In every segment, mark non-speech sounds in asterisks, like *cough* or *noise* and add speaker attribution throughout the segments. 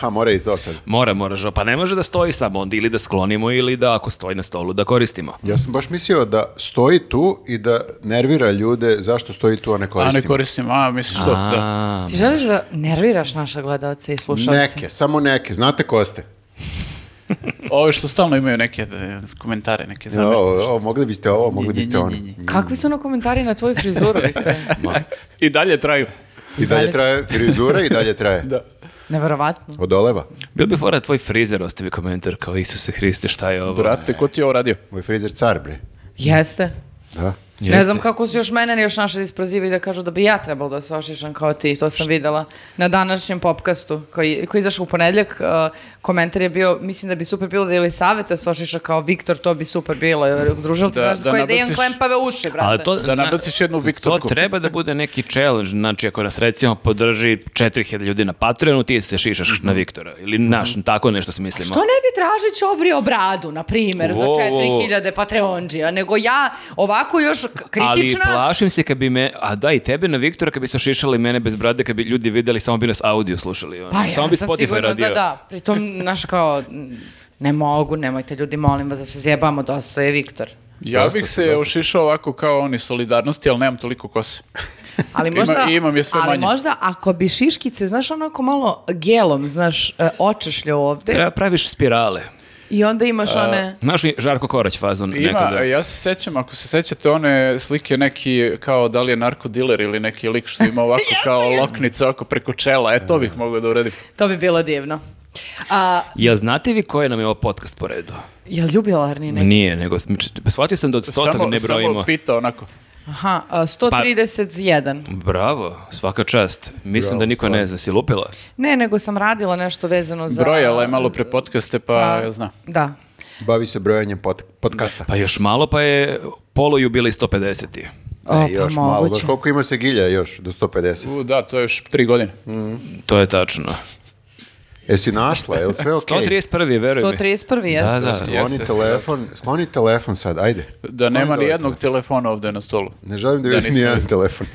Speaker 1: Ha, mora Pa, i to sad.
Speaker 2: Mora, mora, žao. Pa ne može da stoji samo onda ili da sklonimo ili da ako stoji na stolu da koristimo.
Speaker 1: Ja sam baš mislio da stoji tu i da nervira ljude zašto stoji tu, a ne
Speaker 3: A
Speaker 1: koristimo.
Speaker 3: ne koristim, a misliš to, da.
Speaker 2: A,
Speaker 4: Ti želiš da nerviraš naše gledalce i slušalce?
Speaker 1: Neke, samo neke. Znate ko ste?
Speaker 3: Ove što stalno imaju neke e, komentare, neke zamerke.
Speaker 1: O, o, mogli biste ovo, mogli
Speaker 3: Nji,
Speaker 1: biste
Speaker 3: nji,
Speaker 1: ono.
Speaker 3: nji, nji.
Speaker 4: Kakvi su ono komentari na tvoju
Speaker 3: *laughs*
Speaker 4: frizuru? Viktor?
Speaker 3: I dalje traju.
Speaker 1: I dalje traje frizura i dalje traje.
Speaker 3: *laughs* Da.
Speaker 4: Neverovatno.
Speaker 1: Od oleva.
Speaker 2: Bil bi fora da tvoj frizer ostavi komentar kao Isuse Hriste šta je ovo?
Speaker 3: Brate, ko ti je ovo radio?
Speaker 1: Moj frizer car, bre.
Speaker 4: Jeste.
Speaker 1: Da.
Speaker 4: Ne
Speaker 2: Jeste.
Speaker 4: znam kako su još mene još naše isprozivili da kažu da bi ja trebalo da se ošišam kao ti. To sam videla na današnjem popkastu koji, koji je izašao u ponedljak. Uh, komentar je bio, mislim da bi super bilo da ili saveta se ošiša kao Viktor, to bi super bilo. Jer družil te
Speaker 3: Da-
Speaker 4: znaš
Speaker 3: da
Speaker 4: koje Dejan
Speaker 3: nabaciš-
Speaker 4: klempave uši, brate.
Speaker 2: Ali to,
Speaker 3: Da nabaciš jednu
Speaker 2: to
Speaker 3: Viktorku.
Speaker 2: treba da bude neki challenge, znači ako nas recimo podrži 4000 ljudi na Patreonu, ti se šišaš
Speaker 3: Mhm.
Speaker 2: na Viktora ili naš, tako nešto smislimo.
Speaker 4: Što ne bi Dražić obrio bradu, na primjer, za
Speaker 2: Wow.
Speaker 4: 4000 Patreonđija, nego ja ovako još k-
Speaker 2: Ali
Speaker 4: kritična...
Speaker 2: plašim se kad bi me, a da i tebe na Viktora kad bi se šišali mene bez brade, kad bi ljudi vidjeli samo bi nas audio slušali. ono.
Speaker 4: Pa ja
Speaker 2: samo bi
Speaker 4: sam
Speaker 2: Spotify
Speaker 4: sigurna
Speaker 2: radio.
Speaker 4: da da. Pritom, znaš kao, n- ne mogu, nemojte ljudi, molim vas da se zjebamo, dosta je Viktor.
Speaker 3: Ja
Speaker 1: Dosta
Speaker 3: bih
Speaker 1: su,
Speaker 3: se
Speaker 1: dosta.
Speaker 3: ošišao ovako kao oni solidarnosti, ali nemam toliko kose.
Speaker 4: Ali
Speaker 3: Ima-
Speaker 4: možda,
Speaker 3: imam je sve
Speaker 4: ali
Speaker 3: manje.
Speaker 4: možda ako bi šiškice, znaš, onako malo gelom, znaš, e, očešljao ovde
Speaker 2: Treba praviš spirale.
Speaker 4: i onda imaš one...
Speaker 2: Znaš li Žarko Korać fazon
Speaker 3: Ima,
Speaker 2: nekada?
Speaker 3: ja se sećam, ako se sećate one slike neki, kao da li je narkodiler ili neki lik što ima *laughs* ovako kao loknice ovako preko čela, e to bih mogao da uradim.
Speaker 4: To bi bilo divno. A,
Speaker 2: Jel znate vi koji nam je ovo podcast po redu?
Speaker 4: je li ljubilarni neki?
Speaker 2: Nije, nego sm- č- shvatio sam da od stotog
Speaker 3: Samo,
Speaker 2: ne brojimo.
Speaker 3: samo pita onako.
Speaker 4: Aha, a, 131.
Speaker 2: Pa- Bravo, svaka čast. Mislim
Speaker 1: Bravo,
Speaker 2: da niko
Speaker 1: stvarno.
Speaker 2: ne zna, si lupila?
Speaker 4: Ne, nego sam radila nešto vezano za...
Speaker 3: Brojala je malo pre podcaste, pa
Speaker 4: Pa,
Speaker 3: zna.
Speaker 4: Da.
Speaker 1: Bavi se brojanjem pod, podcasta.
Speaker 2: Pa još malo pa je poluju bili 150.
Speaker 4: O,
Speaker 1: E,
Speaker 4: pa
Speaker 1: još
Speaker 2: da
Speaker 1: malo. Znaš
Speaker 4: moguće.
Speaker 1: koliko ima se gilja još do 150?
Speaker 3: U, da, to je još tri godine.
Speaker 2: To je tačno.
Speaker 1: Jesi našla, je li sve okej?
Speaker 2: 131. veruj mi.
Speaker 4: 131. jeste.
Speaker 2: Da, da.
Speaker 1: Skloni
Speaker 3: Jeste, jeste,
Speaker 1: telefon, skloni telefon sad, ajde.
Speaker 3: Da nema
Speaker 1: Skloni
Speaker 3: ni
Speaker 1: dole.
Speaker 3: jednog telefona ovde na stolu.
Speaker 1: Ne želim da vidim
Speaker 3: nisam.
Speaker 1: nijedan
Speaker 3: *laughs*
Speaker 1: telefon.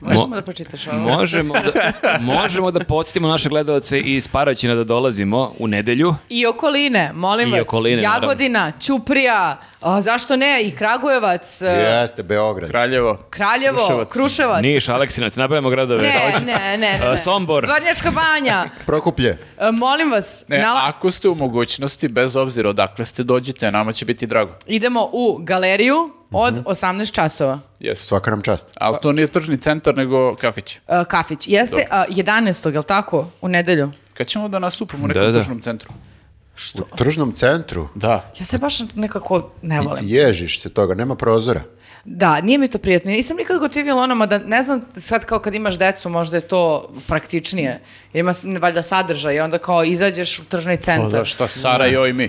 Speaker 4: Možemo da pročitaš ovo.
Speaker 2: Možemo da, možemo da podsjetimo naše gledalce iz Paraćina da dolazimo u nedelju.
Speaker 4: I okoline, molim
Speaker 2: I
Speaker 4: vas.
Speaker 2: okoline, naravno.
Speaker 4: Jagodina, Ćuprija, a, zašto ne, i
Speaker 3: Da.
Speaker 4: Kragujevac, e,
Speaker 1: Jeste, Beograd.
Speaker 3: Kraljevo.
Speaker 4: Kraljevo,
Speaker 3: Kruševac.
Speaker 4: Kruševac.
Speaker 2: Niš, Aleksinac, napravimo gradove.
Speaker 4: Ne, ne, ne, ne, ne.
Speaker 2: A, Sombor.
Speaker 4: Vrnjačka banja.
Speaker 1: Prokuplje.
Speaker 4: E, molim vas,
Speaker 3: Ne,
Speaker 4: nala-
Speaker 3: ako ste u mogućnosti, bez obzira odakle ste, dođite, nama će biti drago.
Speaker 4: idemo u galeriju od
Speaker 2: Mhm.
Speaker 4: 18 časova.
Speaker 3: Yes.
Speaker 1: Svaka nam čast.
Speaker 4: Pa-
Speaker 3: Ali to nije tržni centar, nego kafić.
Speaker 4: E, kafić. Jeste a, 11. jel tako? U nedelju.
Speaker 3: Kad ćemo da nastupamo u nekom
Speaker 2: Da, da.
Speaker 3: tržnom centru?
Speaker 1: U tržnom centru
Speaker 3: Da.
Speaker 4: Ja se baš nekako ne volim.
Speaker 1: ježiš se toga, nema prozora.
Speaker 4: Da, nije mi to prijatno. Ja Nisam nikad gotivila onoma da, ne znam, sad kao kad imaš decu, možda je to praktičnije. Jer ima s- valjda sadržaj, onda kao izađeš u tržni
Speaker 3: O, da,
Speaker 4: centar.
Speaker 3: šta Sara, joj i mi.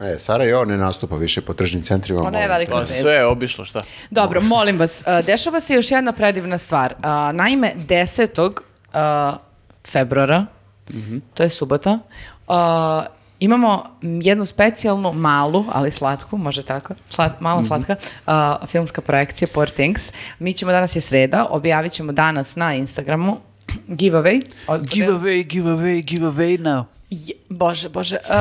Speaker 1: E, Sara Jo ne nastupa više po tržnim centrima.
Speaker 4: Ona je
Speaker 1: molim.
Speaker 4: velika
Speaker 3: Pa sve
Speaker 4: zvezda.
Speaker 3: je obišlo, šta?
Speaker 4: Dobro, molim vas, a, dešava se još jedna predivna stvar. A, Naime, 10. a, februara, to je subota, a, imamo jednu specijalnu, malu, ali slatku, može tako, slat, mala slatka, a, filmska projekcija Poor Things. Mi ćemo, danas je sreda, objavit ćemo danas na Instagramu giveaway. Od-
Speaker 3: Giveaway, giveaway, giveaway now.
Speaker 4: Je- bože, bože. Uh,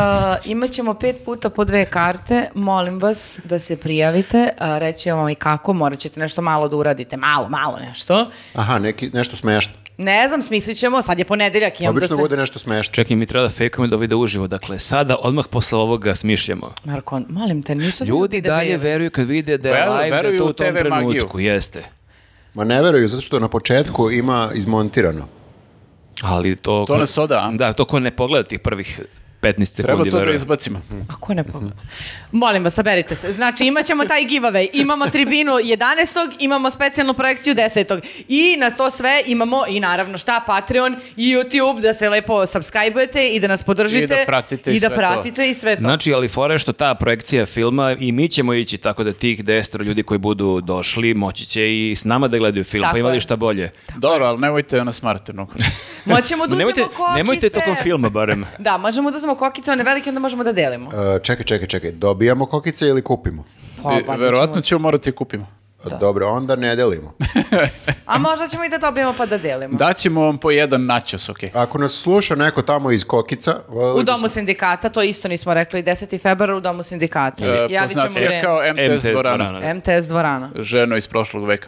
Speaker 4: imat ćemo pet puta po dve karte. Molim vas da se prijavite. Uh, reći vam i kako. Morat ćete nešto malo da uradite. Malo, malo nešto.
Speaker 1: Aha, neki, nešto smešno.
Speaker 4: Ne znam, smislit ćemo. Sad je ponedeljak. Imam
Speaker 1: Obično
Speaker 4: da se...
Speaker 1: bude nešto smešno.
Speaker 2: Čekaj, mi treba da fejkujemo da ovo ide uživo. Dakle, sada, odmah posle ovoga smišljamo.
Speaker 4: Marko, molim te, da nisu
Speaker 2: Ljudi dalje
Speaker 4: debili.
Speaker 2: veruju kad vide da je
Speaker 3: Veru-
Speaker 2: live, da je
Speaker 3: veruju
Speaker 2: to
Speaker 3: u
Speaker 2: u tom
Speaker 3: TV magiju.
Speaker 2: trenutku. Jeste.
Speaker 1: Ma ne veruju, zato što na početku ima izmontirano.
Speaker 2: Ali to...
Speaker 3: To nas oda, a?
Speaker 2: Da, to ko ne pogleda tih prvih 15
Speaker 3: Treba
Speaker 2: sekundi,
Speaker 3: to da
Speaker 2: veruje.
Speaker 3: izbacimo.
Speaker 4: Ako ne pogleda. Molim vas, saberite se. Znači, imat ćemo taj giveaway. Imamo tribinu 11. Imamo specijalnu projekciju 10. I na to sve imamo i naravno šta, Patreon i YouTube, da se lepo subscribe-ujete i da nas podržite.
Speaker 3: I da pratite i
Speaker 4: i da
Speaker 3: sve to.
Speaker 4: pratite i sve to.
Speaker 2: Znači, ali fora je što ta projekcija filma i mi ćemo ići tako da tih destro ljudi koji budu došli moći će i s nama da gledaju film,
Speaker 4: Tako
Speaker 2: pa imali
Speaker 4: je.
Speaker 2: šta bolje.
Speaker 3: Dobro, ali nemojte da nas marate mnogo.
Speaker 4: Moćemo da uzmemo
Speaker 2: nemojte,
Speaker 4: kokice.
Speaker 2: nemojte tokom filma barem.
Speaker 4: Da, možemo da uzmemo kokice, one velike, onda možemo da delimo.
Speaker 1: E, čekaj, čekaj, čekaj. Dobijamo kokice ili kupimo?
Speaker 3: *laughs*
Speaker 4: Pa,
Speaker 3: I,
Speaker 4: valjda
Speaker 3: verovatno
Speaker 4: ćemo-
Speaker 3: ćemo morati da kupimo.
Speaker 4: Da.
Speaker 1: Dobro, onda ne delimo.
Speaker 4: A možda ćemo i da dobijemo pa da delimo.
Speaker 3: Daćemo vam po jedan načos, okej.
Speaker 1: Ako nas sluša neko tamo iz Kokica,
Speaker 4: U
Speaker 1: voleli
Speaker 4: domu
Speaker 1: bismo-
Speaker 4: sindikata, to isto nismo rekli, 10. februar u domu sindikata.
Speaker 1: E,
Speaker 3: Okay.
Speaker 4: Javit
Speaker 1: znači,
Speaker 4: ćemo vreme.
Speaker 3: E, kao MTS,
Speaker 2: MTS
Speaker 3: dvorana.
Speaker 2: dvorana.
Speaker 4: MTS dvorana.
Speaker 3: Ženo iz prošlog veka.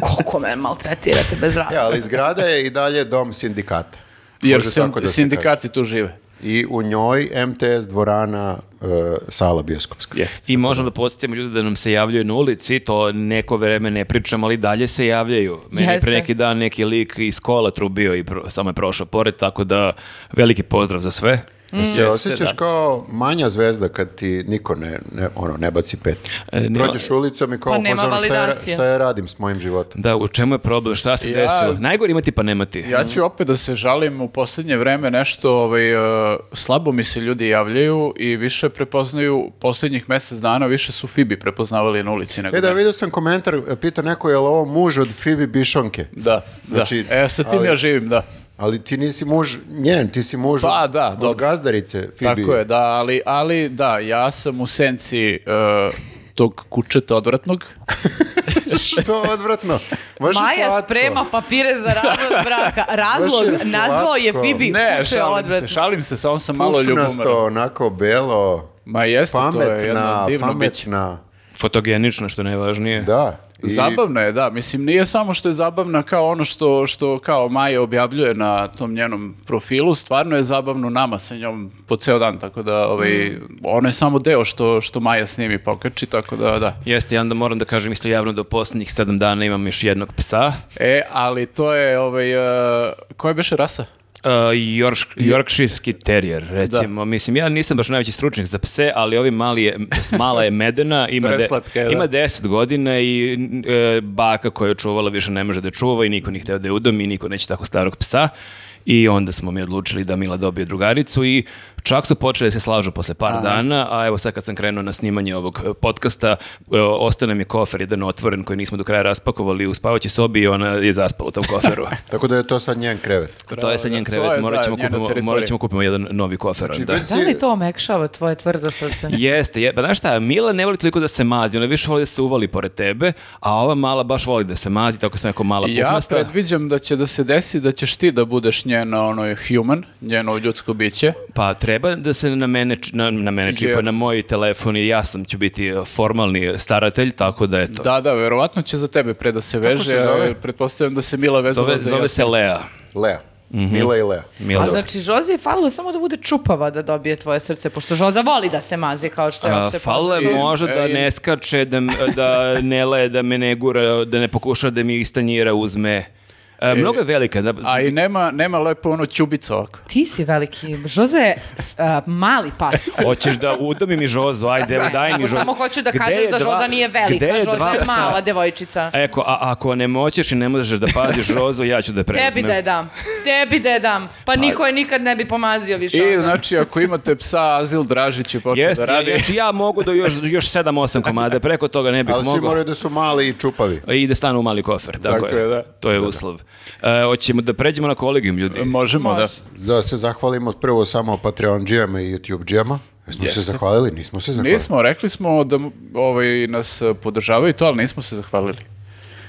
Speaker 4: Koliko me maltretirate bez
Speaker 1: Ja,
Speaker 4: rada.
Speaker 1: E, ali zgrada je i dalje dom sindikata.
Speaker 3: Jer
Speaker 1: Može
Speaker 3: sin-
Speaker 1: tako da se
Speaker 3: sindikati tu žive.
Speaker 1: I u njoj MTS dvorana e, sala bioskopska.
Speaker 3: Jeste.
Speaker 2: I možemo da podsjetimo ljude da nam se javljaju na ulici, to neko vreme ne pričamo, ali dalje se javljaju. Meni je
Speaker 4: Jeste.
Speaker 2: pre neki dan neki lik iz kola trubio i pro- samo je prošao pored, tako da veliki pozdrav za sve.
Speaker 1: Pa Se osjećaš
Speaker 3: da.
Speaker 1: kao manja zvezda kad ti niko ne, ne, ono, ne baci pet.
Speaker 2: E, nema-
Speaker 1: Prođeš ulicom i kao
Speaker 4: Pa
Speaker 1: u
Speaker 4: nema
Speaker 1: fazonu, šta, ja,
Speaker 4: validacije."
Speaker 1: šta ja radim s mojim životom.
Speaker 2: Da, u čemu je problem, šta se
Speaker 3: Ja-
Speaker 2: desilo? Najgore imati pa nemati.
Speaker 3: Ja ću opet da se žalim u posljednje vreme nešto, ovaj, e, slabo mi se ljudi javljaju i više prepoznaju, posljednjih mjesec dana više su Fibi prepoznavali na ulici nego
Speaker 1: E da,
Speaker 3: mene.
Speaker 1: vidio sam komentar, e, pita neko je li ovo muž od Fibi Bišonke?
Speaker 3: Da,
Speaker 1: Znači,
Speaker 3: da. E, sa tim
Speaker 1: ali-
Speaker 3: ja živim, da.
Speaker 1: Ali ti nisi muž njen, ti si muž
Speaker 3: Pa,
Speaker 1: od-
Speaker 3: da,
Speaker 1: od
Speaker 3: dobro.
Speaker 1: gazdarice Fibi.
Speaker 3: Tako je, da, ali, ali da, ja sam u senci e, tog kučeta odvratnog.
Speaker 1: *laughs* Što odvratno. Baš je
Speaker 4: Maja
Speaker 1: slatko.
Speaker 4: sprema papire za
Speaker 1: *laughs*
Speaker 4: razvod braka. Razlog
Speaker 1: Baš je
Speaker 4: nazvao je
Speaker 1: slatko.
Speaker 4: Fibi
Speaker 3: Ne,
Speaker 4: kuće
Speaker 3: šalim se,
Speaker 4: odvratno.
Speaker 3: šalim se, samo sam malo
Speaker 1: Pufnasto,
Speaker 3: ljubomoran.
Speaker 1: onako belo,
Speaker 3: Ma jeste, to je jedno
Speaker 1: pametna,
Speaker 3: divno biće.
Speaker 1: pametna.
Speaker 2: Fotogenično, što je najvažnije.
Speaker 1: Da. i-
Speaker 3: Zabavno je, da. Mislim, nije samo što je zabavna kao ono što, što kao Maja objavljuje na tom njenom profilu, stvarno je zabavno nama sa njom po ceo dan, tako da ovaj, ono je samo deo što, što Maja snimi i pokači, tako da da.
Speaker 2: Jeste, ja onda moram da kažem isto javno da u posljednjih sedam dana imam još jednog psa.
Speaker 3: E, ali to je, ovaj, e, koja je beše rasa?
Speaker 2: Uh, Yorksh- Yorkshireski terijer, recimo. Mislim, ja nisam baš najveći stručnjak za pse, ali ovi mali je, mala je medena, ima, de-
Speaker 3: Preslatka je, da.
Speaker 2: ima 10 godina i n- e, baka koja je čuvala više ne može da je čuva i niko nije hteo da je udomi i niko neće tako starog psa. I onda smo mi odlučili da Mila dobije drugaricu i čak su počeli da se slažu posle par dana, a evo sad kad sam krenuo na snimanje ovog e, podcasta, e, ostao nam je kofer jedan otvoren koji nismo do kraja raspakovali u spavaćoj sobi i ona je zaspala u tom koferu.
Speaker 1: Tako da je to sad njen krevet.
Speaker 2: To je sad njen
Speaker 3: To
Speaker 2: krevet,
Speaker 3: je,
Speaker 2: morat
Speaker 3: da,
Speaker 2: ćemo,
Speaker 3: njena
Speaker 2: kupimo,
Speaker 3: teritorija.
Speaker 2: morat ćemo kupimo jedan novi kofer.
Speaker 1: Znači,
Speaker 2: da.
Speaker 1: bez-
Speaker 4: Da li to omekšava tvoje tvrdo srce?
Speaker 2: Jeste, je, pa znaš šta, Mila ne voli toliko da se mazi, ona više voli da se uvali pored tebe, a ova mala baš voli da se mazi, tako sam rekao mala
Speaker 3: Ja
Speaker 2: pufnasta.
Speaker 3: predviđam da će da se desi da ćeš ti da budeš njeno ono, human, njeno ljudsko biće.
Speaker 2: Pa treba da se na mene, č- na, na mene čipa,
Speaker 3: Je.
Speaker 2: na moj telefon i ja sam ću biti e, formalni staratelj, tako da eto.
Speaker 3: Da, da, verovatno će za tebe pre da se veže.
Speaker 1: se zove?
Speaker 3: a, Pretpostavljam da se Mila vezala
Speaker 2: Zove,
Speaker 3: za
Speaker 2: zove
Speaker 3: Jasminu.
Speaker 2: se Lea.
Speaker 1: Lea.
Speaker 3: Mhm.
Speaker 1: Mila i Lea.
Speaker 2: Mila.
Speaker 4: A znači, Žozi je falilo samo da bude čupava da dobije tvoje srce, pošto Žoza voli da se mazi kao što je
Speaker 2: A,
Speaker 4: opšte
Speaker 2: Falilo je
Speaker 4: poznato.
Speaker 2: možda da
Speaker 3: E, i-
Speaker 2: ne skače, da, m- da ne leje, da me ne gura, da ne pokuša da mi istanjira, uzme. E, mnogo je velika. Da,
Speaker 3: A i nema, nema lepo ono ćubica ovako.
Speaker 4: Ti si veliki, Žoza je s- a, mali pas.
Speaker 2: Hoćeš da udomi mi Žozu, ajde, *laughs* evo,
Speaker 4: Ne,
Speaker 2: daj mi
Speaker 4: ako
Speaker 2: Žozu.
Speaker 4: samo hoću da
Speaker 2: Gde
Speaker 4: kažeš
Speaker 2: je dva-
Speaker 4: da Žoza nije velika,
Speaker 2: gde je
Speaker 4: Žoza
Speaker 2: dva
Speaker 4: je
Speaker 2: psa?
Speaker 4: mala devojčica.
Speaker 2: Eko, a ako ne moćeš i ne možeš da paziš Žozu, ja ću da je preuzmem.
Speaker 4: Tebi da je dam, tebi da je dam. Pa niko je nikad ne bi pomazio više.
Speaker 3: I
Speaker 4: onda.
Speaker 3: znači ako imate psa, Azil Dražić je počeo
Speaker 2: Jeste,
Speaker 3: da radi.
Speaker 2: znači ja mogu da još, još 7-8 komada, preko toga ne bih
Speaker 1: Ali svi
Speaker 2: mogao.
Speaker 1: moraju da su mali i čupavi.
Speaker 2: I da stanu u mali kofer, tako,
Speaker 3: Tako
Speaker 2: je.
Speaker 3: je, da.
Speaker 2: To je uslov. E, hoćemo da pređemo na kolegijum ljudi.
Speaker 3: Možemo, da.
Speaker 4: Može.
Speaker 1: Da se zahvalimo prvo samo Patreon džijama i YouTube džijama. Jesmo se zahvalili? Nismo se zahvalili.
Speaker 3: Nismo, rekli smo da ovaj, nas podržavaju to, ali nismo se zahvalili.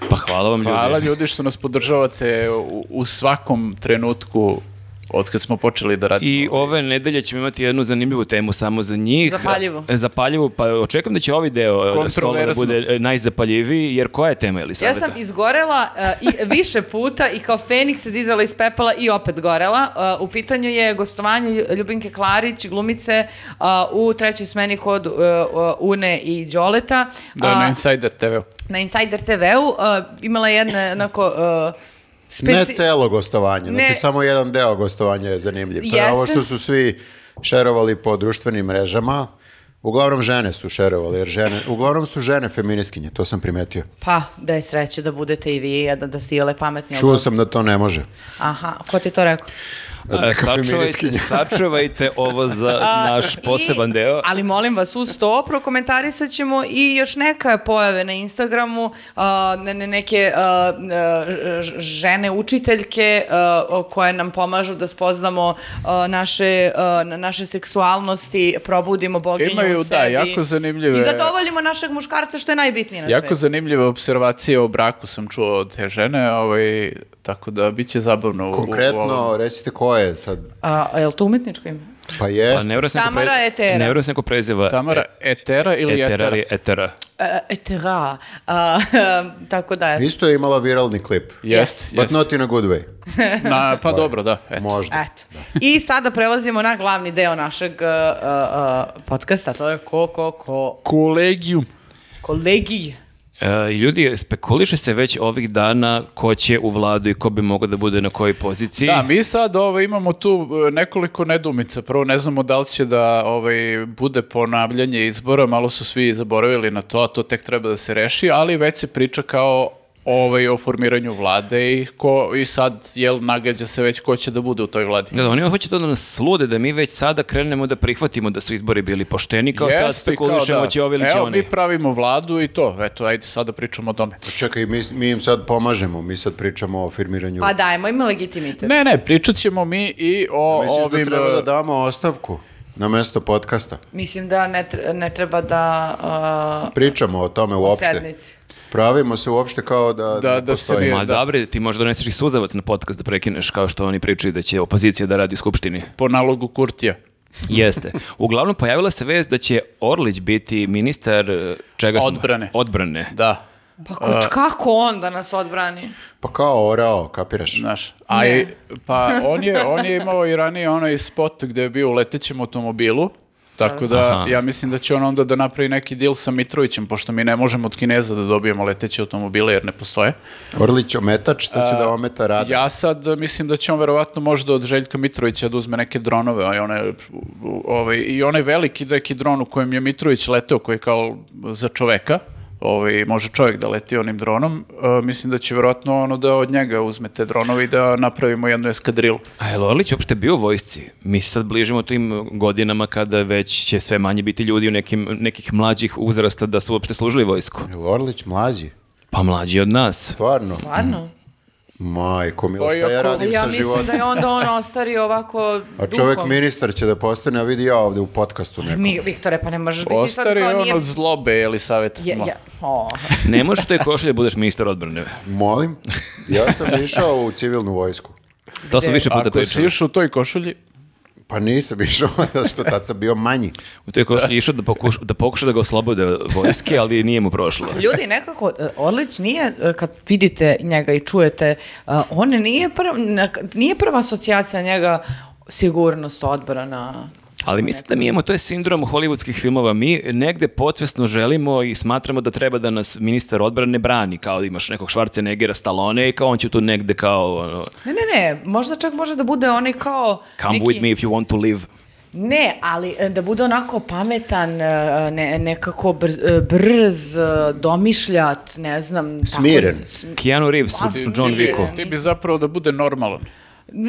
Speaker 2: Pa hvala vam ljudi.
Speaker 3: Hvala ljudi što nas podržavate u, u svakom trenutku od kad smo počeli da radimo.
Speaker 2: I ove nedelje ćemo imati jednu zanimljivu temu samo za njih.
Speaker 4: Zapaljivu.
Speaker 2: E, Zapaljivu, pa očekujem da će ovaj deo e, stola da
Speaker 3: Kontroverzno.
Speaker 2: bude e, najzapaljiviji, jer koja je tema,
Speaker 4: Ja
Speaker 2: Elisaveta?
Speaker 4: sam izgorela e, i više puta i kao Feniks se dizala iz pepela i opet gorela. E, u pitanju je gostovanje Lju- Ljubinke Klarić, glumice e, u trećoj smeni kod e, e, Une i Đoleta.
Speaker 3: Da,
Speaker 4: A,
Speaker 3: na Insider TV.
Speaker 4: na Insider TV-u e, imala je jedne onako... e,
Speaker 1: Ne
Speaker 4: speci-
Speaker 1: celo gostovanje,
Speaker 4: Ne.
Speaker 1: znači samo jedan deo gostovanja je zanimljiv. To je ovo
Speaker 4: Jeste.
Speaker 1: što su svi šerovali po društvenim mrežama. Uglavnom žene su šerovali, jer žene, uglavnom su žene feministkinje, to sam primetio.
Speaker 4: Pa, da je sreće da budete i vi, a da, da ste i ole pametni.
Speaker 1: Čuo sam da to ne može.
Speaker 4: Aha, ko ti je to rekao?
Speaker 1: neka
Speaker 3: *laughs*
Speaker 2: Sačuvajte,
Speaker 1: feminiskinja.
Speaker 2: sačuvajte ovo za naš poseban
Speaker 4: I-
Speaker 2: deo.
Speaker 4: Ali molim vas, uz to prokomentarisat ćemo i još neka pojave na Instagramu, a, ne, ne, neke a, e, ž- žene učiteljke a, o- koje nam pomažu da spoznamo a, naše, a, na- naše seksualnosti, probudimo boginju
Speaker 3: Imaju,
Speaker 4: u
Speaker 3: da,
Speaker 4: sebi.
Speaker 3: jako zanimljive-
Speaker 4: I zadovoljimo našeg muškarca što je najbitnije na
Speaker 3: Jako
Speaker 4: svetu.
Speaker 3: zanimljive observacije o braku sam čuo od te žene, ovaj, tako da bit će zabavno. u- u ovom.
Speaker 1: Konkretno, recite ko je sad.
Speaker 4: A, je li to umetničko ime?
Speaker 1: Pa jest.
Speaker 2: Pa ne vrlo se neko
Speaker 4: Tamara Etera.
Speaker 2: Ne vrlo se neko preziva.
Speaker 3: Tamara Etera ili
Speaker 2: E- Etera.
Speaker 3: Etera?
Speaker 2: ili Etera.
Speaker 4: E, etera. A, *laughs* tako da, eto.
Speaker 1: Isto je imala viralni klip.
Speaker 3: Jest,
Speaker 1: But
Speaker 3: jest.
Speaker 1: not in a good way.
Speaker 3: Na, pa dobro, da. Eto.
Speaker 1: Možda.
Speaker 4: Eto. da. I sada prelazimo na glavni deo našeg uh, uh, uh, podcasta, to je ko, ko, ko,
Speaker 3: Kolegium.
Speaker 4: kolegiji.
Speaker 2: E, ljudi, spekuliše se već ovih dana ko će u vladu i ko bi mogao da bude na kojoj poziciji.
Speaker 3: Da, mi sad ovaj, imamo tu e, nekoliko nedumica. Prvo ne znamo da li će da ovaj, bude ponavljanje izbora, malo su svi zaboravili na to, a to tek treba da se reši, ali već se priča kao ovaj, o formiranju vlade i, ko, i sad jel, nagađa se već ko će da bude u toj vladi.
Speaker 2: Da, da, oni hoće to da nas slude, da mi već sada krenemo da prihvatimo da su izbori bili pošteni, kao sad
Speaker 3: Jeste, kao
Speaker 2: spekulišemo
Speaker 3: da,
Speaker 2: će ovi ili će
Speaker 3: Evo,
Speaker 2: oni.
Speaker 3: mi pravimo vladu i to. Eto, ajde sada pričamo o tome.
Speaker 1: Čekaj, mi, mi im sad pomažemo. Mi sad pričamo o firmiranju.
Speaker 4: Pa dajmo im legitimitet.
Speaker 3: Ne, ne, pričat ćemo mi i o
Speaker 1: Misliš
Speaker 3: ovim...
Speaker 1: da treba da
Speaker 3: e,
Speaker 1: damo ostavku na mesto podcasta?
Speaker 4: Mislim da ne, tre- ne treba da...
Speaker 1: Pričamo o tome
Speaker 4: Uh,
Speaker 1: uopšte.
Speaker 4: sednici.
Speaker 1: Pravimo se uopšte kao da,
Speaker 3: Da-
Speaker 1: ne
Speaker 3: da se
Speaker 1: postoji.
Speaker 3: mi-
Speaker 2: Ma
Speaker 3: da.
Speaker 2: dobre, ti možda doneseš i suzavac na podcast da prekineš kao što oni pričaju da će opozicija da radi u skupštini.
Speaker 3: Po nalogu Kurtija.
Speaker 2: *laughs* Jeste. Uglavnom pojavila se vez da će Orlić biti ministar e, čega smo?
Speaker 3: Odbrane.
Speaker 2: Odbrane.
Speaker 3: Da,
Speaker 4: Pa ko,
Speaker 1: Uh,
Speaker 4: kako on da nas odbrani?
Speaker 1: Pa kao orao, kapiraš?
Speaker 3: znaš. A i- pa on je, on je imao i ranije onaj spot gde je bio u letećem automobilu. Tako da,
Speaker 2: Aha.
Speaker 3: ja mislim da će on onda da napravi neki deal sa Mitrovićem, pošto mi ne možemo od Kineza da dobijemo leteće automobile jer ne postoje.
Speaker 1: Orlić ometač, sad će da ometa rad.
Speaker 3: Ja sad e, mislim da će on verovatno možda od Željka Mitrovića da uzme neke dronove, a i one, ovaj, i onaj veliki neki dron u kojem je Mitrović leteo, koji je kao za čoveka, ovaj, može čovek da leti onim dronom, e, mislim da će verovatno ono da od njega uzme te dronove i da napravimo jednu eskadrilu.
Speaker 2: A je li Orlić uopšte bio u vojsci? Mi se sad bližimo tim godinama kada već će sve manje biti ljudi u nekim, nekih mlađih uzrasta da su uopšte služili vojsku.
Speaker 1: Jel Orlić mlađi?
Speaker 2: Pa mlađi od nas.
Speaker 1: Stvarno?
Speaker 4: Stvarno?
Speaker 1: Mm. Majko, milo,
Speaker 3: Pa
Speaker 1: šta ja
Speaker 3: iako-
Speaker 4: Pa
Speaker 1: radim
Speaker 4: ja
Speaker 1: sa
Speaker 4: mislim
Speaker 1: životom?
Speaker 4: da je onda on ostari ovako
Speaker 1: A čovek
Speaker 4: duhom.
Speaker 1: ministar će da postane, a vidi ja ovde u podcastu
Speaker 3: *laughs*
Speaker 1: nekom.
Speaker 4: Mi, Viktore, pa ne možeš biti sad
Speaker 3: Ostari
Speaker 4: kao
Speaker 3: on
Speaker 4: nije...
Speaker 3: od zlobe, jeli savjet?
Speaker 4: Je, je, o.
Speaker 2: Ne možeš to je košlje da budeš ministar odbrane.
Speaker 1: Molim, ja sam išao u civilnu vojsku.
Speaker 2: To smo više puta
Speaker 3: Ako si
Speaker 2: pričali.
Speaker 3: išao u toj košulji,
Speaker 1: Pa nisam išao, *laughs* zato što tad sam bio manji.
Speaker 2: U toj košlji je išao da pokuša, da pokuša da ga oslobode od vojske, ali nije mu prošlo.
Speaker 4: Ljudi, nekako, e, Orlić nije, e, kad vidite njega i čujete, a, on nije, prv, nek- nije prva asocijacija njega sigurnost odbrana.
Speaker 2: Ali mislim da mi imamo, to je sindrom hollywoodskih filmova, mi negde podsvesno želimo i smatramo da treba da nas ministar odbrane brani, kao da imaš nekog Schwarzeneggera, Stallone i kao on će tu negde kao ono,
Speaker 4: Ne, ne, ne, možda čak može da bude onaj kao...
Speaker 2: come with me if you want to live.
Speaker 4: Ne, ali e, da bude onako pametan, e, ne, nekako brz, e, brz, e, domišljat, ne znam. tako-
Speaker 1: Smiren.
Speaker 4: sm-
Speaker 2: Keanu Reeves u John
Speaker 3: ti bi-
Speaker 2: Wicku.
Speaker 3: ti bi zapravo da bude normalan.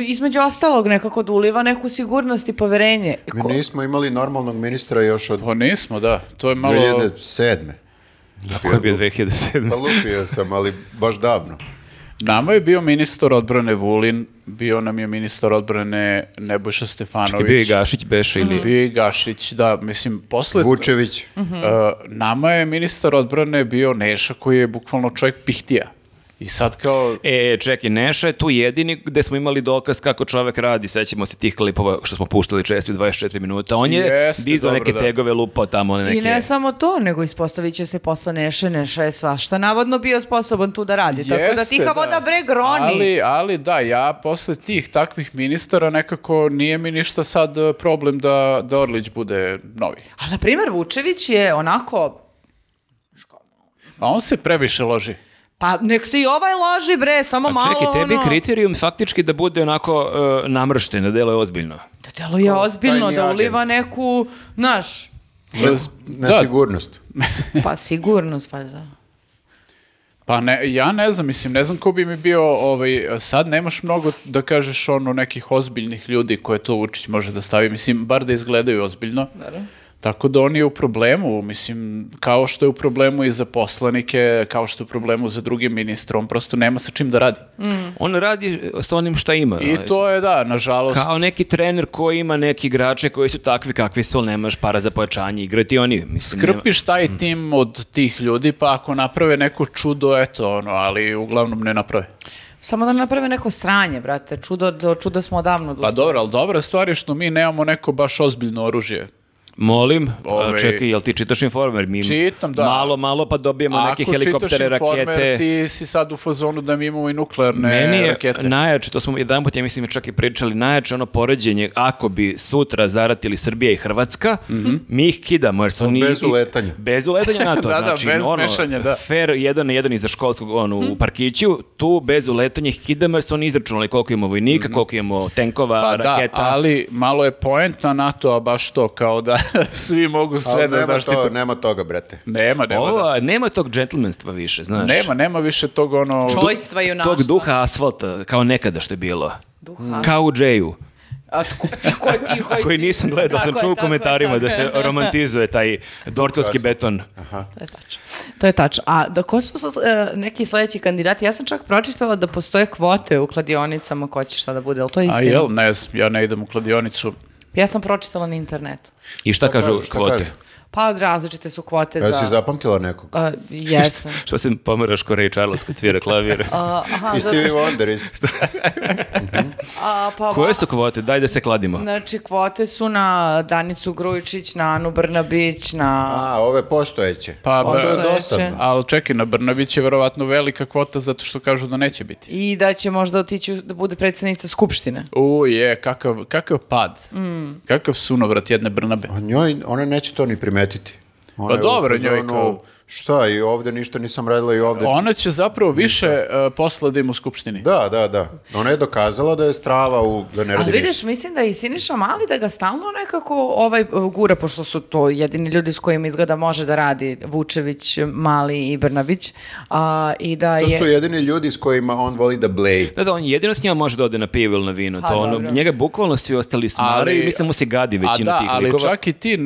Speaker 4: između ostalog nekako da uliva neku sigurnost i poverenje.
Speaker 1: Mi
Speaker 4: Ko-
Speaker 1: nismo imali normalnog ministra još od
Speaker 3: Pa nismo, da. To je malo...
Speaker 1: 2007.
Speaker 2: Tako je bio 2007.
Speaker 1: Pa lupio sam, ali baš davno.
Speaker 3: Nama je bio ministar odbrane Vulin, bio nam je ministar odbrane Nebojša Stefanović. Mm.
Speaker 2: Čekaj, bio i Gašić Beše ili...
Speaker 3: Bio i Gašić, da, mislim, posle...
Speaker 1: Vučević,
Speaker 4: Mhm.
Speaker 3: e, nama je ministar odbrane bio Neša koji je bukvalno čovjek pihtija. I sad kao...
Speaker 2: E, čekaj, Neša je tu jedini gde smo imali dokaz kako čovek radi, sećamo se tih klipova što smo puštali često u 24 minuta, on je
Speaker 3: Jeste,
Speaker 2: dizao
Speaker 3: dobro,
Speaker 2: neke
Speaker 3: da.
Speaker 2: tegove lupao tamo, one neke...
Speaker 4: I ne samo to, nego ispostavit će se posle Neše, Neša je svašta navodno bio sposoban tu da radi. tako da ti
Speaker 3: Jeste,
Speaker 4: kao voda breg roni.
Speaker 3: Ali, ali da, ja posle tih takvih ministara nekako nije mi ništa sad e, problem da, da Orlić bude novi.
Speaker 4: A na primjer Vučević je onako,
Speaker 3: A on se previše loži.
Speaker 4: pa nek se i ovaj loži bre, samo
Speaker 2: A
Speaker 4: malo
Speaker 2: Pa čekaj, tebi je
Speaker 4: ono...
Speaker 2: kriterijum faktički da bude onako e, namršten, da deluje ozbiljno.
Speaker 4: Da deluje ozbiljno,
Speaker 1: tajni
Speaker 4: da
Speaker 1: agent.
Speaker 4: uliva neku, znaš,
Speaker 3: E,
Speaker 1: na
Speaker 3: da,
Speaker 1: sigurnost.
Speaker 4: pa sigurnost valjda.
Speaker 3: Pa ne, ja ne znam, mislim, ne znam ko bi mi bio, ovaj, sad nemaš mnogo da kažeš ono nekih ozbiljnih ljudi koje to Vučić može da stavi, mislim, bar da izgledaju ozbiljno.
Speaker 4: Naravno.
Speaker 3: Tako da on je u problemu, mislim, kao što je u problemu i za poslanike, kao što je u problemu za druge ministre, on prosto nema sa čim da radi.
Speaker 2: On radi sa onim šta ima. ovaj.
Speaker 3: I to je, da, nažalost,
Speaker 2: Kao neki trener koji ima neki igrače koji su takvi kakvi su, ali nemaš para za pojačanje igre, ti oni, mislim, nema-
Speaker 3: krpiš taj tim od tih ljudi, pa ako naprave neko čudo, eto, ono, ali uglavnom ne naprave. Pa
Speaker 4: Samo da ne naprave neko sranje, brate. Čudo, do čuda smo odavno
Speaker 3: Pa
Speaker 4: odustali.
Speaker 3: dobro, ali dobra stvar je što mi nemamo neko baš ozbiljno oružje.
Speaker 2: Molim,
Speaker 3: Ovaj-
Speaker 2: a, čekaj, jel ti čitaš informer? Mi
Speaker 3: Čitam, da.
Speaker 2: Malo, malo pa dobijemo neke
Speaker 3: Ako čitaš
Speaker 2: helikoptere,
Speaker 3: informer,
Speaker 2: rakete.
Speaker 3: ti si sad u fazonu da mi imamo i nuklearne
Speaker 2: Meni je
Speaker 3: rakete.
Speaker 2: najjače, to smo jedan put, ja mislim, čak i pričali, najjače ono poređenje, ako bi sutra zaratili Srbija i Hrvatska, mi ih kidamo, jer su oni...
Speaker 1: bez uletanja.
Speaker 2: Bez uletanja
Speaker 3: *laughs*
Speaker 2: na to,
Speaker 3: Mhm. Da, da,
Speaker 2: znači,
Speaker 3: bez
Speaker 2: ono,
Speaker 3: mešanja, da. Mhm.
Speaker 2: fair jedan na jedan iza školskog ono, u parkiću, tu bez uletanja ih kidamo, jer su oni izračunali koliko imamo vojnika, koliko imamo tenkova,
Speaker 3: Mhm. Pa
Speaker 2: raketa.
Speaker 3: da, ali malo je poenta NATO-a baš to, kao da *laughs* svi mogu sve
Speaker 1: Ali
Speaker 3: da
Speaker 1: nema,
Speaker 3: zaštite.
Speaker 1: to, nema toga, brate.
Speaker 3: Nema, nema.
Speaker 2: Ovo,
Speaker 3: da.
Speaker 2: nema tog džentlmenstva više, znaš.
Speaker 3: Nema, nema više tog ono...
Speaker 4: Čojstva i
Speaker 2: Tog duha asfalta, kao nekada što je bilo.
Speaker 4: Duha.
Speaker 2: Kao u Džeju.
Speaker 4: A tko, tko je
Speaker 2: *laughs*
Speaker 4: ti koji
Speaker 2: koji
Speaker 4: si-
Speaker 2: nisam gledao, sam
Speaker 4: Tako je,
Speaker 2: čuo u
Speaker 4: tako je,
Speaker 2: komentarima
Speaker 4: tako
Speaker 2: da
Speaker 4: je.
Speaker 2: se romantizuje taj dortovski beton.
Speaker 4: To je tačno. To je tačno. A da ko su sad, e, neki sledeći kandidati? Ja sam čak pročitala da postoje kvote u kladionicama ko će šta da bude, ali to je
Speaker 3: A
Speaker 4: istina.
Speaker 3: jel, ne znam, ja ne idem u kladionicu.
Speaker 4: Ja sam pročitala na internetu.
Speaker 2: I šta kažu
Speaker 1: kažu, šta kažu?
Speaker 2: kvote?
Speaker 4: Pa različite su kvote
Speaker 1: Ja
Speaker 4: za...
Speaker 1: si zapamtila nekog.
Speaker 4: A, jesam.
Speaker 2: Što se pomeraš ko Ray Charles kad svira
Speaker 4: *laughs*
Speaker 2: klavir?
Speaker 4: A, *laughs* aha,
Speaker 1: I
Speaker 4: zato
Speaker 1: Stevie
Speaker 4: što-
Speaker 1: Wonder isto.
Speaker 4: a, pa,
Speaker 2: Koje su kvote? Daj da se kladimo.
Speaker 4: Znači, kvote su na Danicu Grujičić, na Anu Brnabić, na...
Speaker 1: A, ove postojeće.
Speaker 3: Pa,
Speaker 1: Onda je
Speaker 4: Postojeće.
Speaker 1: dosadno.
Speaker 3: Ali čekaj, na Brnabić je verovatno velika kvota zato što kažu da neće biti.
Speaker 4: I da će možda otići u- da bude predsednica Skupštine.
Speaker 3: U, je, kakav, kakav pad. Kakav sunovrat jedne Brnabe.
Speaker 1: A njoj, ona neće to ni primetiti. Ona
Speaker 3: Pa
Speaker 1: je u
Speaker 3: dobro, njoj
Speaker 1: fazonu,
Speaker 3: kao-
Speaker 1: Šta, i ovde ništa nisam radila i ovde.
Speaker 3: Ona će zapravo više e, posla da ima u skupštini.
Speaker 1: Da, da, da. Ona je dokazala da je strava u, da ne radi
Speaker 4: Ali
Speaker 1: ništa.
Speaker 4: vidiš, mislim da i Siniša Mali da ga stalno nekako ovaj uh, gura, pošto su to jedini ljudi s kojim izgleda može da radi Vučević, Mali i Brnabić. A, I da
Speaker 1: To su
Speaker 4: je...
Speaker 1: jedini ljudi s kojima on voli da bleji.
Speaker 2: Da, da, on jedino s njima može da ode na pivo ili na vino.
Speaker 4: Pa,
Speaker 2: To ono,
Speaker 4: dobro.
Speaker 2: njega bukvalno svi ostali smari
Speaker 3: Ali-
Speaker 2: i mislim mu se gadi
Speaker 3: A
Speaker 2: većina
Speaker 3: da,
Speaker 2: tih
Speaker 3: ali
Speaker 2: likova.
Speaker 3: čak i ti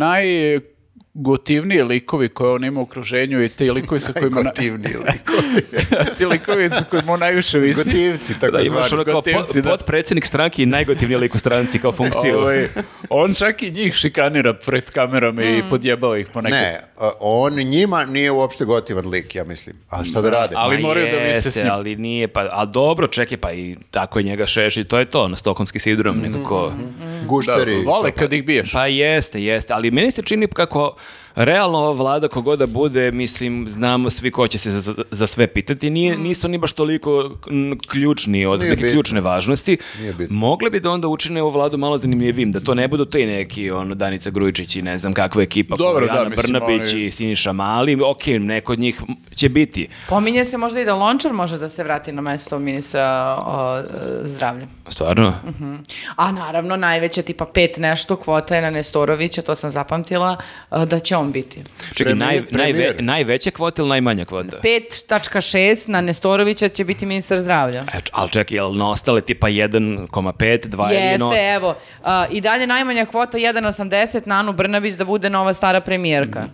Speaker 3: najgotivniji likovi koje on ima u okruženju i ti likovi sa kojima, na,
Speaker 1: Gotivni likovi.
Speaker 3: *laughs* ti likovi sa kojima on najviše visi.
Speaker 1: Gotivci, tako
Speaker 2: Da, imaš ono
Speaker 1: zvani.
Speaker 2: kao pot,
Speaker 3: gotivci, da.
Speaker 2: potpredsjednik stranke i najgotivniji lik u stranci kao funkciju.
Speaker 3: Ovaj, on čak i njih šikanira pred kamerom i podjebao ih ponekad.
Speaker 1: Ne, a, on njima nije uopšte gotivan lik, ja mislim. A šta da rade?
Speaker 3: ali
Speaker 2: Ma
Speaker 3: moraju da vise
Speaker 2: jeste,
Speaker 3: s njim.
Speaker 2: ali nije, pa, a dobro, čekaj, pa i tako je njega šeši, to je to, na stokonskim sidrom
Speaker 4: Mhm,
Speaker 2: nekako.
Speaker 3: Da,
Speaker 1: Gušteri.
Speaker 3: vole kad ih biješ.
Speaker 2: Pa jeste, jeste, ali meni se čini kako realno ova vlada kogoda bude, mislim, znamo svi ko će se za, za sve pitati, nije, nisu ni baš toliko m, ključni od
Speaker 1: Mm. Nije
Speaker 2: neke
Speaker 1: bitno.
Speaker 2: ključne važnosti.
Speaker 1: Nije bitno.
Speaker 2: Mogli bi da onda učine ovu vladu malo zanimljivim, da to ne budu te neki ono, Danica Grujičić i ne znam kakva ekipa,
Speaker 3: Dobro, da,
Speaker 2: Ana
Speaker 3: mislim,
Speaker 2: Brnabić
Speaker 3: oni-
Speaker 2: i Siniša Mali, ok, neko od njih će biti.
Speaker 4: Pominje se možda i da Lončar može da se vrati na mesto ministra o, e, zdravlja. Hm.
Speaker 2: Stvarno?
Speaker 1: Mhm.
Speaker 4: A naravno, najveća tipa pet nešto kvota je na Nestorovića, to sam zapamtila, e, da će on biti.
Speaker 2: Čekaj, naj,
Speaker 1: Premijer-
Speaker 2: najve,
Speaker 1: premijer.
Speaker 2: najveća kvota ili najmanja kvota?
Speaker 4: 5.6 na Nestorovića će biti ministar zdravlja.
Speaker 2: E, č- Ali čekaj, jel na ostale tipa 1,5, 2
Speaker 3: Pa
Speaker 2: ili na
Speaker 4: Jeste,
Speaker 2: ostale?
Speaker 4: evo. A, I dalje najmanja kvota 1.80 na Anu Brnabić da bude nova stara premijerka.
Speaker 3: Mhm.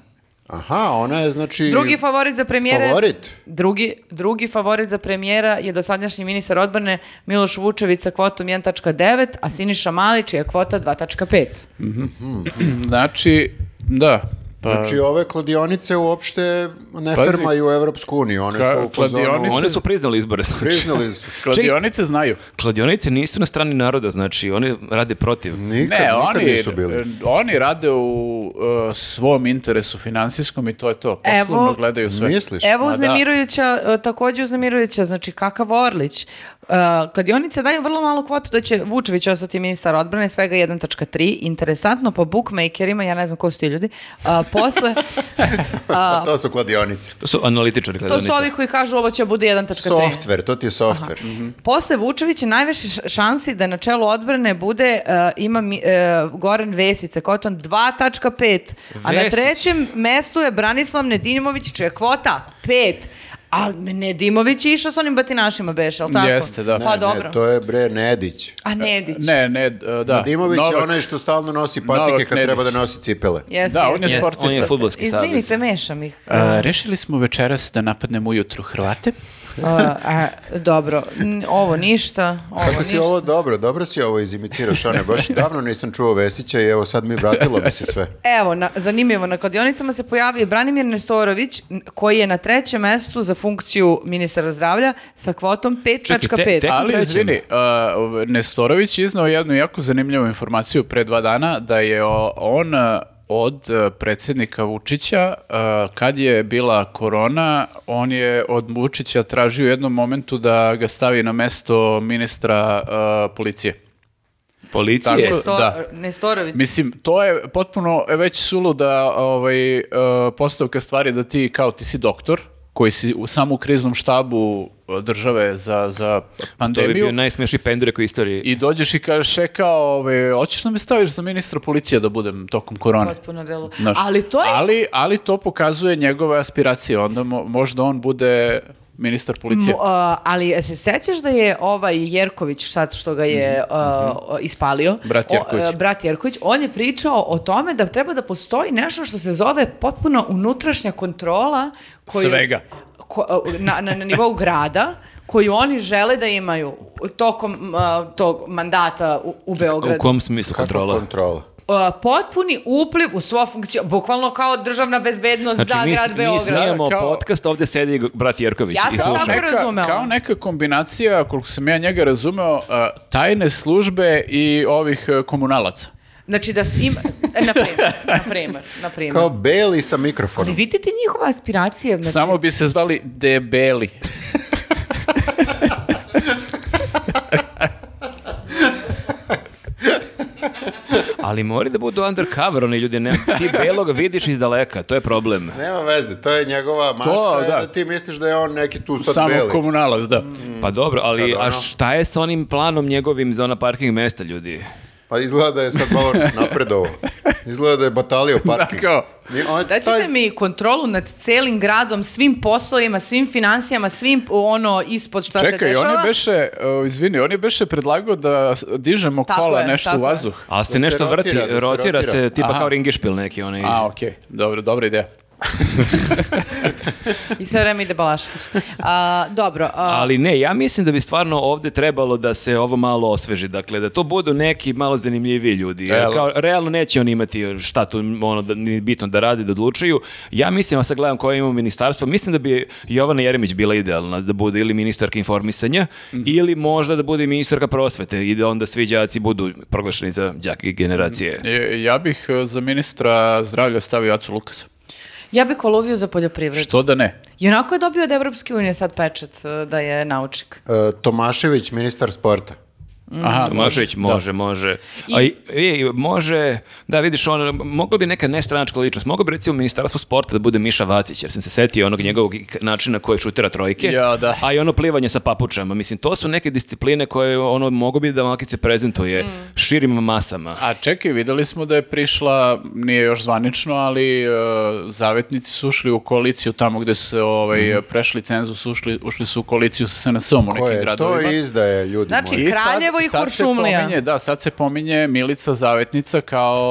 Speaker 1: Aha, ona je znači...
Speaker 4: Drugi favorit za premijera...
Speaker 1: Favorit?
Speaker 4: Drugi, drugi favorit za premijera je dosadašnji ministar odbrane Miloš Vučević sa kvotom 1.9, a Siniša Malić je kvota 2.5.
Speaker 3: Znači, da. Pa,
Speaker 1: Znači ove kladionice uopšte ne
Speaker 3: Pazi.
Speaker 1: fermaju Evropsku uniju. One
Speaker 3: Ka-
Speaker 1: su u fazonu-
Speaker 3: kladionice-
Speaker 2: One su priznali izbore. Znači.
Speaker 1: Priznali su.
Speaker 3: kladionice znaju.
Speaker 2: *laughs* Kladionice nisu na strani naroda, znači oni rade protiv.
Speaker 1: Nikad,
Speaker 3: Ne,
Speaker 1: nikad
Speaker 3: oni,
Speaker 1: nisu bili.
Speaker 3: oni rade u uh, svom interesu finansijskom i to je to. Poslovno
Speaker 4: Evo-
Speaker 3: gledaju sve.
Speaker 1: Misliš?
Speaker 4: Evo
Speaker 3: Ma da.
Speaker 4: uznemirujuća, e, takođe uznemirujuća, znači kakav Orlić. E, kladionice daju vrlo malu kvotu da će Vučević ostati ministar odbrane, svega 1.3. Interesantno, po bookmakerima, ja ne znam ko su ti ljudi, a, posle,
Speaker 1: *laughs* Pa to su kladionice.
Speaker 2: To su analitičari
Speaker 4: to
Speaker 2: kladionice.
Speaker 4: su ovi koji kažu ovo će bude 1.3.
Speaker 1: Software, to ti je software.
Speaker 4: Posle Vučevića najviše š- šansi da na čelu odbrane bude, e, ima mi- e, Goran Vesica, kvotom 2.5, a na
Speaker 2: Vesić.
Speaker 4: trećem mestu je Branislav Nedimović, čija je kvota 5. A Nedimović je išao s onim batinašima beše, ali tako?
Speaker 3: Jeste, da.
Speaker 4: Pa
Speaker 1: Ne,
Speaker 4: dobro.
Speaker 1: Ne, to je bre Nedić.
Speaker 4: A Nedić?
Speaker 3: Ne, ne, d- da.
Speaker 1: Dimović je
Speaker 3: Novak-
Speaker 1: onaj što stalno nosi patike
Speaker 3: Novak
Speaker 1: kad
Speaker 3: Nedić.
Speaker 1: treba da nosi cipele. *laughs*
Speaker 4: Jeste,
Speaker 3: Da, on
Speaker 4: jeste.
Speaker 3: je
Speaker 2: Jeste, on je
Speaker 3: sportista.
Speaker 2: futbolski savez.
Speaker 4: Izvinite, mešam ih. *laughs*
Speaker 3: A, E, rešili smo večeras da napadnemo ujutru Hrvate.
Speaker 4: A, a, dobro, N- ovo ništa, ovo
Speaker 1: Kako si
Speaker 4: ništa.
Speaker 1: ovo dobro, dobro si ovo izimitirao, Šone,
Speaker 3: *laughs*
Speaker 1: baš davno nisam čuo Vesića i evo sad mi vratilo mi se sve.
Speaker 4: Evo, na, zanimljivo, na kladionicama se pojavio Branimir Nestorović, n- koji je na trećem mestu za funkciju ministra zdravlja sa kvotom
Speaker 2: Čekaj, te-
Speaker 4: 5.5.
Speaker 2: te-
Speaker 3: Ali,
Speaker 2: trećem.
Speaker 3: izvini, a, Nestorović je iznao jednu jako zanimljivu informaciju pre dva dana, da je o- on a, od a, predsjednika Vučića, a, kad je bila korona, on je od Vučića tražio u jednom momentu da ga stavi na mesto ministra a, policije.
Speaker 2: Policije.
Speaker 3: Tako-
Speaker 4: Nesto-
Speaker 3: da.
Speaker 4: Nestorović.
Speaker 3: Mislim, to je potpuno e, već sulu da ovaj, e, postavka stvari da ti kao ti si doktor, koji si u samo u kriznom štabu e, države za, za
Speaker 2: To bi
Speaker 3: pandemiju.
Speaker 2: bio najsmešniji pendurek u istoriji.
Speaker 3: I dođeš i kažeš, e kao, ovaj, hoćeš da me staviš za ministra policije da budem tokom korone?
Speaker 4: Potpuno delo.
Speaker 3: Znaš,
Speaker 4: Ali to je
Speaker 3: ali, ali to pokazuje njegove aspiracije, onda mo- možda on bude ministar policije.
Speaker 4: Mo- a, ali se sećaš da je ovaj Jerković, sad što ga
Speaker 2: Mhm,
Speaker 4: je a, ispalio,
Speaker 3: Brat
Speaker 4: o-
Speaker 3: Jerković.
Speaker 4: a, brat Jerković, on je pričao o tome da treba da postoji nešto što se zove potpuno unutrašnja kontrola koju,
Speaker 3: Svega.
Speaker 4: ko- a, na, na, na nivou grada koju oni žele da imaju tokom a, tog mandata u, u Beogradu.
Speaker 2: U kom smislu
Speaker 1: Kako
Speaker 2: kontrola?
Speaker 1: kontrola?
Speaker 4: A, potpuni upliv u sva funkcija, bukvalno kao državna bezbednost za
Speaker 2: Znači, mi,
Speaker 4: grad
Speaker 2: mi
Speaker 4: Beograd.
Speaker 2: snijamo
Speaker 3: Kao-
Speaker 2: podcast, ovdje sedi brat Jerković
Speaker 4: Ja
Speaker 2: i
Speaker 4: sam
Speaker 2: sluša.
Speaker 4: tako
Speaker 3: neka,
Speaker 4: razumela.
Speaker 3: Kao neka kombinacija, koliko sam ja njega razumeo, e, tajne službe i ovih e, komunalaca.
Speaker 4: Znači da s- ima, na primer, na primer, na primer.
Speaker 1: Kao Beli sa
Speaker 4: Ali
Speaker 1: mikrofonom.
Speaker 4: vidite njihove aspiracije, znači...
Speaker 3: Samo bi se zvali debeli.
Speaker 2: Ali moraju da budu undercover, oni ljudi, ne, ti belog vidiš iz daleka, to je problem.
Speaker 1: Nema veze, to je njegova maska,
Speaker 3: To,
Speaker 1: je
Speaker 3: da.
Speaker 1: da. ti misliš da je on neki tu sad
Speaker 3: Samo
Speaker 1: Beli.
Speaker 3: komunalac, da.
Speaker 4: Mm.
Speaker 2: Pa dobro, ali
Speaker 1: Kad ono-
Speaker 2: a šta je sa onim planom njegovim za ona parking mesta, ljudi?
Speaker 1: Pa izgleda da je sad
Speaker 3: *laughs*
Speaker 1: malo napredovo. Izgleda da je batalio parking.
Speaker 3: Kao,
Speaker 1: Ni- on-
Speaker 4: Daćete
Speaker 1: taj-
Speaker 4: mi kontrolu nad celim gradom, svim poslovima, svim financijama, svim ono ispod šta Pa se
Speaker 3: Čekaj,
Speaker 4: dešava.
Speaker 3: on je beše, uh, izvini, on je beše predlagao da s- dižemo
Speaker 4: Tako
Speaker 3: kola
Speaker 4: je,
Speaker 3: nešto
Speaker 4: tako
Speaker 3: u
Speaker 4: je.
Speaker 3: vazduh.
Speaker 2: Ali se
Speaker 1: Da se rotira,
Speaker 2: nešto vrti,
Speaker 1: da se
Speaker 2: rotira,
Speaker 1: rotira.
Speaker 2: se tipa
Speaker 3: Aha.
Speaker 2: kao ringišpil neki, onaj.
Speaker 3: A, okej, dobro, dobra ideja.
Speaker 4: I sve vreme ide Balašević. A, dobro, a,
Speaker 2: Ali ne, ja mislim da bi stvarno ovdje trebalo da se ovo malo osveži, dakle da to budu neki malo zanimljiviji ljudi. Jer
Speaker 3: Evo.
Speaker 2: kao, realno neće oni imati šta tu ono da, ni bitno da rade, da odlučuju. Ja mislim, a sad gledam koje imamo ministarstvo, mislim da bi Jovana Jeremić bila idealna da bude ili ministarka informisanja ili možda da bude i ministarka prosvete i da onda svi đaci budu proglašeni za đake generacije.
Speaker 3: E, Ja bih e, za ministra zdravlja stavio Acu Lukasa.
Speaker 4: ja bih kolovio za poljoprivredu.
Speaker 3: Što da ne?
Speaker 4: I onako je dobio od Evropske unije sad pečet e, da je naučnik.
Speaker 1: E, Tomašević, ministar sporta.
Speaker 4: Mm.
Speaker 3: Aha,
Speaker 2: Tomašević
Speaker 3: da.
Speaker 2: može, može. A, i, i- može, da vidiš, on, mogla bi neka nestranačka ličnost, mogao bi recimo ministarstvo sporta da bude Miša Vacić, jer sam se setio onog njegovog ik- načina koji šutira trojke,
Speaker 3: Ja, da.
Speaker 2: a i ono plivanje sa papučama. Mislim, to su neke discipline koje ono mogu bi da Malkice prezentuje širim masama.
Speaker 3: A čekaj, videli smo da je prišla, nije još zvanično, ali e, zavetnici su ušli u koaliciju tamo gde se ovaj, prešli cenzus, ušli, ušli su u koaliciju sa SNS-om u
Speaker 1: Mhm. Ko
Speaker 3: nekim
Speaker 1: je to
Speaker 3: gradovima.
Speaker 1: izdaje, ljudi
Speaker 4: Znači,
Speaker 1: moji?
Speaker 3: I sad-
Speaker 4: Kraljevo i
Speaker 3: sad se
Speaker 4: Kuršumlija.
Speaker 3: pominje- da, sad se pominje Milica Zavetnica kao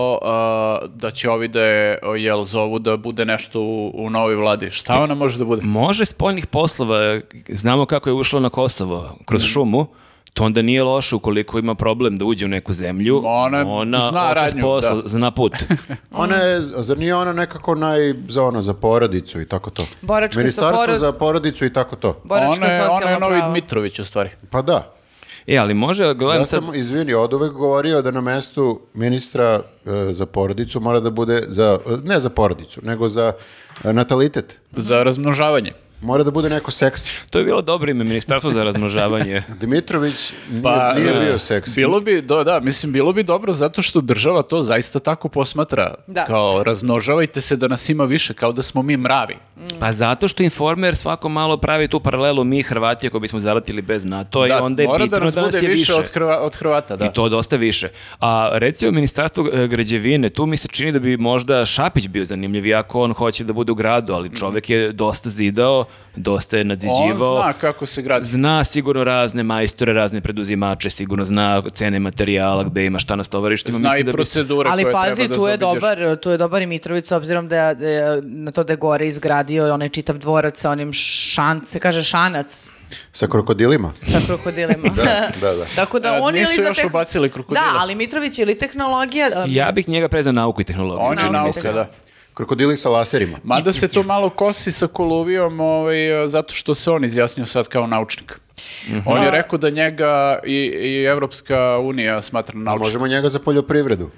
Speaker 3: e, da će ovi da je, e, jel, zovu da bude nešto u, u novoj vladi. Šta ona može da bude?
Speaker 2: Može spoljnih poslova, znamo kako je ušlo na Kosovo, kroz
Speaker 3: Mm.
Speaker 2: šumu, to onda nije loše ukoliko ima problem da uđe u neku zemlju,
Speaker 3: Ona zna
Speaker 2: očas
Speaker 3: radnju,
Speaker 2: posla,
Speaker 3: da.
Speaker 2: zna
Speaker 3: *laughs*
Speaker 2: put.
Speaker 1: Ona je, zar nije ona nekako naj, za ono, za porodicu i tako to?
Speaker 4: Boračko sa
Speaker 1: Ministarstvo
Speaker 4: porod-
Speaker 1: za porodicu i tako to.
Speaker 4: Boračko
Speaker 3: ona, je, ona je
Speaker 4: socijalno
Speaker 3: novi
Speaker 4: pravo.
Speaker 3: Dmitrović u stvari.
Speaker 1: Pa da.
Speaker 2: E, ali može,
Speaker 3: Pa
Speaker 2: gledam
Speaker 1: Ja
Speaker 2: sad...
Speaker 1: sam, izvini, od uvek govorio da na mestu ministra e, za porodicu mora da bude, za, ne za porodicu, nego za e, natalitet.
Speaker 3: Za razmnožavanje.
Speaker 1: Mora da bude neko seksi. *laughs*
Speaker 2: To je bilo dobro ime, Ministarstvo za razmnožavanje.
Speaker 1: Dimitrović nije,
Speaker 3: Pa,
Speaker 1: nije
Speaker 3: da.
Speaker 1: bio seksi.
Speaker 3: Bilo bi, da, da, mislim, bilo bi dobro zato što država to zaista tako posmatra.
Speaker 4: Da.
Speaker 3: Kao, razmnožavajte se da nas ima više, kao da smo mi mravi.
Speaker 2: *laughs* Pa zato što Informer svako malo pravi tu paralelu mi Hrvati ako bismo zaratili bez NATO i onda je
Speaker 3: mora
Speaker 2: bitno
Speaker 3: da nas bude
Speaker 2: je
Speaker 3: više,
Speaker 2: više.
Speaker 3: od, Hrva- od Hrvata, da.
Speaker 2: I to dosta više. A recimo Ministarstvo e, građevine, tu mi se
Speaker 3: Mm.
Speaker 2: čini da bi možda Šapić bio zanimljiv, iako on hoće da bude u gradu, ali čovek je dosta zidao dosta je
Speaker 3: On
Speaker 2: nadziđivao.
Speaker 3: zna kako se gradi.
Speaker 2: Zna sigurno razne majstore, razne preduzimače, sigurno zna cene materijala, gde ima šta na stovarištima.
Speaker 3: Zna
Speaker 2: Mislim
Speaker 3: i
Speaker 2: da bi se-
Speaker 3: procedure
Speaker 4: Ali
Speaker 3: koje
Speaker 4: pazi,
Speaker 3: treba da
Speaker 4: tu je,
Speaker 3: zaobiđeš.
Speaker 4: dobar, tu je dobar i Mitrović, s obzirom da je, da je na to da je gore izgradio onaj čitav dvorac sa onim šan, se kaže šanac
Speaker 1: Sa krokodilima.
Speaker 4: sa krokodilima.
Speaker 1: Da, da,
Speaker 3: *laughs*
Speaker 1: da.
Speaker 4: Tako da
Speaker 3: E,
Speaker 4: oni
Speaker 3: nisu
Speaker 4: ili za
Speaker 3: još ubacili krokodila.
Speaker 4: Da, ali Mitrović je ili tehnologija... um,
Speaker 2: Ja bih njega prezao nauku i tehnologiju.
Speaker 3: On je
Speaker 2: čini mi
Speaker 3: nauka,
Speaker 2: se.
Speaker 3: da.
Speaker 1: Krokodili sa laserima.
Speaker 3: Mada se to malo kosi sa Koluvijom ovaj, zato što se on izjasnio sad kao naučnik.
Speaker 2: Mhm.
Speaker 3: On je rekao da njega i, i Evropska unija smatra
Speaker 1: A
Speaker 3: naučnikom.
Speaker 1: možemo njega za poljoprivredu.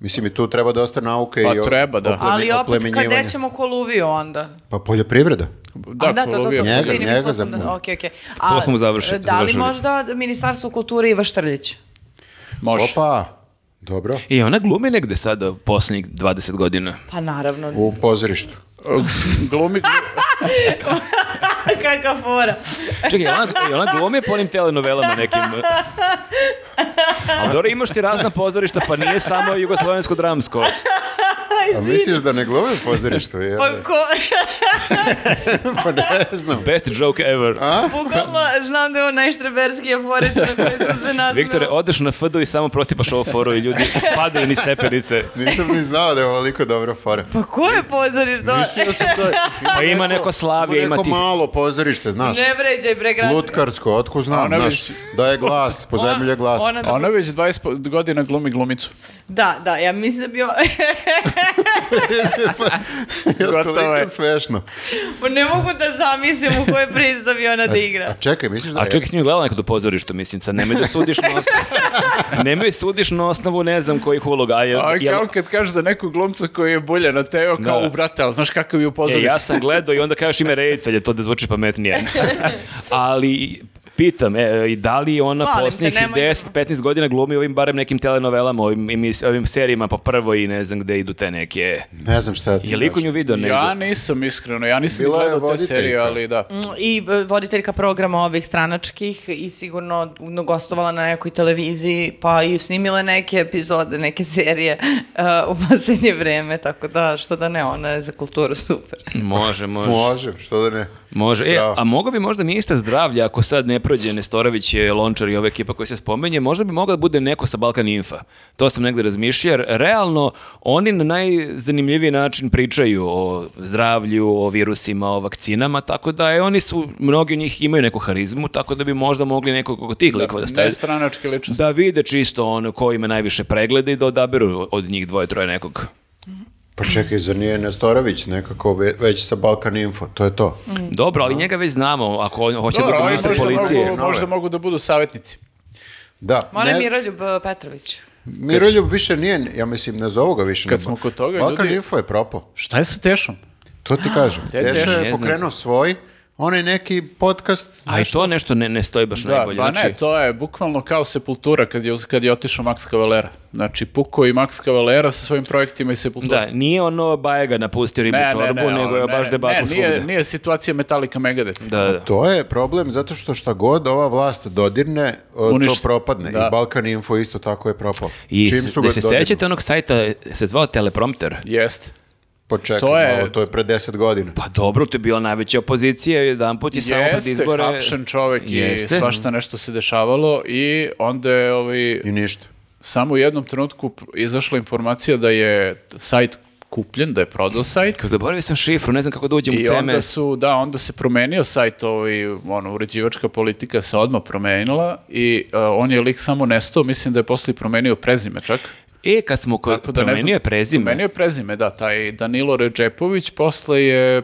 Speaker 1: Mislim i tu treba dosta nauke
Speaker 3: Pa
Speaker 1: i o-
Speaker 3: treba, da.
Speaker 1: oplemi-
Speaker 4: Ali opet, kad
Speaker 1: oplemenjivanja.
Speaker 4: nećemo koluvio onda?
Speaker 1: Pa poljoprivreda.
Speaker 3: Da,
Speaker 4: A, da, to, to, to,
Speaker 3: Koluvija.
Speaker 1: Njega,
Speaker 4: izvini,
Speaker 1: njega
Speaker 4: mislila sam
Speaker 1: zapravo.
Speaker 4: da, okej, okej. A,
Speaker 2: To smo završi-
Speaker 4: Da li
Speaker 2: završili.
Speaker 4: možda Ministarstvo kulture i Vaštrljić?
Speaker 3: Može.
Speaker 1: Opa, dobro.
Speaker 2: I E, ona glumi negde sada posljednjih 20 godina.
Speaker 4: Pa naravno. *laughs*
Speaker 1: U pozorištu.
Speaker 3: Glumi,
Speaker 4: Kaka fora.
Speaker 2: Čekaj, ona, i ona glumi po onim telenovelama nekim. Ali dobro, imaš ti razna pozorišta, pa nije samo jugoslovensko dramsko.
Speaker 1: A misliš da ne glome u pozorištu? jel?
Speaker 4: Pa da. ko, *laughs*
Speaker 1: pa ne znam.
Speaker 2: Best joke ever.
Speaker 4: bukvalno znam da je on najštreberskija forica na kojoj sam se nadmeo.
Speaker 2: Viktore, odeš na FD i samo prosipaš ovo foru i ljudi padaju ni stepenice.
Speaker 1: Nisam ni znao da je ovoliko dobra fora.
Speaker 4: Pa ko je pozorišta?
Speaker 1: Mislio sam da je...
Speaker 2: Pa ima neko slavije, ima
Speaker 1: neko
Speaker 2: tih...
Speaker 1: malo pozorište, znaš.
Speaker 4: Ne vređaj bre gradske.
Speaker 1: Lutkarsko, otko znam,
Speaker 3: Ona
Speaker 1: znaš.
Speaker 3: bi-
Speaker 1: Daje glas, pozajemlja glas.
Speaker 4: Ona, ona,
Speaker 3: ona već 20 po- godina glumi glumicu.
Speaker 4: da, da, ja mislim da bi on...
Speaker 1: *laughs* je
Speaker 3: Gotovo je.
Speaker 1: toliko smešno.
Speaker 4: *laughs* Pa ne mogu da zamislim u kojoj prizi da bi ona da
Speaker 1: A
Speaker 4: igra.
Speaker 1: čekaj, misliš da
Speaker 2: A
Speaker 1: je...
Speaker 2: čovjek s njim gledala nekada u pozorištu, mislim, sad nemoj da sudiš na osnovu. nemoj sudiš na osnovu, ne znam kojih uloga. A, je,
Speaker 3: A
Speaker 2: Da, jel-
Speaker 3: kao kad kažeš za nekog glumca koji je bulje na teo, kao
Speaker 2: Da.
Speaker 3: u brate, ali znaš kakav je u
Speaker 2: E,
Speaker 3: pozorištu?
Speaker 2: ja sam gledao i onda kažeš ime reditelja, to da zvuči
Speaker 4: *laughs*
Speaker 2: pametnije. Ali pitam, e, i da li ona
Speaker 4: Molim te,
Speaker 2: posljednjih
Speaker 4: nemoj- da-
Speaker 2: 10-15 godina glumi ovim barem nekim telenovelama, ovim, emis- ovim serijima po prvoj i ne znam gde idu te neke...
Speaker 1: Ne znam šta ti
Speaker 2: Je li iko
Speaker 1: kažem.
Speaker 2: nju video negdje?
Speaker 3: Ja nisam iskreno, ja nisam
Speaker 1: Bila je
Speaker 3: gledao te
Speaker 1: voditeljka.
Speaker 3: serije, ali da.
Speaker 4: I e, voditeljka programa ovih stranačkih i sigurno gostovala na nekoj televiziji, pa i snimila neke epizode, neke serije e, u posljednje vreme, tako da što da ne, ona je za kulturu super.
Speaker 2: Može, može.
Speaker 1: Može, što da ne.
Speaker 2: Može. E,
Speaker 1: Zdravo.
Speaker 2: a mogao bi možda ministar zdravlja, ako sad ne prođe Nestorović, je Lončar i ova ekipa koja se spomenje, možda bi mogao da bude neko sa Balkan Infa. To sam negde razmišljao, jer realno oni na najzanimljiviji način pričaju o zdravlju, o virusima, o vakcinama, tako da e, oni su, mnogi od njih imaju neku harizmu, tako da bi možda mogli nekog od tih likova da
Speaker 3: Ne
Speaker 2: stavljaju.
Speaker 3: stranačke ličnosti.
Speaker 2: Da vide čisto ono ko ima najviše pregleda i da odaberu od njih dvoje, troje nekog.
Speaker 1: Pa čekaj, zar nije Nestorović nekako ve- već sa Balkan Info? To je to.
Speaker 4: Mm.
Speaker 2: Dobro, ali njega već znamo, ako on hoće da
Speaker 1: Dobro,
Speaker 2: bude
Speaker 1: ali
Speaker 2: ministar
Speaker 3: možda,
Speaker 2: policije.
Speaker 3: Mogu, možda mogu da budu savjetnici.
Speaker 1: Da.
Speaker 4: Molim
Speaker 1: ne-
Speaker 4: Miroljub e, Petrović.
Speaker 1: Miroljub više nije, ja mislim, ne zovu ga više.
Speaker 3: Kad
Speaker 1: na-
Speaker 3: smo kod toga,
Speaker 1: Balkan
Speaker 3: ljudi-
Speaker 1: Info je propao.
Speaker 3: Šta je sa Tešom?
Speaker 1: To ti kažem.
Speaker 3: te-
Speaker 1: Teša
Speaker 2: Ne
Speaker 1: je
Speaker 2: znam.
Speaker 1: pokrenuo svoj, onaj neki podcast.
Speaker 2: A i to nešto ne, ne stoji baš
Speaker 3: Da,
Speaker 2: najbolje.
Speaker 3: pa
Speaker 2: znači,
Speaker 3: ne, to je bukvalno kao sepultura kad je, kad je otišao Max Cavalera. Znači, puko i Max Cavalera sa svojim projektima i sepultura.
Speaker 2: Da, nije ono Bajega napustio ribu čorbu, nego je
Speaker 3: ali ne,
Speaker 2: baš debakl
Speaker 3: ne, nije,
Speaker 2: svugde.
Speaker 3: nije situacija Metallica Megadeth.
Speaker 2: Da, da.
Speaker 1: To je problem zato što šta god ova vlast dodirne, o, to
Speaker 3: Uništi.
Speaker 1: propadne.
Speaker 3: Da.
Speaker 1: I Balkan Info isto tako je propao.
Speaker 2: I s- da se
Speaker 1: dodirnu?
Speaker 2: sećate onog sajta, se zvao Teleprompter?
Speaker 3: Jeste.
Speaker 1: Pa čekaj,
Speaker 3: To je-
Speaker 1: malo, to je pre deset godina.
Speaker 2: Pa dobro, to je bila najveća opozicija, jedan put je samo pred
Speaker 3: Jeste,
Speaker 2: izbore...
Speaker 3: hapšen čovek
Speaker 2: Jeste.
Speaker 3: i svašta nešto se dešavalo i onda je ovaj,
Speaker 1: I ništa.
Speaker 3: samo u jednom trenutku p- izašla informacija da je t- sajt kupljen, da je prodao sajt.
Speaker 2: Kao, Zaboravio sam šifru, ne znam kako da uđem u
Speaker 3: I onda
Speaker 2: CMS.
Speaker 3: su, da, onda se promenio sajt, ovaj, ono, uređivačka politika se odmah promenila i e, on je lik samo nestao, mislim da je posle i promenio prezime čak.
Speaker 2: E, kad smo ko...
Speaker 3: Tako da ne znam-
Speaker 2: promenio je prezime,
Speaker 3: Promenio je prezime, da, taj Danilo Ređepović, posle je e,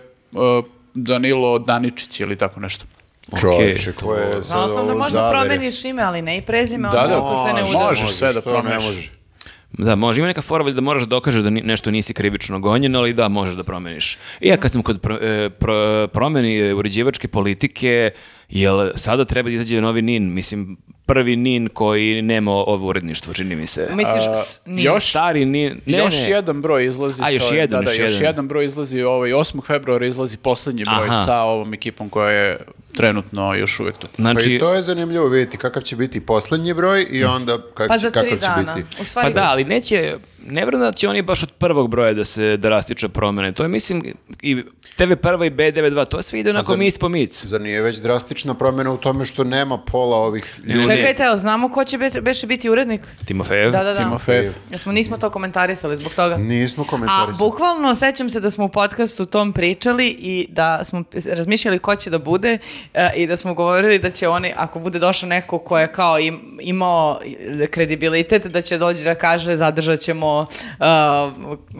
Speaker 3: Danilo Daničić ili tako nešto.
Speaker 1: Čovječe, ko je sad
Speaker 4: Znala sam da
Speaker 1: ovo
Speaker 4: možda
Speaker 1: zavere.
Speaker 4: promeniš ime, ali ne i prezime,
Speaker 3: Da,
Speaker 4: osim
Speaker 3: da,
Speaker 4: ako se ne udari.
Speaker 3: može. sve da
Speaker 1: što ne
Speaker 3: promeniš.
Speaker 1: može?
Speaker 2: Da, može. Ima neka fora valjda da moraš da dokažeš da ni- nešto nisi krivično gonjen, ali da, možeš da promeniš. I ja kad sam kod pro, e, pro- promeni e, uređivačke politike, jel sada treba da izađe novi NIN? Mislim, prvi nin koji nema ovo uredništvo, čini mi se.
Speaker 4: Misliš,
Speaker 3: A,
Speaker 4: s- nije.
Speaker 3: još-
Speaker 2: Stari nin, ne,
Speaker 3: još
Speaker 2: ne.
Speaker 3: jedan broj izlazi.
Speaker 2: A,
Speaker 3: sa
Speaker 2: još
Speaker 3: ovim-
Speaker 2: jedan,
Speaker 3: da, da,
Speaker 2: još
Speaker 3: još
Speaker 2: jedan.
Speaker 3: jedan broj izlazi. Ovaj, 8. februara izlazi poslednji broj
Speaker 2: Aha.
Speaker 3: sa ovom ekipom koja je trenutno još uvek tu.
Speaker 1: Pa i
Speaker 2: Znači,
Speaker 1: to je zanimljivo vidjeti kakav će biti poslednji broj i onda kak,
Speaker 4: Pa za
Speaker 1: kakav
Speaker 4: tri
Speaker 1: će
Speaker 4: dana.
Speaker 1: biti.
Speaker 4: U stvari,
Speaker 2: pa da, ali neće, ne vjerujem da će oni baš od prvog broja da se drastično promene. To je, mislim, i TV1 i B92, to sve ide onako
Speaker 1: zar-
Speaker 2: mic po mic.
Speaker 1: Zar nije već drastična promjena u tome što nema pola ovih ljudi?
Speaker 2: ne.
Speaker 4: Čekajte, jel znamo ko će be- beše biti urednik?
Speaker 2: Timofejev?
Speaker 4: Da, da, da.
Speaker 3: Timofejev.
Speaker 4: Jesmo, nismo to komentarisali zbog toga.
Speaker 1: Nismo
Speaker 4: A
Speaker 1: komentarisali.
Speaker 4: bukvalno sećam se da smo u podcastu tom pričali i da smo razmišljali ko će da bude e, i da smo govorili da će oni, ako bude došao neko ko je kao im- imao kredibilitet, da će dođi da kaže zadržat ćemo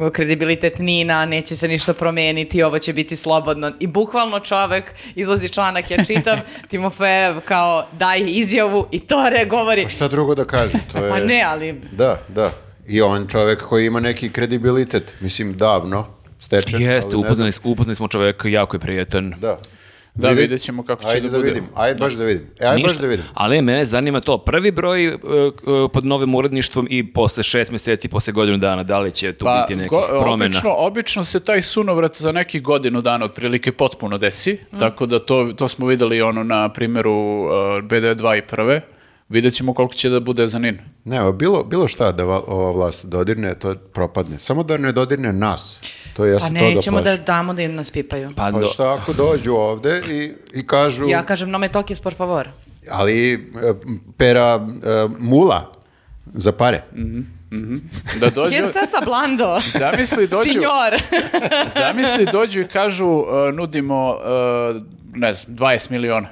Speaker 4: e, kredibilitet Nina, neće se ništa promeniti, ovo će biti slobodno. I bukvalno čovek, izlazi članak, ja
Speaker 1: *laughs*
Speaker 4: čitam, Timofejev kao daj izjavu i Tore govori.
Speaker 1: Pa Šta drugo da kažem? To je...
Speaker 4: *laughs* Pa ne, ali
Speaker 1: Da, da. I on čovjek koji ima neki kredibilitet, mislim davno, stečen.
Speaker 2: Jeste,
Speaker 1: ali ne
Speaker 2: upoznali,
Speaker 1: znam.
Speaker 2: upoznali smo čovjek, jako je prijetan.
Speaker 1: Da.
Speaker 3: Da,
Speaker 1: Vidi-
Speaker 3: vidjet ćemo kako će
Speaker 1: Ajde
Speaker 3: da
Speaker 1: da
Speaker 3: bude.
Speaker 1: vidim. Ajde baš da vidim. E, ajde baš
Speaker 2: Ništa.
Speaker 1: da vidim.
Speaker 2: Ali mene zanima to. Prvi broj e, e, pod novim uredništvom i posle šest mjeseci, posle godinu dana, da li će tu biti nekih
Speaker 3: go-
Speaker 2: promjena?
Speaker 3: Pa, Obično, obično se taj sunovrat za neki godinu dana otprilike potpuno desi,
Speaker 1: Mm.
Speaker 3: tako da to, to smo videli ono na primjeru uh, BD2 i prve. Vidjet ćemo koliko će da bude za Nin.
Speaker 1: Ne, evo, bilo, bilo šta da va- ova vlast dodirne, to propadne. Samo da ne dodirne nas. To je, ja
Speaker 4: Pa
Speaker 1: sam to da
Speaker 4: nećemo da
Speaker 1: plašim.
Speaker 4: damo da im nas pipaju.
Speaker 2: Pa,
Speaker 1: Pa
Speaker 2: do-
Speaker 1: šta ako dođu ovde i, i kažu,
Speaker 4: Ja kažem, no me toques, por favor.
Speaker 1: ali e, pera e, mula za pare.
Speaker 3: Mm.
Speaker 1: *laughs*
Speaker 3: Da dođu...
Speaker 4: ¿Qué estás hablando?
Speaker 3: Zamisli dođu,
Speaker 4: Signor. *laughs*
Speaker 3: zamisli dođu i kažu uh, nudimo uh, ne znam, 20 miliona.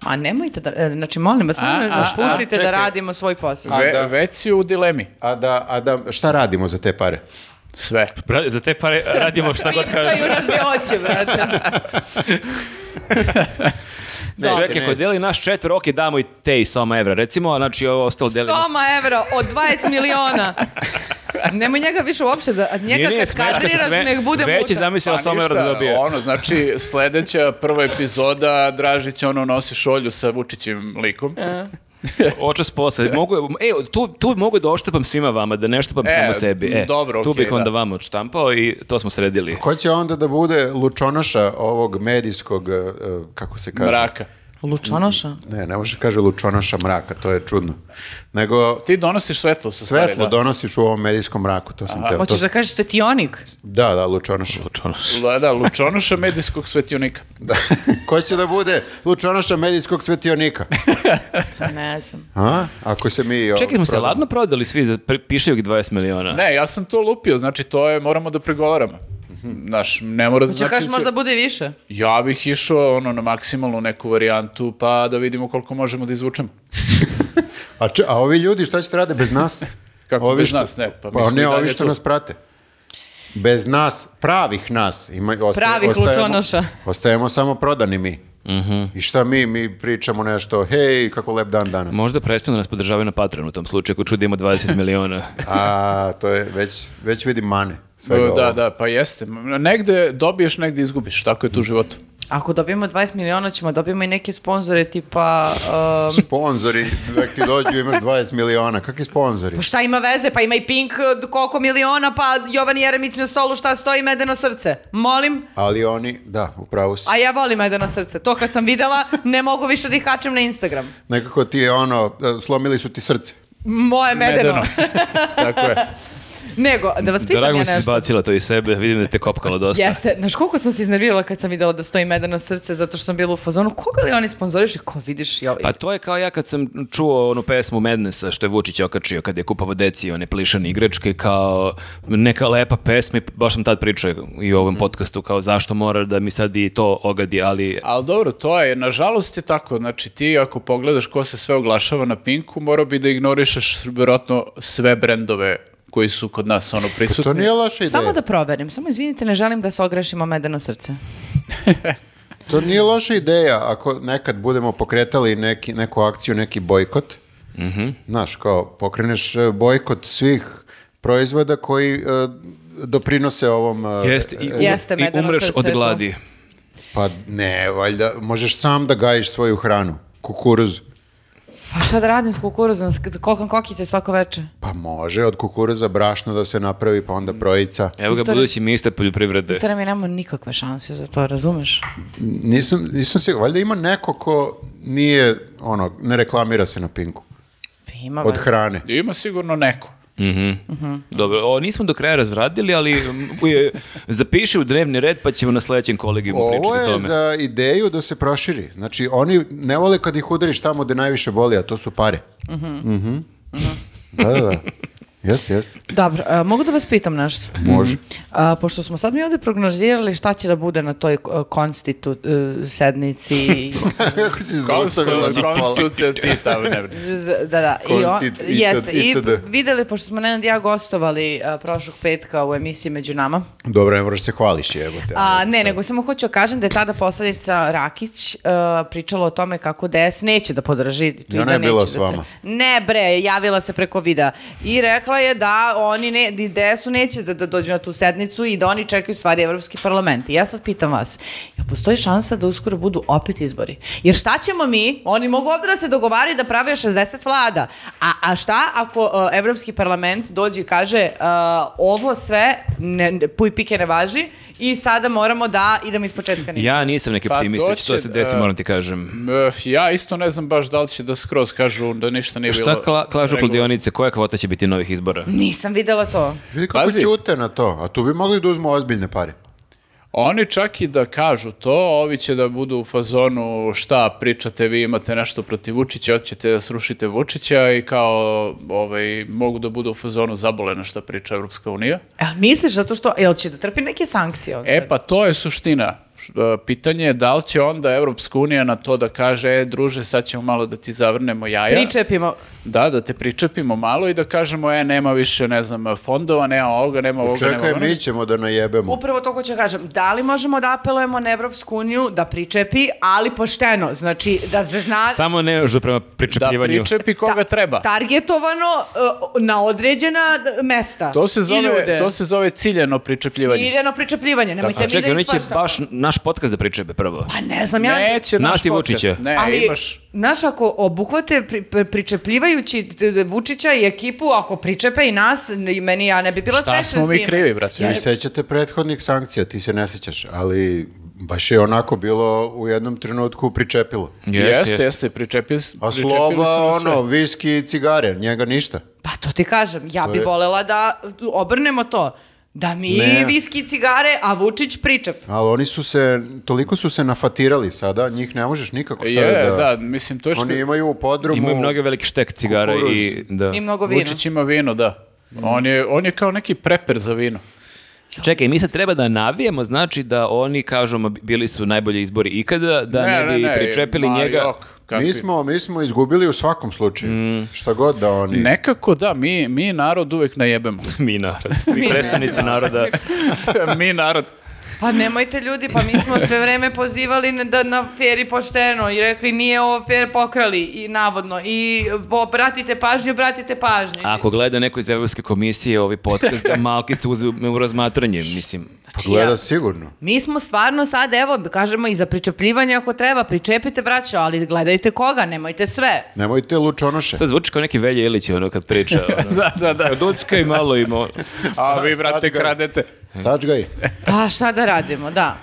Speaker 4: A nemojte da, e, znači molim vas, samo
Speaker 3: A, a,
Speaker 4: nas pustite
Speaker 1: a,
Speaker 4: da
Speaker 1: čekaj.
Speaker 4: radimo svoj posao.
Speaker 1: A
Speaker 3: Ve,
Speaker 1: da.
Speaker 3: Već si u dilemi.
Speaker 1: A da, a da, šta radimo za te pare?
Speaker 3: Sve.
Speaker 2: Bra- za te pare radimo šta god
Speaker 4: Pipaju
Speaker 2: kaže.
Speaker 4: nas gdje hoće, brate.
Speaker 2: Čovjek je ko deli naš četvr, ok, damo i te i soma evra, recimo, a znači ovo ostalo delimo.
Speaker 4: Soma evra od 20 miliona. Nemoj njega više uopće da, njega
Speaker 2: Nije, nije,
Speaker 4: kad
Speaker 2: smeška se
Speaker 4: kadriraš
Speaker 2: sve.
Speaker 4: nek bude
Speaker 2: Već je
Speaker 4: muta.
Speaker 2: zamislila
Speaker 3: Pa
Speaker 2: soma evra
Speaker 3: ništa,
Speaker 2: da dobije.
Speaker 3: Ono, znači, sledeća prva epizoda, Dražić ono nosi šolju sa Vučićim likom.
Speaker 2: *laughs*
Speaker 1: E.
Speaker 2: Očas posle. Mogu, e, tu, tu mogu da oštapam svima vama, da ne štapam
Speaker 3: E,
Speaker 2: samo sebi. E,
Speaker 3: dobro,
Speaker 2: tu
Speaker 3: okej,
Speaker 2: bih onda
Speaker 3: da.
Speaker 2: vama odštampao i to smo sredili.
Speaker 1: Ko će onda da bude lučonoša ovog medijskog, e, e, kako se kaže?
Speaker 3: Mraka.
Speaker 4: Lučonoša?
Speaker 1: Ne, ne može da kaže lučonoša mraka, to je čudno. Nego
Speaker 3: Ti donosiš svetlo sa stvari,
Speaker 1: svetlo
Speaker 3: da.
Speaker 1: donosiš u ovom medijskom mraku, to sam teo. to
Speaker 4: Hoćeš
Speaker 1: sam-
Speaker 4: da kažeš svetionik?
Speaker 1: Da, da, lučonoša.
Speaker 3: Da, da, lučonoša medijskog svetionika.
Speaker 1: Da. Ko će da bude lučonoša medijskog svetionika?
Speaker 4: Ne znam.
Speaker 1: A? Ako se mi... ovaj, o,
Speaker 2: Čekaj, smo se
Speaker 1: prodamo.
Speaker 2: ladno prodali svi, za- pri- piše ovih 20 miliona.
Speaker 3: Ne, ja sam to lupio, znači to je, moramo da pregovaramo. Znaš, ne mora da
Speaker 4: Hoćeš da
Speaker 3: znači...
Speaker 4: kažeš
Speaker 3: se-
Speaker 4: možda bude više?
Speaker 3: Ja bih išao ono, na maksimalnu neku varijantu, pa da vidimo koliko možemo da izvučemo.
Speaker 1: A, če- a ovi ljudi šta ćete rade bez nas?
Speaker 3: *laughs* Kako
Speaker 1: Ovi
Speaker 3: bez
Speaker 1: što-
Speaker 3: nas, ne, pa
Speaker 1: Pa,
Speaker 3: mi smo i
Speaker 1: ne,
Speaker 3: dalje
Speaker 1: ovi što
Speaker 3: tu.
Speaker 1: nas prate. Bez nas, pravih nas. Ima, osta-
Speaker 4: Pravih
Speaker 1: ostajemo-
Speaker 4: lučonoša.
Speaker 1: Ostajemo samo prodani mi.
Speaker 3: Mhm.
Speaker 1: I šta mi? Mi pričamo nešto, hej, kako lep dan danas.
Speaker 2: Možda prestanu da nas podržavaju na Patreonu u tom slučaju, ako čudimo 20
Speaker 4: *laughs*
Speaker 2: miliona.
Speaker 1: A, to je, već, već vidim mane. svega
Speaker 3: Da,
Speaker 1: ovog.
Speaker 3: da, pa jeste. Negde dobiješ, negde izgubiš, tako je tu u životu.
Speaker 4: Ako dobijemo 20 miliona ćemo, da dobijemo i neke sponzore tipa... um,
Speaker 1: Sponzori, nek ti dođu, imaš 20 miliona. Kakvi sponzori?
Speaker 4: Pa šta ima veze? Pa ima i Pink eh, koliko miliona, pa Jovan Jeremić na stolu šta stoji medeno srce. Molim,
Speaker 1: Ali oni, da, upravo si.
Speaker 4: a ja volim medeno srce. To kad sam videla, ne mogu više da ih kačem na Instagram.
Speaker 1: Nekako ti je ono, e, slomili su ti srce.
Speaker 4: Moje medeno. *laughs*
Speaker 3: Medeno. tako je.
Speaker 4: Nego, da vas pitam
Speaker 2: Drago
Speaker 4: ja
Speaker 2: mi si
Speaker 4: nešto.
Speaker 2: izbacila to iz sebe, vidim da te kopkalo dosta.
Speaker 4: Jeste, znaš koliko sam se iznervirala kad sam videla da stoji medeno srce zato što sam bila u fazonu, koga li oni sponzoriš? Ko vidiš? Ja,
Speaker 2: Pa to je kao ja kad sam čuo onu pesmu Madnessa što je Vučić okačio kad je kupavo deci one plišane igračke kao neka lepa pesma i baš sam tad pričao i u
Speaker 4: Mm.
Speaker 2: ovom podcastu kao zašto mora da mi sad i to ogadi, ali
Speaker 3: Ali dobro, to je, nažalost je tako, znači ti ako pogledaš ko se sve oglašava na Pinku, morao bi da ignorišeš vjerojatno sve brendove koji su kod nas ono prisutni.
Speaker 1: Pa To nije loša ideja.
Speaker 4: Samo da proverim, samo izvinite, ne želim da se ogrešimo medeno srce.
Speaker 1: To nije loša ideja ako nekad budemo pokretali neki, neku akciju, neki bojkot. Znaš, kao pokreneš e, bojkot svih proizvoda koji e, doprinose ovom... e,
Speaker 2: jeste i, umr-
Speaker 4: Jeste,
Speaker 2: i
Speaker 4: medeno
Speaker 2: umreš
Speaker 4: srce
Speaker 2: od
Speaker 4: je to.
Speaker 2: gladi.
Speaker 1: Pa ne, valjda, možeš sam da gajiš svoju hranu. Kukuruz.
Speaker 4: Pa šta da radim s kukuruzom, s- da kokam kokice svako veče?
Speaker 1: Pa može od kukuruza brašno da se napravi, pa onda projica.
Speaker 2: Evo ga
Speaker 4: Viktore-
Speaker 2: budući ministar poljoprivrede.
Speaker 4: Tera mi nema nikakve šanse za to, razumeš?
Speaker 1: Nisam, nisam siguran, valjda ima neko ko nije, ono, ne reklamira se na Pinku.
Speaker 4: Pa Ima
Speaker 1: Od
Speaker 4: valjda.
Speaker 1: hrane.
Speaker 3: Ima sigurno neko.
Speaker 2: Dobro, o, nismo do kraja razradili, ali m, je, zapiši u dnevni red pa ćemo na sledećem kolegiju pričati
Speaker 1: Ovo
Speaker 2: o
Speaker 1: je
Speaker 2: tome.
Speaker 1: za ideju da se proširi. Znači, oni ne vole kad ih udariš tamo gde najviše boli, a to su pare. Mhm. Da, da, da. Jeste, jeste.
Speaker 4: Dobro, a, mogu da vas pitam nešto?
Speaker 3: Mhm.
Speaker 1: Može. *laughs*
Speaker 4: A, pošto smo sad mi ovde prognozirali šta će da bude na toj e, konstitu e, sednici.
Speaker 1: *laughs*
Speaker 4: i-
Speaker 1: Kako si
Speaker 3: Kao
Speaker 1: zaustavila na pola?
Speaker 3: ti tamo ne brineš.
Speaker 4: da, da. I, on-
Speaker 1: Konstit- itd,
Speaker 4: jeste. I
Speaker 1: itd.
Speaker 4: videli, pošto smo Nenad i ja gostovali a, prošlog petka u emisiji Među nama.
Speaker 1: Dobro, ne moraš se hvališ, jebote.
Speaker 4: A, ne, nego samo hoću da kažem da je tada poslanica Rakić uh, pričala o tome kako DS neće da podrži
Speaker 1: I
Speaker 4: tu
Speaker 1: ona
Speaker 4: da
Speaker 1: je bila
Speaker 4: neće
Speaker 1: s
Speaker 4: da
Speaker 1: vama.
Speaker 4: Se... Ne bre, javila se preko vida i rekla je da oni ne, da DS-u neće da, da dođu na tu sednicu i da oni čekaju stvari Evropski parlament. I ja sad pitam vas, jel postoji šansa da uskoro budu opet izbori? Jer šta ćemo mi? Oni mogu ovde da se dogovaraju da prave 60 vlada. A, a šta ako uh, Evropski parlament dođe i kaže uh, ovo sve ne, ne, puj pike ne važi i sada moramo da idemo iz početka.
Speaker 2: Ja nisam neki
Speaker 3: Pa
Speaker 2: optimista,
Speaker 3: to
Speaker 2: će
Speaker 3: će
Speaker 2: to se desi,
Speaker 3: da-
Speaker 2: moram ti kažem.
Speaker 3: Mf, Ja isto ne znam baš da li će da skroz kažu da ništa nije bilo.
Speaker 2: Šta kla, klažu
Speaker 3: regularno.
Speaker 2: kladionice, koja kvota će biti novih izbora?
Speaker 4: Nisam videla to.
Speaker 1: Vidi kako
Speaker 3: Pazi.
Speaker 1: ćute na to, a tu bi mogli da uzmu ozbiljne pare.
Speaker 3: Oni čak i da kažu to, ovi će da budu u fazonu šta pričate, vi imate nešto protiv Vučića, hoćete da srušite Vučića i kao ovaj, mogu da budu u fazonu zabolena šta priča Evropska unija.
Speaker 4: Jel E, misliš zato što, jel će da trpi neke sankcije? on sad?
Speaker 3: E pa to je suština. Š- e, Pitanje je da li će onda Evropska unija na to da kaže, e, druže, sad ćemo malo da ti zavrnemo jaja.
Speaker 4: Pričepimo.
Speaker 3: Da, da te pričepimo malo i da kažemo, e, nema više, ne znam, fondova, nema ovoga, nema ovoga, nema
Speaker 1: Čekaj,
Speaker 3: onoga.
Speaker 1: mi ćemo da
Speaker 3: Mm.
Speaker 1: najebemo.
Speaker 4: Upravo to ko ću kažem. Da li možemo da apelujemo na Evropsku uniju da pričepi, ali pošteno. Znači, da se zna
Speaker 2: Samo ne još prema
Speaker 3: Da
Speaker 2: pričepljivanju.
Speaker 3: pričepi koga treba.
Speaker 4: targetovano uh, na određena d- mesta.
Speaker 3: To se,
Speaker 4: I
Speaker 3: zove,
Speaker 4: ljude.
Speaker 3: to se zove ciljeno pričepljivanje.
Speaker 4: Ciljano pričepljivanje. Nemojte
Speaker 2: A
Speaker 4: mi da
Speaker 2: čekaj, oni će
Speaker 4: ispaštamo.
Speaker 2: baš naš podcast da pričepe prvo.
Speaker 4: Pa ne znam, ja...
Speaker 3: Neće naš
Speaker 2: Nas i
Speaker 3: podcast.
Speaker 2: Vučića.
Speaker 3: Ne,
Speaker 4: ali,
Speaker 3: imaš...
Speaker 4: znaš, ako obuhvate pri, pri- pričepljivajući t- t- Vučića i ekipu, ako pričepe i nas, n- i meni ja ne bi bila
Speaker 3: Šta
Speaker 4: srećna s time.
Speaker 3: smo mi krivi, braće?
Speaker 1: Vi sećate prethodnih sankcija, ti se ne sećaš, ali baš je onako bilo u jednom trenutku pričepilo.
Speaker 3: Jeste,
Speaker 1: A
Speaker 3: jeste, pričepili, pričepili su
Speaker 1: Pa sloba,
Speaker 3: na sve.
Speaker 1: ono, viski i cigare, njega ništa.
Speaker 4: Pa to ti kažem, ja
Speaker 1: To
Speaker 4: bi
Speaker 1: je-
Speaker 4: volela da obrnemo to. Da mi
Speaker 1: Ne.
Speaker 4: viski i cigare, a Vučić pričep.
Speaker 1: Ali oni su se, toliko su se nafatirali sada, njih ne možeš nikako sada
Speaker 3: Je,
Speaker 1: da...
Speaker 3: da, mislim, to je što-
Speaker 1: Oni imaju u podrumu...
Speaker 2: Imaju mnoge velike štek cigara
Speaker 1: Kukuruz.
Speaker 2: i... Da.
Speaker 4: I mnogo vina.
Speaker 3: Vučić ima vino, da. On je, on je kao neki preper za vino.
Speaker 2: Čekaj, mi sad treba da navijemo, znači da oni kažu ma, bili su najbolji izbori ikada, da ne, bi pričepili
Speaker 3: ma,
Speaker 2: njega. *laughs*
Speaker 3: jok, kakvi-
Speaker 1: Mi smo, mi smo izgubili u svakom slučaju. Šta god da oni...
Speaker 3: Nekako da, mi, mi narod uvek najebemo. *laughs*
Speaker 2: Mi narod,
Speaker 4: *laughs*
Speaker 2: mi predstavnici naroda.
Speaker 3: mi narod.
Speaker 4: Pa nemojte ljudi, pa mi smo sve vreme pozivali na, da, na fer i pošteno i rekli nije ovo fer pokrali i navodno i obratite pažnju, obratite pažnju.
Speaker 2: Ako gleda neko iz Evropske komisije ovi podcast,
Speaker 4: *laughs*
Speaker 2: da malkice uzme u razmatranje, mislim.
Speaker 1: Pa
Speaker 4: Znači,
Speaker 1: Gleda
Speaker 4: ja-
Speaker 1: sigurno.
Speaker 4: Mi smo stvarno sad, evo, da kažemo i za pričepljivanje ako treba, pričepite braćo, ali gledajte koga, nemojte sve.
Speaker 1: Nemojte lučonoše.
Speaker 2: Sad zvuči kao neki Velja Ilić ono kad priča. *laughs* Ono.
Speaker 3: *laughs* Da, da, da.
Speaker 2: Ducka i malo ima.
Speaker 3: A vi,
Speaker 1: sad
Speaker 3: brate,
Speaker 1: ga- *clears throat*
Speaker 3: kradete.
Speaker 1: Sačgaj.
Speaker 4: Pa šta da radimo, da.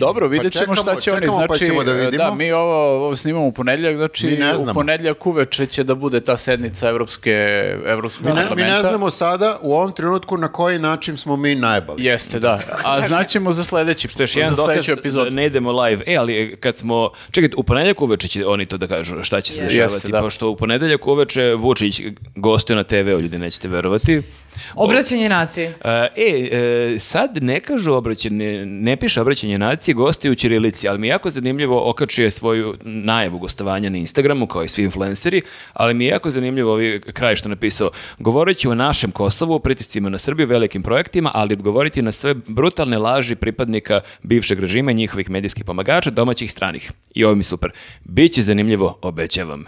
Speaker 3: Dobro, vidjet ćemo
Speaker 1: čekamo-
Speaker 3: šta će oni.
Speaker 1: čekamo,
Speaker 3: Znači,
Speaker 1: pa ćemo da vidimo.
Speaker 3: mi ovo, ovo snimamo u ponedljak,
Speaker 1: Mi
Speaker 3: znači
Speaker 1: ne
Speaker 3: u
Speaker 1: znamo.
Speaker 3: ponedljak uveče će da bude ta sednica Evropske, Evropskog
Speaker 1: Mi ne,
Speaker 3: parlamenta.
Speaker 1: mi ne znamo sada u ovom trenutku na koji način smo mi najbali.
Speaker 3: Jeste, da.
Speaker 1: *laughs*
Speaker 3: A znaćemo za sledeći,
Speaker 2: To je još jedan
Speaker 3: za
Speaker 2: dokaz
Speaker 3: sledeću
Speaker 2: da
Speaker 3: epizodu.
Speaker 2: ne idemo live. E, ali kad smo... Čekaj, u ponedeljak uveče će oni to da kažu šta će se dešavati.
Speaker 3: Jeste, da.
Speaker 2: Pošto u ponedeljak uveče Vučić gostuje na TV-u, ljudi nećete verovati.
Speaker 4: Obraćanje nacije.
Speaker 2: E, e, sad ne kažu obraćanje, ne piše obraćanje nacije, gosti u Ćirilici, ali mi je jako zanimljivo, okačio je svoju najavu gostovanja na Instagramu, kao i svi influenceri, ali mi je jako zanimljivo ovaj kraj što je napisao. Govoreći o našem Kosovu, pritiscima na Srbiju, velikim projektima, ali odgovoriti na sve brutalne laži pripadnika bivšeg režima i njihovih medijskih pomagača, domaćih i stranih. I ovo mi je super. Biće zanimljivo, obećavam.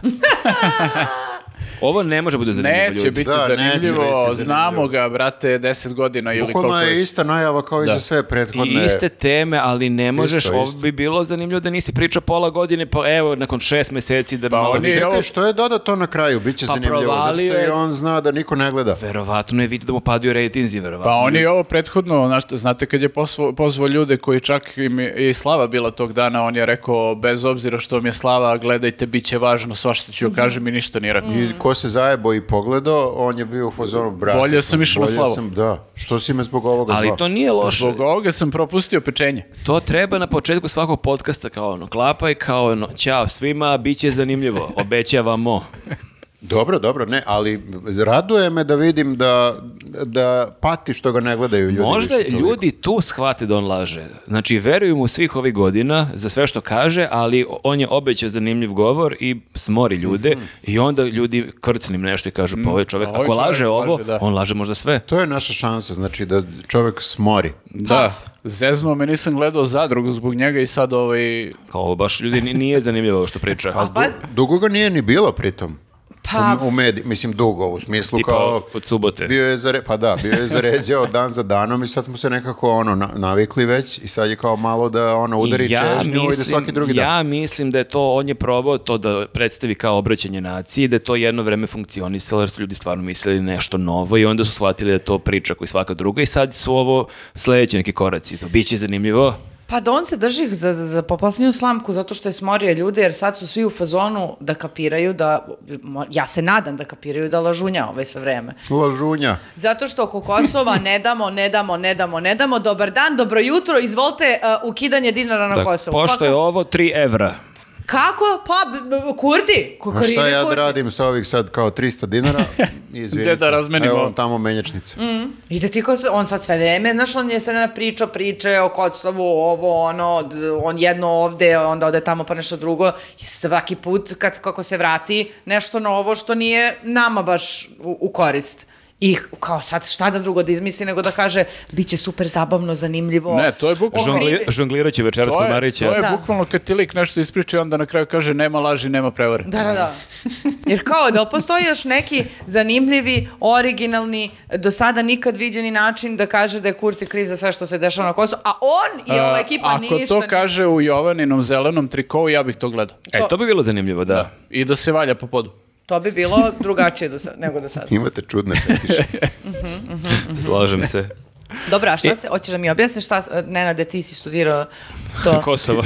Speaker 2: Ovo ne može bude zanimljivo
Speaker 3: Neće
Speaker 2: ljudi.
Speaker 3: biti
Speaker 1: Da, neće
Speaker 3: zanimljivo,
Speaker 1: biti zanimljivo.
Speaker 3: znamo ga, brate, 10 godina ili koliko
Speaker 1: Bukvalno je
Speaker 3: već.
Speaker 1: ista najava kao i za sve prethodne.
Speaker 2: I iste teme, ali ne možeš,
Speaker 1: Isto,
Speaker 2: ovo
Speaker 1: isto.
Speaker 2: bi bilo zanimljivo da nisi pričao pola godine, pa evo, nakon šest meseci da
Speaker 3: Pa
Speaker 2: malo...
Speaker 3: oni-
Speaker 2: više-
Speaker 1: Čekaj,
Speaker 3: ovo-
Speaker 1: što je dodato na kraju? Biće
Speaker 2: Pa
Speaker 1: zanimljivo, zato što
Speaker 2: provalio je-
Speaker 1: i on zna da niko ne gleda.
Speaker 2: Verovatno je vidio da mu padaju rejtinzi, verovatno.
Speaker 3: Pa on je ovo prethodno, znaš, znate kad je pozvao, pozvao ljude koji čak im je i Slava bila tog dana, on je rekao, bez obzira što mi je Slava, gledajte, bit će važno, svašta
Speaker 4: Mhm.
Speaker 3: ću joj kažem i ništa nije rekao.
Speaker 4: Mm.
Speaker 1: I ko se zajebo i pogledao, on je bio u fazonu brate.
Speaker 2: da
Speaker 1: pa
Speaker 3: Bolje sam išao na
Speaker 1: bolje
Speaker 3: slavu."
Speaker 1: sam, da. Što si me zbog ovoga
Speaker 2: Ali
Speaker 1: zvao?
Speaker 2: to nije loše.
Speaker 3: Zbog ovoga sam propustio pečenje.
Speaker 2: To treba na početku svakog podcasta kao ono, klapaj kao ono, ćao svima, bit će
Speaker 3: *laughs*
Speaker 2: zanimljivo, obećavamo.
Speaker 1: Dobro, dobro, ne, ali raduje me da vidim da, da pati što ga ne gledaju ljudi.
Speaker 2: Možda
Speaker 1: više toliko.
Speaker 2: ljudi tu shvate da on laže. Znači, veruju mu svih ovih godina za sve što kaže, ali on je obećao zanimljiv govor i smori ljude i onda ljudi krcnim nešto i kažu, pa ovaj čovjek,
Speaker 3: Mhm. pa ovaj
Speaker 2: ako
Speaker 3: čovjek
Speaker 2: laže ovo,
Speaker 3: laže, da.
Speaker 2: on laže možda sve.
Speaker 1: To je naša šansa, znači da čovjek smori.
Speaker 3: Da, zeznuo me, nisam gledao zadrugu zbog njega i sad ovaj...
Speaker 2: Kao ovo baš ljudi ni- nije zanimljivo ovo što priča.
Speaker 4: A pa,
Speaker 1: Dugo ga nije ni bilo pritom.
Speaker 4: Pa-
Speaker 1: u, u mediji, mislim dugo, u smislu
Speaker 2: Tipa
Speaker 1: kao...
Speaker 2: od subote.
Speaker 1: Bio je zare, pa da, bio je
Speaker 2: *laughs*
Speaker 1: zaređao dan za danom i sad smo se nekako ono na- navikli već i sad je kao malo da ono udari čežnju i da svaki drugi dan.
Speaker 2: ja mislim da je to, on je probao to da predstavi kao obraćanje naciji, da je to jedno vreme funkcionisalo jer su ljudi stvarno mislili nešto novo i onda su shvatili da je to priča koji svaka druga i sad su ovo sledeći neki koraci. To biće zanimljivo.
Speaker 4: pa da on se drži za, za, za popasniju slamku zato što je smorio ljude jer sad su svi u fazonu da kapiraju da, mo- ja se nadam da kapiraju da lažunja ovaj sve vreme.
Speaker 1: Lažunja.
Speaker 4: Zato što oko Kosova ne damo, ne damo, ne damo, ne damo, dobar dan, dobro jutro, izvolite uh, ukidanje dinara na
Speaker 2: Dakle,
Speaker 4: Kosovu.
Speaker 2: pošto je
Speaker 4: Pa-
Speaker 2: ovo 3 evra.
Speaker 4: Kako? Pa, b- b- kurdi.
Speaker 1: A
Speaker 4: Kukuridi,
Speaker 1: šta ja da
Speaker 4: kurdi.
Speaker 1: radim sa ovih sad kao 300 dinara?
Speaker 4: *laughs*
Speaker 1: Izvinite.
Speaker 3: Gde da razmenimo?
Speaker 1: Evo vam tamo menjačnica.
Speaker 4: Mm. Ide ti kao, on sad sve vreme, znaš, on je sve na pričao priče o Kosovu, ovo, ono, d- on jedno ovde, onda ode tamo pa nešto drugo. I svaki put, kad, kako se vrati, nešto novo što nije nama baš u, u korist. I kao sad šta da drugo da izmisli nego da kaže bit će super zabavno, zanimljivo.
Speaker 3: Ne, to je bukvalno...
Speaker 4: Žongli-
Speaker 2: Žongli, žonglirat će večeras
Speaker 3: To
Speaker 2: kod
Speaker 3: je,
Speaker 2: Marića.
Speaker 3: to je
Speaker 4: Da.
Speaker 3: bukvalno kad ti lik nešto ispriča i onda na kraju kaže nema laži, nema prevare.
Speaker 4: Da, da, da. *laughs* Jer kao, da li postoji još neki zanimljivi, originalni, do sada nikad viđeni način da kaže da je Kurti kriv za sve što se dešava na Kosovu, a on i ova
Speaker 3: A,
Speaker 4: ekipa
Speaker 3: Ako
Speaker 4: ništa.
Speaker 3: to kaže u Jovaninom zelenom trikovu, ja bih to gledao.
Speaker 2: E, to bi bilo zanimljivo, da.
Speaker 3: I da se valja po podu.
Speaker 4: To bi bilo drugačije do sa- nego do
Speaker 3: *laughs*
Speaker 4: sada.
Speaker 1: Imate čudne
Speaker 4: *laughs*
Speaker 1: fetiše.
Speaker 3: Mhm.
Speaker 2: Slažem
Speaker 3: *laughs*
Speaker 2: se.
Speaker 4: Dobro,
Speaker 3: E-
Speaker 4: a šta se, hoćeš da mi objasniš šta, e, Nenade, ti si studirao to.
Speaker 2: Kosovo.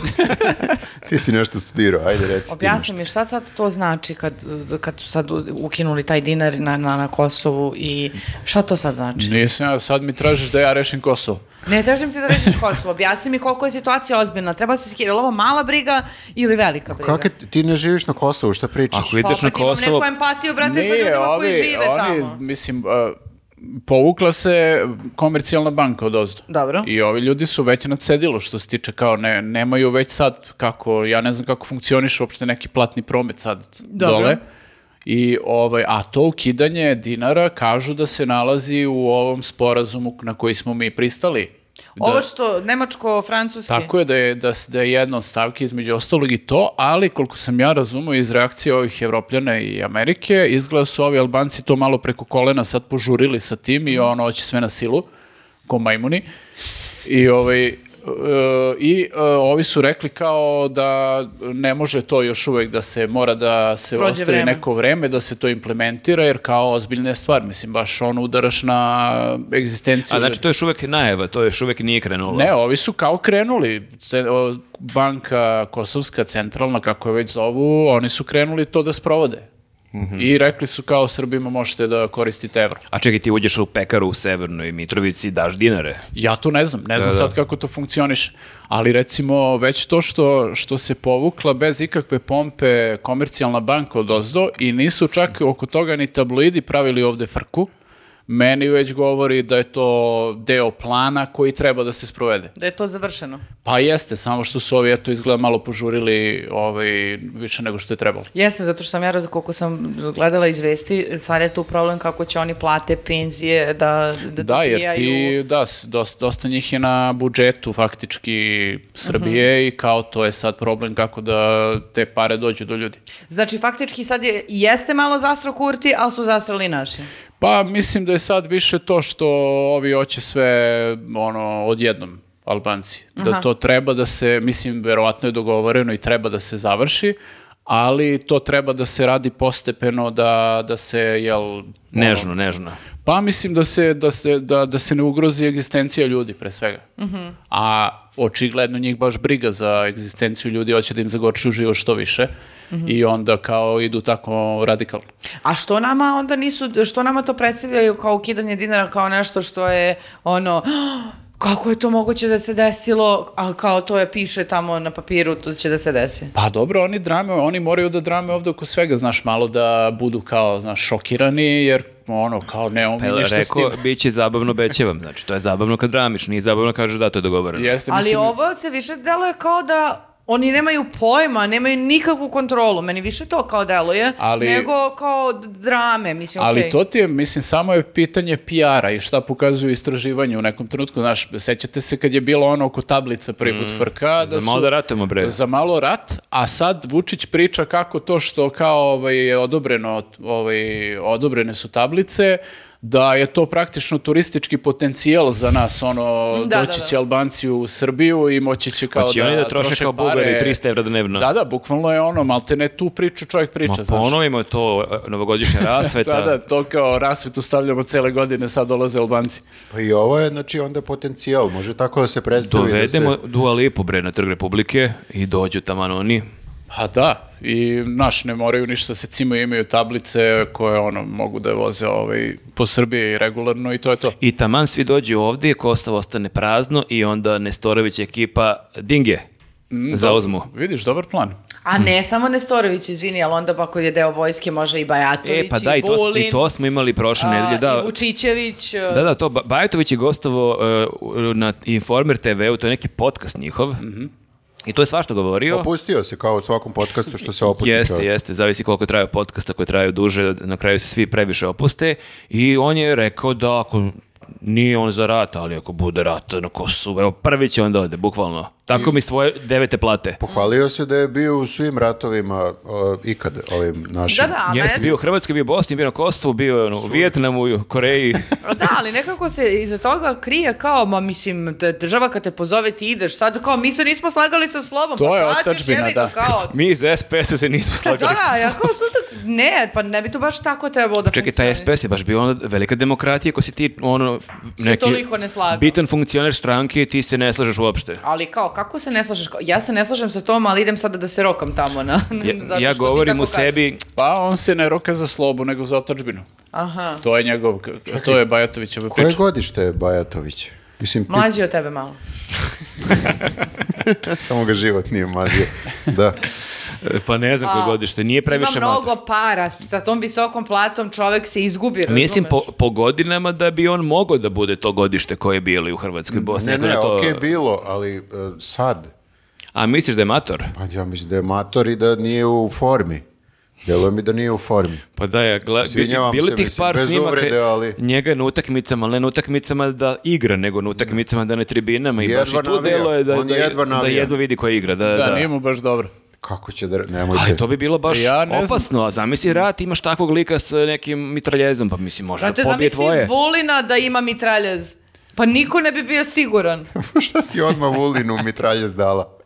Speaker 1: Ti si nešto studirao, ajde reci. ti
Speaker 4: Objasni mi šta sad to znači kad, kad su sad u- ukinuli taj dinar na, na, na Kosovu i šta to sad znači?
Speaker 3: Nisam ja, sad mi tražiš da ja rešim Kosovo.
Speaker 4: Ne tražim ti da rešiš Kosovo, objasni mi koliko je situacija ozbiljna. Treba se skirati, je li ovo mala briga ili velika briga?
Speaker 1: Kako ti- ti ne živiš na Kosovu, šta pričaš?
Speaker 2: Ako ideš
Speaker 4: Pa
Speaker 2: na
Speaker 4: opet imam
Speaker 2: Kosovo,
Speaker 4: neku empatiju, brate, sa ljudima koji žive
Speaker 3: oni,
Speaker 4: tamo.
Speaker 3: mislim, a, povukla se komercijalna banka od ozdo.
Speaker 4: Dobro.
Speaker 3: I ovi ljudi su već na cedilu što se tiče kao ne, nemaju već sad kako, ja ne znam kako funkcioniš uopšte neki platni promet sad
Speaker 4: Dobro.
Speaker 3: dole. I ovaj, a to ukidanje dinara kažu da se nalazi u ovom sporazumu na koji smo mi pristali.
Speaker 4: Ovo što, nemačko-francuski.
Speaker 3: da. Tako je da je, da, s- da je jedna od stavki između ostalog i to, ali koliko sam ja razumio iz reakcije ovih Evropljana i Amerike, izgleda su ovi Albanci to malo preko kolena sad požurili sa tim i ono hoće sve na silu, ko majmuni. I ovaj, e, i e, ovi su rekli kao da ne može to još uvek da se mora da se
Speaker 4: Prođe
Speaker 3: ostavi
Speaker 4: vreme.
Speaker 3: neko vreme da se to implementira jer kao ozbiljna je stvar mislim baš ono udaraš na egzistenciju
Speaker 2: a
Speaker 3: ljudi.
Speaker 2: znači to je još uvek najava, to još uvek nije krenulo.
Speaker 3: Ne, ovi su kao krenuli. Ce- o, Banka Kosovska, centralna, kako je već zovu, oni su krenuli to da sprovode. I rekli su kao Srbima možete da koristite evro.
Speaker 2: A čekaj, ti uđeš u pekaru u Severnoj Mitrovici i daš dinare.
Speaker 3: Ja to ne znam, ne znam sad kako to funkcioniše. Ali recimo već to što, što se povukla bez ikakve pompe komercijalna banka od ozdo i nisu čak oko toga ni tabloidi pravili ovde frku, meni već govori da je to deo plana koji treba da se sprovede.
Speaker 4: Da je to završeno.
Speaker 3: Pa jeste, samo što su ovi, eto, izgleda malo požurili ovaj, više nego što je trebalo.
Speaker 4: Jesam, zato što sam ja, raz- koliko sam gledala izvesti, sad je tu problem kako će oni plate, penzije, da Da,
Speaker 3: Da, jer
Speaker 4: dobijaju.
Speaker 3: ti, da, s- dos- dosta njih je na budžetu faktički Srbije
Speaker 4: Mhm.
Speaker 3: i kao to je sad problem kako da te pare dođu do ljudi.
Speaker 4: Znači, faktički sad je, jeste malo zastro Kurti, ali su zasrali naši.
Speaker 3: Pa mislim da je sad više to što ovi hoće sve ono odjednom Albanci. Da
Speaker 4: Aha.
Speaker 3: to treba da se, mislim, verovatno je dogovoreno i treba da se završi, ali to treba da se radi postepeno da, da se, jel... ono-
Speaker 2: Nežno, nežno.
Speaker 3: Pa mislim da se, da, se, da, da se ne ugrozi egzistencija ljudi, pre svega. A očigledno njih baš briga za egzistenciju ljudi, hoće da im zagorčuju život što više i onda kao idu tako radikalno.
Speaker 4: A što nama onda nisu, što nama to predstavljaju kao ukidanje dinara, kao nešto što je ono, "Ah, kako je to moguće da se desilo, a kao to je piše tamo na papiru, to će da se desi.
Speaker 3: Pa dobro, oni drame, oni moraju da drame ovdje oko svega, znaš, malo da budu kao, znaš, šokirani, jer ono, kao ne, on
Speaker 2: Pa jel
Speaker 3: ništa s tim.
Speaker 2: rekao, bit će zabavno, bećevam. Znači, to je zabavno kad dramiš, nije zabavno kaže da, to je dogovoreno.
Speaker 3: Jeste,
Speaker 4: Ali
Speaker 3: mislim,
Speaker 4: ovo se više deluje kao da oni nemaju pojma, nemaju nikakvu kontrolu. Meni više to kao deluje,
Speaker 3: Ali-
Speaker 4: nego kao d- drame, mislim,
Speaker 3: ali
Speaker 4: okej.
Speaker 3: to ti je, mislim, samo je pitanje PR-a i šta pokazuju istraživanje u nekom trenutku, znaš, sećate se kad je bilo ono oko tablica prvi put frka, da
Speaker 2: Za malo
Speaker 3: su-
Speaker 2: da ratujemo, bre.
Speaker 3: Za malo rat, a sad Vučić priča kako to što kao ovaj, je odobreno, ovaj, odobrene su tablice, da je to praktično turistički potencijal za nas, ono,
Speaker 4: Da, da,
Speaker 3: doći
Speaker 4: da.
Speaker 3: će Albanci u Srbiju i moći će kao
Speaker 2: Hoće
Speaker 3: da,
Speaker 2: oni da troše kao Bugari 300 evra dnevno.
Speaker 3: Da, da, bukvalno je ono, malte ne tu priču čovjek priča,
Speaker 2: Ma pa
Speaker 3: znaš.
Speaker 2: ponovimo to e,
Speaker 3: *laughs*
Speaker 2: novogodišnja rasveta.
Speaker 3: Da, da, to kao rasvetu stavljamo cele godine, sad dolaze Albanci.
Speaker 1: Pa i ovo je, znači, onda potencijal. Može tako da se predstavi. da se-
Speaker 2: Dovedemo Dua Lipu bre na Trg Republike i dođu taman oni.
Speaker 3: Pa da, i naš ne moraju ništa da se cimaju, imaju tablice koje ono mogu da voze ovaj, po Srbiji regularno i to je to.
Speaker 2: I taman svi dođu ovdje, Kosovo ostane prazno i onda Nestorović ekipa Dinge
Speaker 3: Mm,
Speaker 2: zauzmu.
Speaker 3: Vidiš, dobar plan.
Speaker 4: A ne samo Nestorović, izvini, ali onda pa ako je deo vojske može i Bajatović,
Speaker 2: E, pa da, i to,
Speaker 4: Vulin,
Speaker 2: i to smo imali prošle
Speaker 4: a,
Speaker 2: nedelje. Da,
Speaker 4: i Vučićević. e,
Speaker 2: Da, da, to Ba- Bajatović je gostovo e, u- na Informer TV-u, to je neki podcast njihov.
Speaker 4: Mhm.
Speaker 2: I to je svašta govorio.
Speaker 1: Opustio se kao u svakom podcastu što se oputi
Speaker 2: Jeste,
Speaker 1: čovjek.
Speaker 2: jeste, zavisi koliko traju podcasta koji traju duže, na kraju se svi previše opuste i on je rekao da ako nije on za rat, ali ako bude rat na Kosovu, evo prvi će on da ode, bukvalno. Tako mi svoje devete plate.
Speaker 1: Pohvalio se da je bio u svim ratovima o, ikad ovim našim.
Speaker 4: Da, da, ali
Speaker 2: Jeste,
Speaker 4: eto,
Speaker 2: bio u Hrvatskoj, bio u Bosni, bio na Kosovu, bio je ono, u Vijetnamu, i u Koreji.
Speaker 4: da, ali nekako se iza toga krije kao, ma mislim, da država kad te pozove ti ideš, sad kao, mi se nismo slagali sa slovom,
Speaker 3: To
Speaker 4: pa
Speaker 3: je
Speaker 4: šta ćeš,
Speaker 3: otadžbina,
Speaker 4: jebi ga,
Speaker 3: da.
Speaker 4: kao,
Speaker 3: *laughs*
Speaker 2: Mi iz SPS-a se nismo
Speaker 4: Da,
Speaker 2: slagali. sa
Speaker 4: da, ja
Speaker 2: sobom.
Speaker 4: kao slušam, ne, pa ne bi to baš tako trebalo da
Speaker 2: Čekaj, taj
Speaker 4: funkcioniše.
Speaker 2: SPS je baš bio onda velika demokratija, ako si ti ono, f- neki
Speaker 4: toliko ne Mm, slagao.
Speaker 2: bitan funkcioner stranke, ti se ne slažeš uopšte.
Speaker 4: Ali kao, kako se ne slažeš? Kao, Ja se ne slažem sa tom, ali idem sada da se rokam tamo. Na,
Speaker 2: Ja,
Speaker 4: *laughs* zato
Speaker 2: ja
Speaker 4: što ti
Speaker 2: govorim
Speaker 4: tako
Speaker 2: u
Speaker 4: kažeš.
Speaker 2: sebi,
Speaker 3: Pa on se ne roka za slobu, nego za otačbinu.
Speaker 4: Aha,
Speaker 3: To je njegov, to je Bajatovićeva
Speaker 1: Koje
Speaker 3: priča.
Speaker 1: godište je Bajatović? Mislim, pi-
Speaker 4: mlađi od tebe malo.
Speaker 1: *laughs* samo ga život nije mazio. Da.
Speaker 2: Pa ne znam koje godište, nije previše
Speaker 4: Ima
Speaker 2: mlad.
Speaker 4: mnogo para, sa tom visokom platom čovek se izgubi, razumeš?
Speaker 2: Mislim po, po godinama da bi on mogao da bude to godište koje je bilo i u Hrvatskoj Bosni.
Speaker 1: Ne,
Speaker 2: ako
Speaker 1: ne,
Speaker 2: na to...
Speaker 1: okej bilo, ali e, sad,
Speaker 2: A misliš da je mator?
Speaker 1: pa ja mislim da je mator i da nije u formi. Djeluje mi da nije u formi.
Speaker 2: Pa da, ja
Speaker 1: Izvinjavam
Speaker 2: bilo
Speaker 1: se,
Speaker 2: tih
Speaker 1: mislim,
Speaker 2: par
Speaker 1: bez
Speaker 2: snimaka
Speaker 1: uvrede, ali-
Speaker 2: njega na utakmicama, ali ne na utakmicama da igra, nego na utakmicama da na tribinama i
Speaker 1: Jedva
Speaker 2: baš i tu
Speaker 1: navija.
Speaker 2: delo je da,
Speaker 1: On
Speaker 2: da,
Speaker 1: jedva
Speaker 2: da
Speaker 1: navija.
Speaker 2: jedva vidi koja igra. Da,
Speaker 3: Da,
Speaker 2: da,
Speaker 3: nije mu baš dobro.
Speaker 1: Kako će da... Nemojte.
Speaker 2: Ali to bi bilo baš
Speaker 3: Ja ne znam.
Speaker 2: opasno, a zamisli rat, imaš takvog lika s eh, nekim mitraljezom, pa mislim možda
Speaker 4: Znate,
Speaker 2: pobije
Speaker 4: zamisli
Speaker 2: tvoje.
Speaker 4: Vulina da ima mitraljez. Pa niko ne bi bio siguran.
Speaker 1: *laughs* Šta si odmah Vulinu mitralje zdala?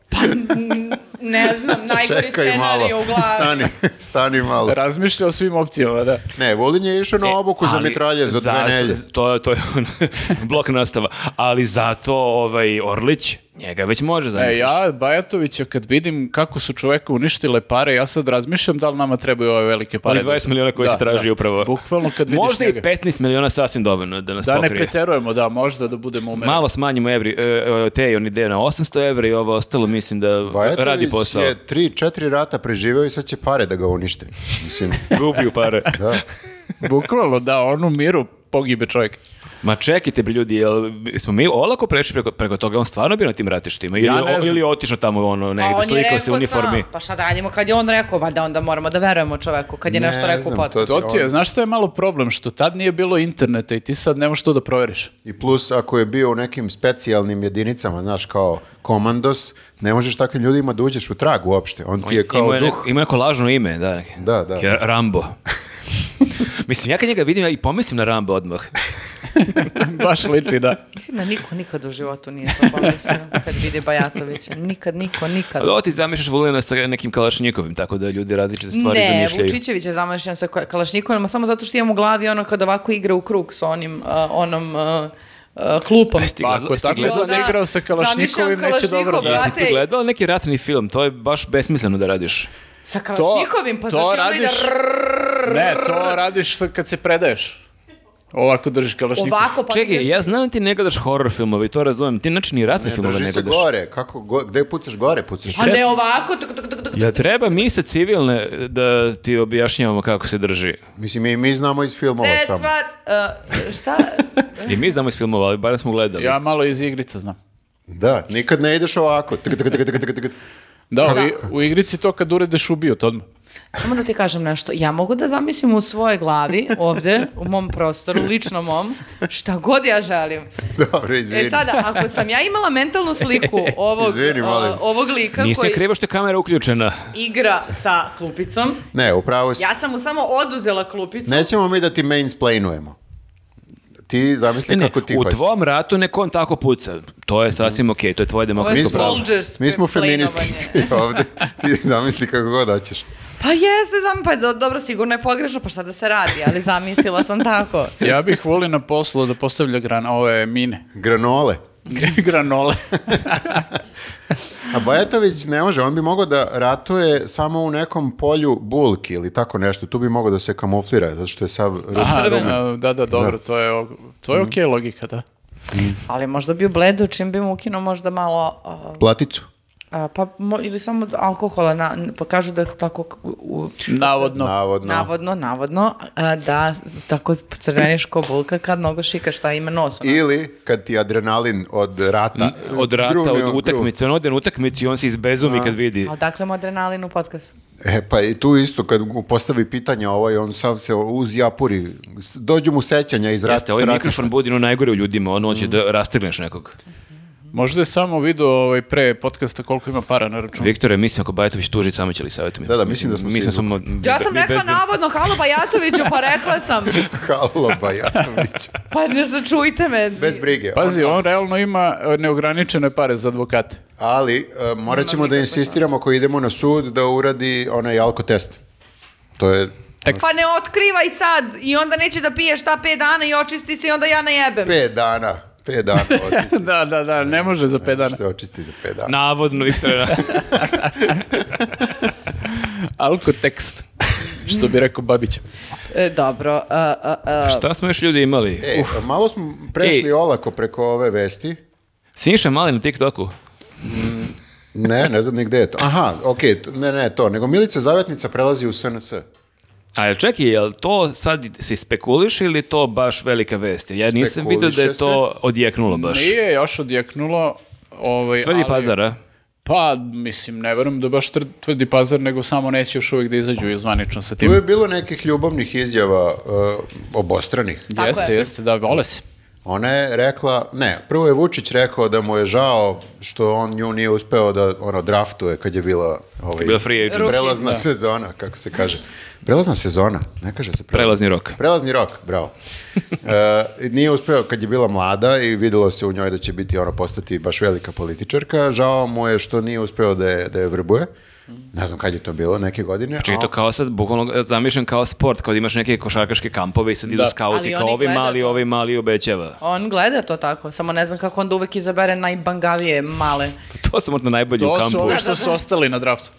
Speaker 4: Ne
Speaker 2: *laughs*
Speaker 4: znam, najgori
Speaker 1: Čekaj malo,
Speaker 4: E, scenarij u glavi.
Speaker 1: stani, stani malo.
Speaker 3: Razmišlja o svim opcijama, da.
Speaker 1: Ne, Vulin je išao na obuku za
Speaker 2: E, Ali
Speaker 1: mitralje za dve
Speaker 2: zato-
Speaker 1: nelje.
Speaker 2: To, to je on, *laughs* blok nastava. Ali zato ovaj Orlić, njega već može
Speaker 3: E,
Speaker 2: zamisliš.
Speaker 3: ja Bajatovića kad vidim kako su čoveka uništile pare, ja sad razmišljam da li nama trebaju ove velike pare.
Speaker 2: Oni 20 miliona koje
Speaker 3: Da,
Speaker 2: se traži
Speaker 3: da.
Speaker 2: upravo.
Speaker 3: Bukvalno kad vidiš
Speaker 2: Možda i
Speaker 3: njega.
Speaker 2: 15 miliona sasvim dovoljno da nas
Speaker 3: Da ne
Speaker 2: pokrije.
Speaker 3: preterujemo, da, možda da budemo umereni.
Speaker 2: Malo smanjimo evri, e, e, te i on ide na 800 evra i ovo ostalo mislim da
Speaker 1: Bajatović
Speaker 2: radi posao.
Speaker 1: je tri, četiri rata preživeo i sad će pare da ga unište. Mislim, *laughs*
Speaker 2: Gubio pare.
Speaker 1: da.
Speaker 3: Bukvalno, da, on u miru pogibe čovjek.
Speaker 2: Ma čekajte bre ljudi, jel smo mi olako prešli preko, preko toga, on stvarno bio na tim ratištima ili,
Speaker 3: Ja ne
Speaker 2: o-
Speaker 3: znam.
Speaker 2: ili je otišao tamo ono negde,
Speaker 4: A Pa on je
Speaker 2: slikao
Speaker 4: rekao
Speaker 2: se u uniformi.
Speaker 4: Sam, pa šta da radimo kad je on rekao, valjda onda moramo da verujemo čoveku kad je
Speaker 1: Ne
Speaker 4: nešto rekao u
Speaker 1: znam,
Speaker 4: podcastu.
Speaker 1: to
Speaker 3: To ti je,
Speaker 1: on-
Speaker 3: znaš što je malo problem, što tad nije bilo interneta i ti sad ne možeš to da proveriš.
Speaker 1: I plus, ako je bio u nekim specijalnim jedinicama, znaš, kao komandos, ne možeš takvim ljudima da uđeš u trag uopšte. On ti je kao
Speaker 2: Imao je,
Speaker 1: duh.
Speaker 2: neko, imao je neko lažno ime, da. neke-
Speaker 1: Da, da.
Speaker 2: Ke-
Speaker 1: *laughs*
Speaker 2: Rambo. Mislim, ja kad njega vidim, ja i pomislim na Rambo odmah.
Speaker 3: Baš liči, da.
Speaker 4: Mislim da niko nikad u životu nije to pomislio *laughs* kad vidi Bajatovića. Nikad, niko, nikad.
Speaker 2: Ali ovo ti zamišljaš Vulina sa nekim Kalašnjikovim, tako da ljudi različite stvari
Speaker 4: Ne,
Speaker 2: zamišljaju.
Speaker 4: Vučićević je zamišljen sa ka- Kalašnjikovima samo zato što imam u glavi ono kad ovako igra u krug sa onim, uh, onom uh, uh, klupom.
Speaker 2: E, stigla-
Speaker 3: Ako
Speaker 2: stigla-
Speaker 3: tako gledala, ne igrao sa Kalašnjikovim,
Speaker 4: zamišljam
Speaker 3: neće dobro da-
Speaker 2: Jesi
Speaker 4: Kalašnikov,
Speaker 2: ti
Speaker 4: brate,
Speaker 2: gledala neki ratni film? To je baš besmisleno da radiš.
Speaker 4: Sa Kalašnjikovim, pa zašto onda ide
Speaker 3: Ne, to radiš sad kad se predaješ. Ovako držiš Kalašnjikov.
Speaker 4: ovako, pa
Speaker 2: Čekaj,
Speaker 4: ideš-
Speaker 2: ja znam da ti ne gledaš horror filmove, to razumem. Ti znači ni ratne filmove
Speaker 1: Drži
Speaker 2: ne
Speaker 1: se
Speaker 2: gledaš.
Speaker 1: gore. Kako, go, gde pucaš gore? Pucaš
Speaker 4: A Pa ne ovako, tuk, tuk, tuk, tuk, tuk.
Speaker 2: Ja treba mi sa civilne da ti objašnjavamo kako se drži.
Speaker 1: Mislim, i mi znamo iz filmova
Speaker 4: That's
Speaker 1: samo.
Speaker 4: what, uh, šta?
Speaker 2: *laughs* I mi znamo iz filmova, ali barem smo gledali.
Speaker 3: Ja malo iz igrica znam.
Speaker 1: Da, nikad ne ideš ovako. Tk, tk, tk, tk, *laughs* tk, tk.
Speaker 3: Da, ali u igrici to kad uredeš ubiju to odmah.
Speaker 4: Samo da ti kažem nešto. Ja mogu da zamislim u svojoj glavi, ovdje, u mom prostoru, lično mom, šta god ja želim.
Speaker 1: Dobro, izvini.
Speaker 4: E sada, ako sam ja imala mentalnu sliku ovog,
Speaker 1: Izvini, molim.
Speaker 4: a, ovog lika
Speaker 2: Nisam
Speaker 4: koji
Speaker 2: krivo što je kamera uključena.
Speaker 4: igra sa klupicom,
Speaker 1: Ne, upravo si.
Speaker 4: ja sam mu samo oduzela klupicu.
Speaker 1: Nećemo mi da ti mainsplainujemo. Ti zamisli
Speaker 2: E, Ne, ne,
Speaker 1: E, kako ti
Speaker 2: u
Speaker 1: hoćeš. Mhm.
Speaker 2: tvom ratu nek on tako puca. To je sasvim okej, to je tvoje
Speaker 4: Ovo je
Speaker 2: demokratsko pravo.
Speaker 4: soldiers
Speaker 1: Mi smo
Speaker 4: playnovanje.
Speaker 1: feministi svi ovde. Ti zamisli kako god hoćeš.
Speaker 4: Pa jeste, znam, pa do- dobro, sigurno je pogrešno, pa šta da se radi, ali zamislila sam tako.
Speaker 3: Ja bih volio na poslu da postavlja gran, ove mine.
Speaker 1: Granole.
Speaker 3: Granole.
Speaker 1: A Bajatović ne može, on bi mogao da ratuje samo u nekom polju bulki ili tako nešto. Tu bi mogao da se kamuflira, zato što je sav...
Speaker 3: Aha, da,
Speaker 4: Crveno.
Speaker 3: da, da, dobro, to je, og- to je okej logika, da.
Speaker 4: Ali možda bi u bledu, čim bi mu ukinuo možda malo... a,
Speaker 1: Platicu.
Speaker 4: a, pa, mo- ili samo alkohola, na, pa kažu da tako... k- U,
Speaker 3: Navodno.
Speaker 1: Navodno.
Speaker 4: Navodno, navodno, a, da tako crveniš ko bulka kad mnogo šika šta ima nos. ono.
Speaker 1: Ili kad ti adrenalin od rata...
Speaker 2: Od rata,
Speaker 1: grumi-
Speaker 2: od utakmice. On ode na utakmici i on se
Speaker 1: Da.
Speaker 2: izbezumi kad vidi.
Speaker 4: A odakle dakle, mu adrenalin u podcastu?
Speaker 1: E, pa i tu isto, kad mu postavi pitanje ovaj, on sav se uz japuri. S- Dođu mu sećanja iz rata.
Speaker 2: Jeste, ovaj
Speaker 1: *laughs*
Speaker 2: mikrofon budi ono najgore u ljudima, ono
Speaker 1: Mhm.
Speaker 2: hoće da rastrgneš nekog.
Speaker 3: Možda je samo video ovaj, pre podcasta koliko ima para na računu.
Speaker 2: Viktore, mislim ako Bajatović tuži, samo će li savjeti mi?
Speaker 1: Da, da, mislim da smo se
Speaker 2: samo...
Speaker 4: Ja sam
Speaker 2: mi
Speaker 4: rekla
Speaker 2: bezbe-
Speaker 4: navodno, halo Bajatoviću, pa rekla sam,
Speaker 1: Halo, Bajatović.
Speaker 4: pa ne začujte me.
Speaker 1: Bez brige.
Speaker 3: *laughs* Pazi, on realno ima e, neograničene pare za advokate.
Speaker 1: Ali e, morat ćemo da insistiramo ako idemo na sud da uradi onaj alkotest. To je
Speaker 4: Pa ne otkrivaj sad i onda neće da piješ ta pet dana i očisti se i onda ja najebem.
Speaker 1: pet dana. Pet
Speaker 3: *laughs*
Speaker 1: dana očisti.
Speaker 3: *laughs* da, da, da, ne može za pet dana.
Speaker 1: se očisti za pet dana.
Speaker 2: Navodno, Viktore.
Speaker 1: *laughs*
Speaker 2: da.
Speaker 3: Alkotekst, *laughs* što bi rekao Babić.
Speaker 4: E, dobro. a, a, a,
Speaker 2: Šta smo još ljudi imali?
Speaker 1: Ej, E, malo smo prešli
Speaker 2: E.
Speaker 1: olako preko ove vesti.
Speaker 2: Siniša Mali na TikToku.
Speaker 1: Ne, ne znam ni gde je to. Aha, okej, t- ne, ne, to. Nego Milica Zavetnica prelazi u SNS.
Speaker 2: A jel čekaj, jel to sad se spekuliše ili je to baš velika vest? Ja nisam vidio da je
Speaker 1: Spekuliše
Speaker 2: to odjeknulo baš.
Speaker 3: Nije još odjeknulo. Ovaj,
Speaker 2: Tvrdi
Speaker 3: ali-
Speaker 2: pazar, a?
Speaker 3: Pa, mislim, ne verujem da baš tr- tvrdi pazar, nego samo neće još uvijek da izađu i zvanično sa
Speaker 1: Tu
Speaker 3: tim.
Speaker 1: je bilo nekih ljubavnih izjava e, obostranih.
Speaker 4: Tako
Speaker 3: jeste,
Speaker 4: je.
Speaker 3: jeste, da, vole se.
Speaker 1: Ona je rekla, ne, prvo je Vučić rekao da mu je žao što on nju nije uspeo da ono draftuje kad je bila ovaj,
Speaker 2: Bila free agent.
Speaker 4: Ruki,
Speaker 1: prelazna
Speaker 4: da.
Speaker 1: sezona, kako se kaže. Prelazna sezona, ne kaže se prelazna.
Speaker 2: Prelazni rok.
Speaker 1: Prelazni rok,
Speaker 3: *laughs*
Speaker 1: bravo. E, nije uspeo kad je bila mlada i videlo se u njoj da će biti ono postati baš velika političarka. Žao mu je što nije uspeo da je, da je vrbuje. Ne znam kad je to bilo, neke
Speaker 3: Pa
Speaker 1: godine.
Speaker 2: Čekaj, to kao sad, bukvalno zamišljam kao sport, kao da imaš neke košarkaške kampove i sad idu
Speaker 3: Da.
Speaker 2: skauti,
Speaker 4: Ali
Speaker 2: kao
Speaker 4: oni
Speaker 2: ovi
Speaker 4: gledaju
Speaker 2: mali,
Speaker 4: to.
Speaker 2: ovi mali obećava. *laughs*
Speaker 4: On gleda to tako, samo ne znam kako onda uvek izabere najbangavije male.
Speaker 2: To su možda najbolji u
Speaker 3: To su
Speaker 2: kampu.
Speaker 3: ove što su ostali na draftu.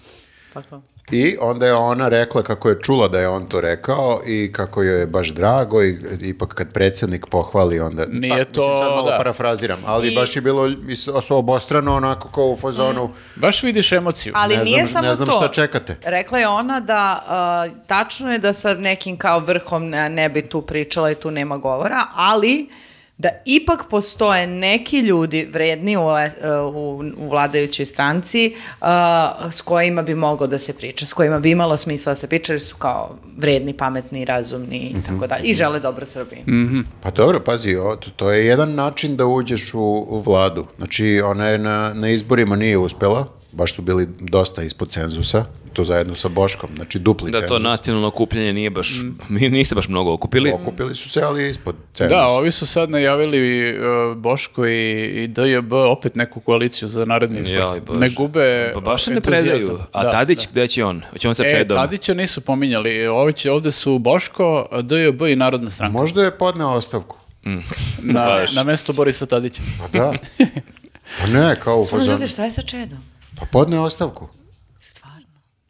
Speaker 4: Tako.
Speaker 1: I onda je ona rekla kako je čula da je on to rekao i kako joj je baš drago i ipak kad predsjednik pohvali onda... Pa,
Speaker 3: Nije
Speaker 1: mislim,
Speaker 3: to,
Speaker 1: sad malo
Speaker 3: da.
Speaker 1: parafraziram, ali baš je bilo mis- os- obostrano onako kao u fazonu.
Speaker 3: Baš vidiš emociju.
Speaker 4: Ali
Speaker 1: Ne
Speaker 4: nije
Speaker 1: znam-
Speaker 4: samo
Speaker 1: ne znam
Speaker 4: to.
Speaker 1: šta čekate.
Speaker 4: Rekla je ona da a, tačno je da sa nekim kao vrhom ne, ne bi tu pričala i tu nema govora, ali da ipak postoje neki ljudi vredni u, e, u, u vladajućoj stranci a, s kojima bi moglo da se priča, s kojima bi imalo smisla da se priča, jer su kao vredni, pametni, razumni i
Speaker 1: Mhm,
Speaker 4: tako dalje. I žele dobro Srbiji.
Speaker 1: Pa dobro, pazi, o, to- to je jedan način da uđeš u, u vladu. Znači, ona je na, na izborima nije uspela, baš su bili dosta ispod cenzusa, to zajedno sa Boškom, znači dupli
Speaker 2: Da,
Speaker 1: cenzus.
Speaker 2: to nacionalno okupljanje nije baš,
Speaker 3: Mm.
Speaker 2: mi nisu baš mnogo okupili.
Speaker 1: Okupili su se, ali ispod cenzusa.
Speaker 3: Da, ovi su sad najavili e, Boško i, i DJB opet neku koaliciju za naredni izbor.
Speaker 2: Joj, Bože.
Speaker 3: ne gube e,
Speaker 2: Pa baš se ne
Speaker 3: entuzijazam.
Speaker 2: predaju. A
Speaker 3: Da,
Speaker 2: Tadić, gde će on? Hoće on sa
Speaker 3: da. E,
Speaker 2: Čedom?
Speaker 3: Tadića nisu pominjali. Ovi će, ovde su Boško, DJB i Narodna stranka.
Speaker 1: Možda je podneo ostavku.
Speaker 3: Na,
Speaker 2: baš.
Speaker 3: na mesto Borisa Tadića.
Speaker 1: Pa
Speaker 3: *laughs*
Speaker 1: da. Pa ne, kao u
Speaker 4: Samo
Speaker 1: fazonu.
Speaker 4: ljudi, šta je sa Čedom?
Speaker 1: Pa podneo ostavku.
Speaker 4: Stvarno.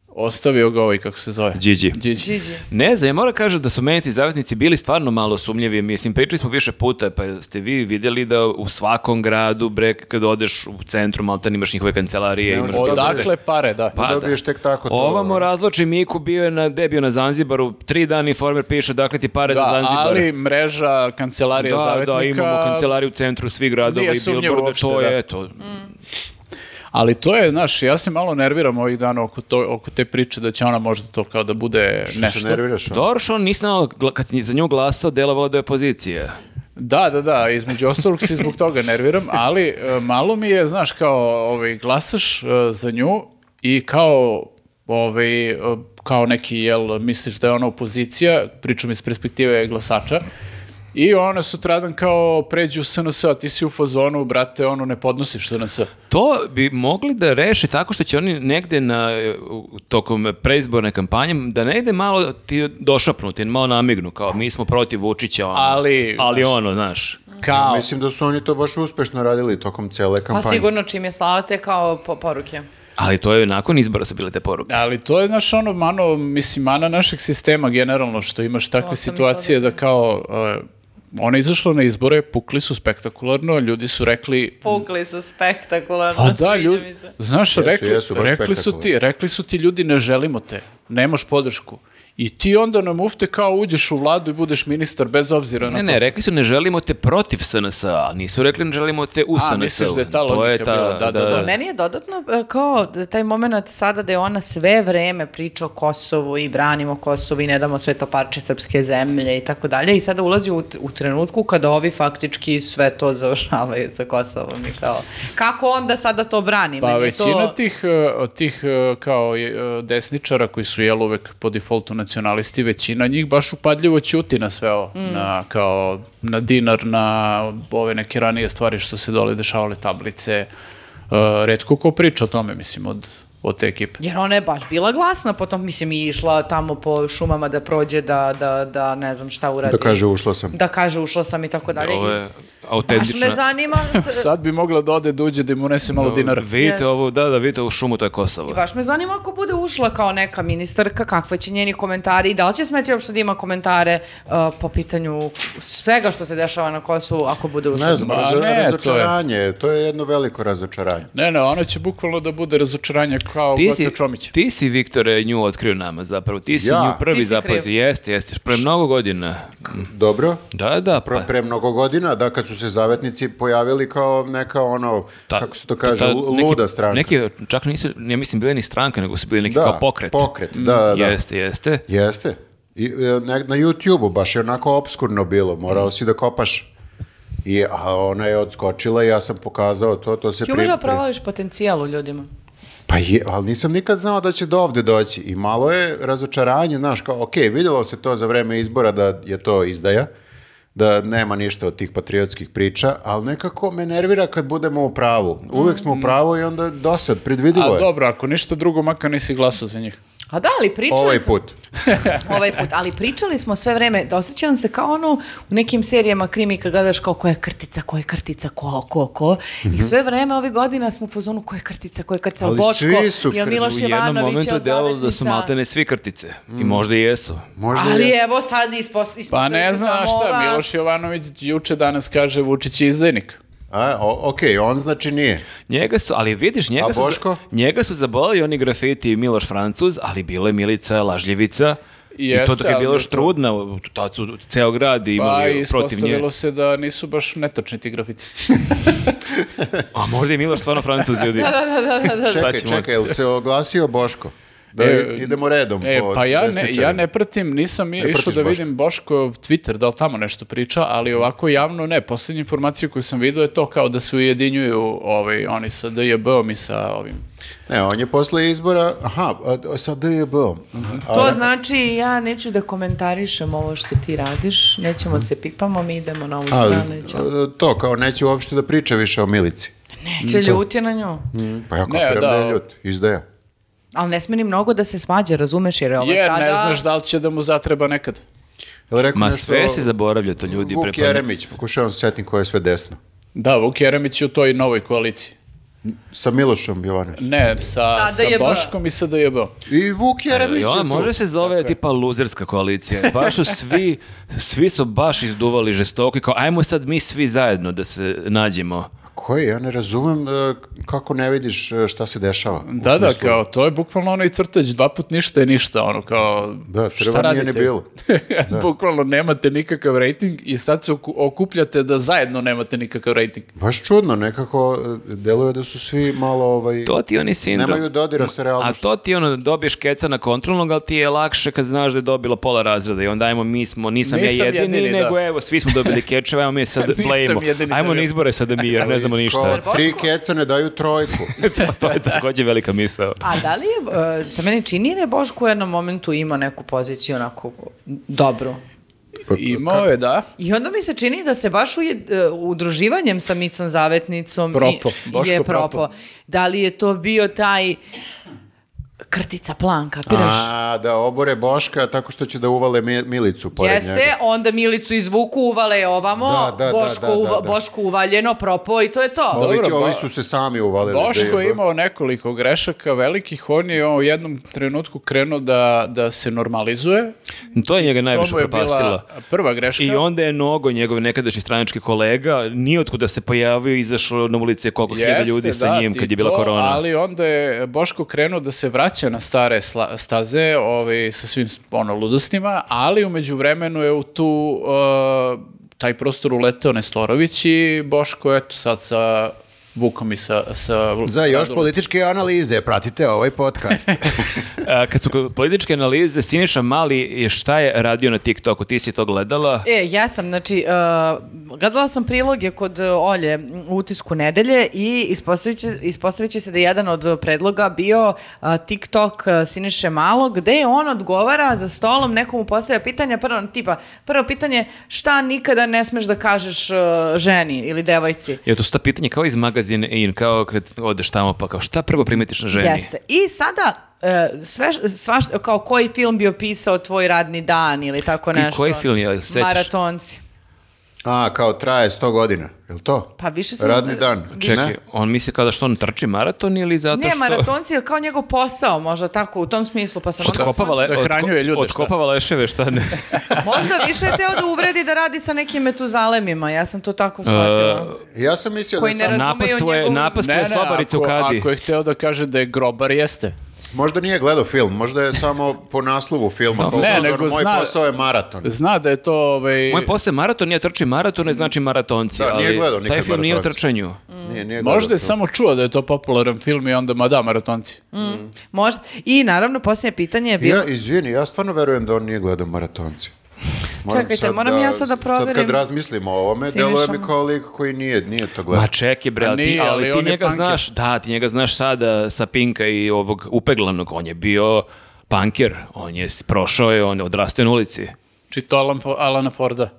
Speaker 3: Ostavio ga ovaj, kako se zove.
Speaker 2: Điđi.
Speaker 3: Điđi.
Speaker 4: Điđi.
Speaker 2: Ne znam, ja moram kažem da su meni ti zavetnici bili stvarno malo sumnjivi. Mislim, pričali smo više puta, pa ste vi vidjeli da u svakom gradu, bre, kad odeš u centru, Maltan imaš njihove kancelarije,
Speaker 1: Ne
Speaker 2: imaš
Speaker 1: može
Speaker 2: bilo-
Speaker 3: Odakle pare, da.
Speaker 2: Pa da.
Speaker 1: Dobiješ tek tako to.
Speaker 2: Ovamo razloči Miku bio je na, gde je bio na Zanzibaru, tri dana informer piše dakle ti pare za
Speaker 3: Da,
Speaker 2: Zanzibar.
Speaker 3: ali mreža kancelarija
Speaker 2: da,
Speaker 3: zavetnika...
Speaker 2: da, imamo kancelariju u centru svih gradova
Speaker 3: Nije
Speaker 2: i
Speaker 3: sumnjivo
Speaker 2: Bilborda,
Speaker 3: uopšte,
Speaker 2: to
Speaker 3: da.
Speaker 2: je to.
Speaker 3: Ali to je, znaš, ja se malo nerviram ovih dana oko, to, oko te priče da će ona možda to kao da bude
Speaker 1: Što se
Speaker 3: nešto.
Speaker 1: nerviraš? ono?
Speaker 2: Dobro što on nisam znao, gla- kad sam za nju glasao, delovalo da je opozicija.
Speaker 3: Da, da, da, između ostalog se zbog toga nerviram, ali e, malo mi je, znaš, kao ovaj, glasaš e, za nju i kao ovaj, e, kao neki, jel, misliš da je ona opozicija, pričam iz perspektive glasača, i ona sutradan kao pređu u SNS, a ti si u fazonu, brate, ono, ne podnosiš SNS.
Speaker 2: To bi mogli da reše tako što će oni negde na, u- tokom preizborne kampanje da negde malo ti došapnu, ti malo namignu, kao mi smo protiv Vučića, ono.
Speaker 3: Ali,
Speaker 2: ali
Speaker 3: znaš.
Speaker 2: ono, znaš.
Speaker 3: Kao,
Speaker 1: Mislim da su oni to baš uspešno radili tokom cele
Speaker 4: Pa
Speaker 1: kampanje.
Speaker 4: sigurno čim je slala te kao po- poruke.
Speaker 2: Ali to je nakon izbora su bile te poruke.
Speaker 3: Ali to je, znaš, ono, mano, mislim, mana našeg sistema generalno, što imaš takve
Speaker 4: To sam i
Speaker 3: situacije
Speaker 4: sada-
Speaker 3: da kao, e, ona je izašla na izbore, pukli su spektakularno, ljudi su rekli,
Speaker 4: Pukli su spektakularno.
Speaker 3: pa da,
Speaker 4: sviđa
Speaker 3: ljudi,
Speaker 4: mi se.
Speaker 3: znaš, rekli,
Speaker 1: jesu, baš
Speaker 3: rekli su ti,
Speaker 1: spektakularno.
Speaker 3: rekli su ti ljudi, ne želimo te, nemaš podršku. I ti onda nam ufte kao uđeš u vladu i budeš ministar bez obzira na
Speaker 2: Ne,
Speaker 3: to.
Speaker 2: ne, rekli su ne želimo te protiv SNS-a, a nisu rekli ne želimo te u
Speaker 3: A,
Speaker 2: SNS-a.
Speaker 3: misliš da je ta logika bila, da, da, da.
Speaker 4: Meni je dodatno e, kao da taj moment sada da je ona sve vreme priča o Kosovu i branimo Kosovo i ne damo sve to parče srpske zemlje i tako dalje i sada ulazi u, t- u trenutku kada ovi faktički sve to završavaju sa Kosovom i kao kako onda sada to brani?
Speaker 3: Pa
Speaker 4: Meni je
Speaker 3: većina
Speaker 4: to...
Speaker 3: tih, e, tih e, kao e, desničara koji su jel uvek po defaultu nacionalisti, većina njih baš upadljivo ćuti na sve ovo.
Speaker 4: Mm.
Speaker 3: Na, kao, na dinar, na ove neke ranije stvari što se dole dešavale tablice. E, Retko ko priča o tome, mislim, od, od te ekipe.
Speaker 4: Jer ona je baš bila glasna, potom mislim i išla tamo po šumama da prođe da, da, da ne znam šta uradi.
Speaker 1: Da kaže ušla sam.
Speaker 4: da kaže ušla sam i tako dalje.
Speaker 2: Ovo je
Speaker 4: Baš me
Speaker 2: autentična.
Speaker 3: *laughs*
Speaker 4: zanima,
Speaker 3: Sad bi mogla da ode da uđe da mu nese malo dinara.
Speaker 2: Vidite
Speaker 4: Jeste.
Speaker 2: ovo, da, da, vidite ovu šumu, to je Kosovo.
Speaker 4: baš me zanima ako bude ušla kao neka ministarka, kakve će njeni komentari i da li će smeti uopšte da ima komentare uh, po pitanju svega što se dešava na Kosovu ako bude ušla.
Speaker 1: Ne znam,
Speaker 3: Ma
Speaker 1: razo-
Speaker 3: ne, to je-
Speaker 1: razočaranje. je- To je jedno veliko razočaranje.
Speaker 3: Ne, ne, ona će bukvalno da bude razočaranje kao
Speaker 2: Ti
Speaker 3: Goca
Speaker 2: si,
Speaker 3: Čomić.
Speaker 2: ti si, Viktore, nju otkrio nama zapravo. Ti si
Speaker 1: Ja?
Speaker 2: nju prvi
Speaker 4: Ti si
Speaker 2: zapazio.
Speaker 4: kriv.
Speaker 2: Jeste, jeste. još Pre mnogo godina.
Speaker 1: Dobro?
Speaker 2: Da, da,
Speaker 1: Pro,
Speaker 2: pa.
Speaker 1: pre mnogo godina, da, kad su se zavetnici pojavili kao neka ono,
Speaker 2: Ta-
Speaker 1: kako se to kaže,
Speaker 2: ta-
Speaker 1: lu-
Speaker 2: neki-
Speaker 1: luda stranka.
Speaker 2: Neki, čak nisu, ne mislim, bile ni stranka, nego su bili neki
Speaker 1: da,
Speaker 2: kao pokret. Mm,
Speaker 1: Pokret, da, da, da.
Speaker 2: Jeste, jeste.
Speaker 1: Jeste. I, e, ne- na YouTube-u baš je onako obskurno bilo,
Speaker 2: Mm.
Speaker 1: morao si da kopaš. I, a ona je odskočila i ja sam pokazao to, to se
Speaker 4: Ti
Speaker 1: pri-
Speaker 4: umeš da
Speaker 1: pri-
Speaker 4: provališ potencijal u ljudima.
Speaker 1: Pa je, ali nisam nikad znao da će do ovde doći i malo je razočaranje, znaš, kao, ok, vidjelo se to za vreme izbora da je to izdaja, da nema ništa od tih patriotskih priča, ali nekako me nervira kad budemo u
Speaker 4: Mm-hmm.
Speaker 1: pravu. Uvek smo u pravu i onda dosad, predvidivo
Speaker 3: A
Speaker 1: je.
Speaker 3: dobro, ako ništa drugo, makar nisi glasao za njih.
Speaker 4: Pa da, ali pričali
Speaker 1: Ovaj
Speaker 4: smo...
Speaker 1: put.
Speaker 4: ovaj put, ali pričali smo sve vreme, da osjećam se kao ono u nekim serijama krimi kad gledaš kao koja je krtica, koja je krtica, ko, ko, ko. I sve vreme ovih godina smo u fazonu koja je krtica, koja je krtica,
Speaker 1: Mhm. Ali
Speaker 4: ali Boško,
Speaker 1: svi su
Speaker 4: jel
Speaker 1: kr-
Speaker 4: Miloš
Speaker 2: U jednom
Speaker 4: Jovanović,
Speaker 2: momentu je
Speaker 4: jel
Speaker 2: delovalo da su
Speaker 4: Zavetnica.
Speaker 2: maltene svi krtice. I
Speaker 1: Mm.
Speaker 2: možda i jesu.
Speaker 1: Možda
Speaker 4: Ali
Speaker 1: je...
Speaker 4: evo sad ispos- ispostavio
Speaker 3: Pa ne
Speaker 4: se
Speaker 3: znam
Speaker 4: samo
Speaker 3: šta,
Speaker 4: ova-
Speaker 3: Miloš Jovanović juče danas kaže Vučić je izdajnik.
Speaker 1: A, o, okej, on znači nije.
Speaker 2: Njega su, ali vidiš, njega
Speaker 1: A
Speaker 2: su, za-
Speaker 1: Boško?
Speaker 2: njega su zabolali oni grafiti Miloš Francuz, ali bila je Milica Lažljevica. I to
Speaker 3: Jeste,
Speaker 2: dok je
Speaker 3: ali
Speaker 2: bilo
Speaker 3: je
Speaker 2: još
Speaker 3: to-
Speaker 2: trudna, tad su ceo grad
Speaker 3: Pa
Speaker 2: imali protiv nje.
Speaker 3: ispostavilo se da nisu baš netočni ti grafiti.
Speaker 2: A možda je Miloš stvarno Francuz ljudi.
Speaker 4: Da,
Speaker 1: Čekaj,
Speaker 2: ćemo?
Speaker 1: čekaj, jel se oglasio Boško? Da
Speaker 3: E,
Speaker 1: idemo redom
Speaker 3: E,
Speaker 1: po
Speaker 3: pa ja ne,
Speaker 1: desničarima.
Speaker 3: ja ne pratim, nisam i- išao
Speaker 1: pratiš
Speaker 3: da
Speaker 1: Boška?
Speaker 3: vidim Boškov Twitter, da li tamo nešto priča, ali ovako javno ne. Posljednja informacija koju sam vidio je to kao da se ujedinjuju ovaj, oni sa DJB-om i sa ovim.
Speaker 1: Ne, E, on je posle izbora, aha, a- a sa DJB-om.
Speaker 4: To znači ja neću da komentarišem ovo što ti radiš, nećemo se pipamo, mi idemo na ovu
Speaker 1: A,
Speaker 4: stranu. i ćao.
Speaker 1: a, e, to, kao neće uopšte da priča više o Milici.
Speaker 4: Neće ljuti na nju.
Speaker 1: Pa ja
Speaker 3: Ne,
Speaker 1: kapiram
Speaker 3: da.
Speaker 1: da je ljut, izdaja.
Speaker 4: Ali ne sme ni mnogo da se smađa, razumeš, jer je ova
Speaker 3: Jer
Speaker 4: sada...
Speaker 3: ne znaš da li će da mu zatreba nekad.
Speaker 1: Jel rekao
Speaker 2: Ma
Speaker 1: nešto
Speaker 2: sve se zaboravlja to ljudi.
Speaker 1: Vuk
Speaker 2: prepad-
Speaker 1: Jeremić, pokušavam se setim koje je sve desno.
Speaker 3: Da, Vuk Jeremić je u toj novoj koaliciji.
Speaker 1: Sa Milošom Jovanovićem.
Speaker 3: Ne, sa,
Speaker 4: Sa
Speaker 3: sa
Speaker 4: DJB.
Speaker 3: Boškom i sa DJB-om.
Speaker 1: I Vuk Jeremić
Speaker 2: I
Speaker 1: je
Speaker 2: ona
Speaker 1: tu.
Speaker 2: može se zove tipa luzerska koalicija. Baš su svi, svi su baš izduvali žestoko i kao ajmo sad mi svi zajedno da se nađemo.
Speaker 1: Koji, ja ne razumem e, kako ne vidiš e, šta se dešava. U
Speaker 3: Da, da,
Speaker 1: smislu-
Speaker 3: kao, to je bukvalno onaj crteć, dva put ništa je ništa, ono, kao,
Speaker 1: Da,
Speaker 3: šta
Speaker 1: crva nije ni
Speaker 3: radite? *laughs*
Speaker 1: bilo. Da.
Speaker 3: bukvalno nemate nikakav rating i sad se oku- okupljate da zajedno nemate nikakav rating.
Speaker 1: Baš čudno, nekako e, deluje da su svi malo ovaj...
Speaker 2: To ti je oni sindrom.
Speaker 1: Nemaju dodira sa
Speaker 3: da
Speaker 2: A
Speaker 1: realnošću.
Speaker 2: to ti je ono, dobiješ keca na kontrolnog, ali ti je lakše kad znaš da je dobila pola razreda i onda ajmo, mi smo, nisam,
Speaker 3: Nisam
Speaker 2: ja jedini,
Speaker 3: jedini, da.
Speaker 2: nego evo, svi smo dobili kečeve, ajmo mi sad
Speaker 3: *laughs* Nisam
Speaker 2: blejimo.
Speaker 3: jedini
Speaker 2: Ajmo
Speaker 3: dobio.
Speaker 2: na izbore sad da mi, jer ne znamo ništa.
Speaker 1: Kao, tri keca ne daju
Speaker 3: *laughs*
Speaker 1: trojku.
Speaker 2: *laughs* to je takođe velika misao.
Speaker 4: A da li je, e, se meni čini da je Boško u jednom momentu imao neku poziciju onako dobru.
Speaker 1: Pa,
Speaker 3: Imao je, da.
Speaker 4: I onda mi se čini da se baš ujed- e, udruživanjem sa Micom Zavetnicom i-
Speaker 3: Propo, Boško
Speaker 4: je
Speaker 3: propo.
Speaker 4: Da li je to bio taj krtica plan, kapiraš?
Speaker 1: A, da obore Boška tako što će da uvale Mi- Milicu pored
Speaker 4: Jeste,
Speaker 1: njega.
Speaker 4: onda Milicu izvuku, uvale je ovamo,
Speaker 1: Da, da, da,
Speaker 4: Boško,
Speaker 1: da, da,
Speaker 4: uva-
Speaker 1: da.
Speaker 4: Boško uvaljeno, propo i to je to.
Speaker 1: Ovi,
Speaker 3: Dobro,
Speaker 1: ovi
Speaker 3: Bo-
Speaker 1: su se sami uvalili. da
Speaker 3: Boško je
Speaker 1: DJB.
Speaker 3: imao nekoliko grešaka velikih, on je u jednom trenutku krenuo da, da se normalizuje.
Speaker 2: To je njega
Speaker 3: To
Speaker 2: najviše
Speaker 3: mu je
Speaker 2: propastilo.
Speaker 3: bila prva greška.
Speaker 2: I onda je Nogo, njegov nekadašnji stranački kolega, nijotkud da se pojavio, izašao na ulice koliko hiljada
Speaker 3: Jeste,
Speaker 2: ljudi sa
Speaker 3: da,
Speaker 2: njim
Speaker 3: i
Speaker 2: kad je bila
Speaker 3: to,
Speaker 2: korona.
Speaker 3: Ali onda je Boško krenuo da se vraća na stare sla- staze ovaj, sa svim ono, ludostima, ali umeđu vremenu je u tu uh, taj prostor uleteo Nestorović i Boško eto sad sa Vukom i sa... sa
Speaker 4: Da,
Speaker 1: Za još
Speaker 3: Radulom.
Speaker 1: političke analize pratite ovaj
Speaker 4: *laughs*
Speaker 1: podcast.
Speaker 2: A, kad su kod političke analize, Siniša Mali je šta je radio na TikToku? Ti si to gledala?
Speaker 4: E, ja sam, znači, uh, gledala sam priloge kod uh, Olje m, u utisku nedelje i ispostavit će, ispostavit će se da je jedan od uh, predloga bio uh, TikTok uh, Siniše Malo, gde on odgovara za stolom, nekomu postavlja pitanja, prvo, tipa, prvo pitanje, šta nikada ne smeš da kažeš uh, ženi ili devojci?
Speaker 2: Je to su ta pitanja kao iz magazina In, kao kad odeš tamo pa kao šta prvo primetiš na ženi?
Speaker 4: Jeste. I sada, e, sve, š- svašta, kao koji film bi opisao tvoj radni dan ili tako
Speaker 2: Ti
Speaker 4: nešto.
Speaker 2: koji film je, sećaš?
Speaker 4: Maratonci.
Speaker 1: A, kao traje 100 godina, je to?
Speaker 4: Pa više smo...
Speaker 1: Radni dan.
Speaker 2: Čekaj,
Speaker 1: Ne?
Speaker 2: on misli kao da što on trči maraton ili zato
Speaker 4: Ne,
Speaker 2: što...
Speaker 4: maratonci je kao njegov posao, možda tako, u tom smislu, pa sam
Speaker 2: *laughs*
Speaker 4: onda-
Speaker 2: Otkopava, le, otko-
Speaker 3: Sahranjuje ljude, šta?
Speaker 2: otkopava leševe, šta
Speaker 4: *laughs*
Speaker 2: ne?
Speaker 4: Možda više je teo da uvredi da radi sa nekim metuzalemima, ja sam to tako shvatila.
Speaker 2: E,
Speaker 1: Ja sam mislio
Speaker 4: Koji
Speaker 1: da
Speaker 4: ne
Speaker 1: sam,
Speaker 4: razume-
Speaker 2: napastvo je,
Speaker 4: njegovu-
Speaker 2: napastvo je sobarica u
Speaker 3: ako,
Speaker 2: kadi.
Speaker 3: ako je hteo da kaže da je grobar, jeste.
Speaker 1: možda nije gledao film, možda je samo po naslovu filma. pa
Speaker 3: Ne,
Speaker 1: uzor,
Speaker 3: nego
Speaker 1: moj
Speaker 3: zna-
Speaker 1: posao je maraton.
Speaker 3: Zna da je to... Ovaj,
Speaker 2: Moj posao je maraton, ja trčim maraton, ne znači maratonci.
Speaker 1: Mhm. Da, nije
Speaker 2: ali
Speaker 1: gledao nikad
Speaker 2: Taj film nije o
Speaker 1: maratonci.
Speaker 2: trčanju.
Speaker 1: Nije, nije gledao
Speaker 3: Možda je
Speaker 1: film.
Speaker 3: samo čuo da je to popularan film i onda, ma da, maratonci.
Speaker 4: Možda. I naravno, posljednje pitanje je bilo...
Speaker 1: Ja, izvini, ja stvarno verujem da on nije gledao maratonci.
Speaker 4: Čekajte, moram ja sad da
Speaker 1: Sad kad
Speaker 4: proverim.
Speaker 1: razmislimo o ovome,
Speaker 4: Siniša
Speaker 1: deluje mi
Speaker 4: Ma-
Speaker 1: kao lik koji nije, nije to gledao.
Speaker 2: Ma čekaj bre,
Speaker 3: A
Speaker 2: ali, ti,
Speaker 3: nije, ali
Speaker 2: ali, ti
Speaker 3: on je
Speaker 2: njega
Speaker 3: punker.
Speaker 2: znaš, da, ti njega znaš sada sa Pinka i ovog upeglanog, on je bio punker, on je s- prošao je, on je odrastao na ulici.
Speaker 3: Čito Alan, Fo- Alana Forda.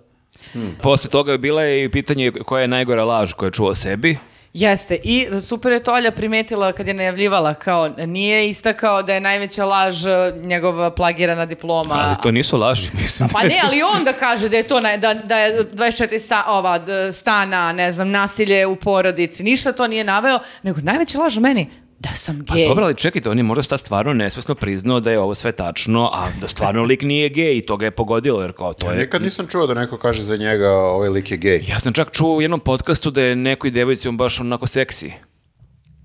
Speaker 1: Hmm.
Speaker 2: Posle toga je bila je i pitanje koja je najgora laž koju je čuo o sebi.
Speaker 4: Jeste, i super je to Olja primetila kad je najavljivala, kao nije istakao da je najveća laž e, njegova plagirana diploma.
Speaker 2: Ali to nisu laži, *laughs* mislim.
Speaker 4: Pa ne, ali on da kaže da je to na- da, da je 24 sta, ova, d- stana, ne znam, nasilje u porodici, ništa to nije naveo, nego najveća laž o meni, da sam
Speaker 2: Pa
Speaker 4: gej.
Speaker 2: dobro, ali čekajte, on je možda sad stvarno nesvesno priznao da je ovo sve tačno, a da stvarno lik nije gej i to ga je pogodilo, jer kao to Pa je...
Speaker 1: Nikad nisam čuo da neko kaže za njega ovaj lik je gej.
Speaker 2: Ja sam čak čuo u jednom podcastu da je nekoj devojci on baš onako seksi.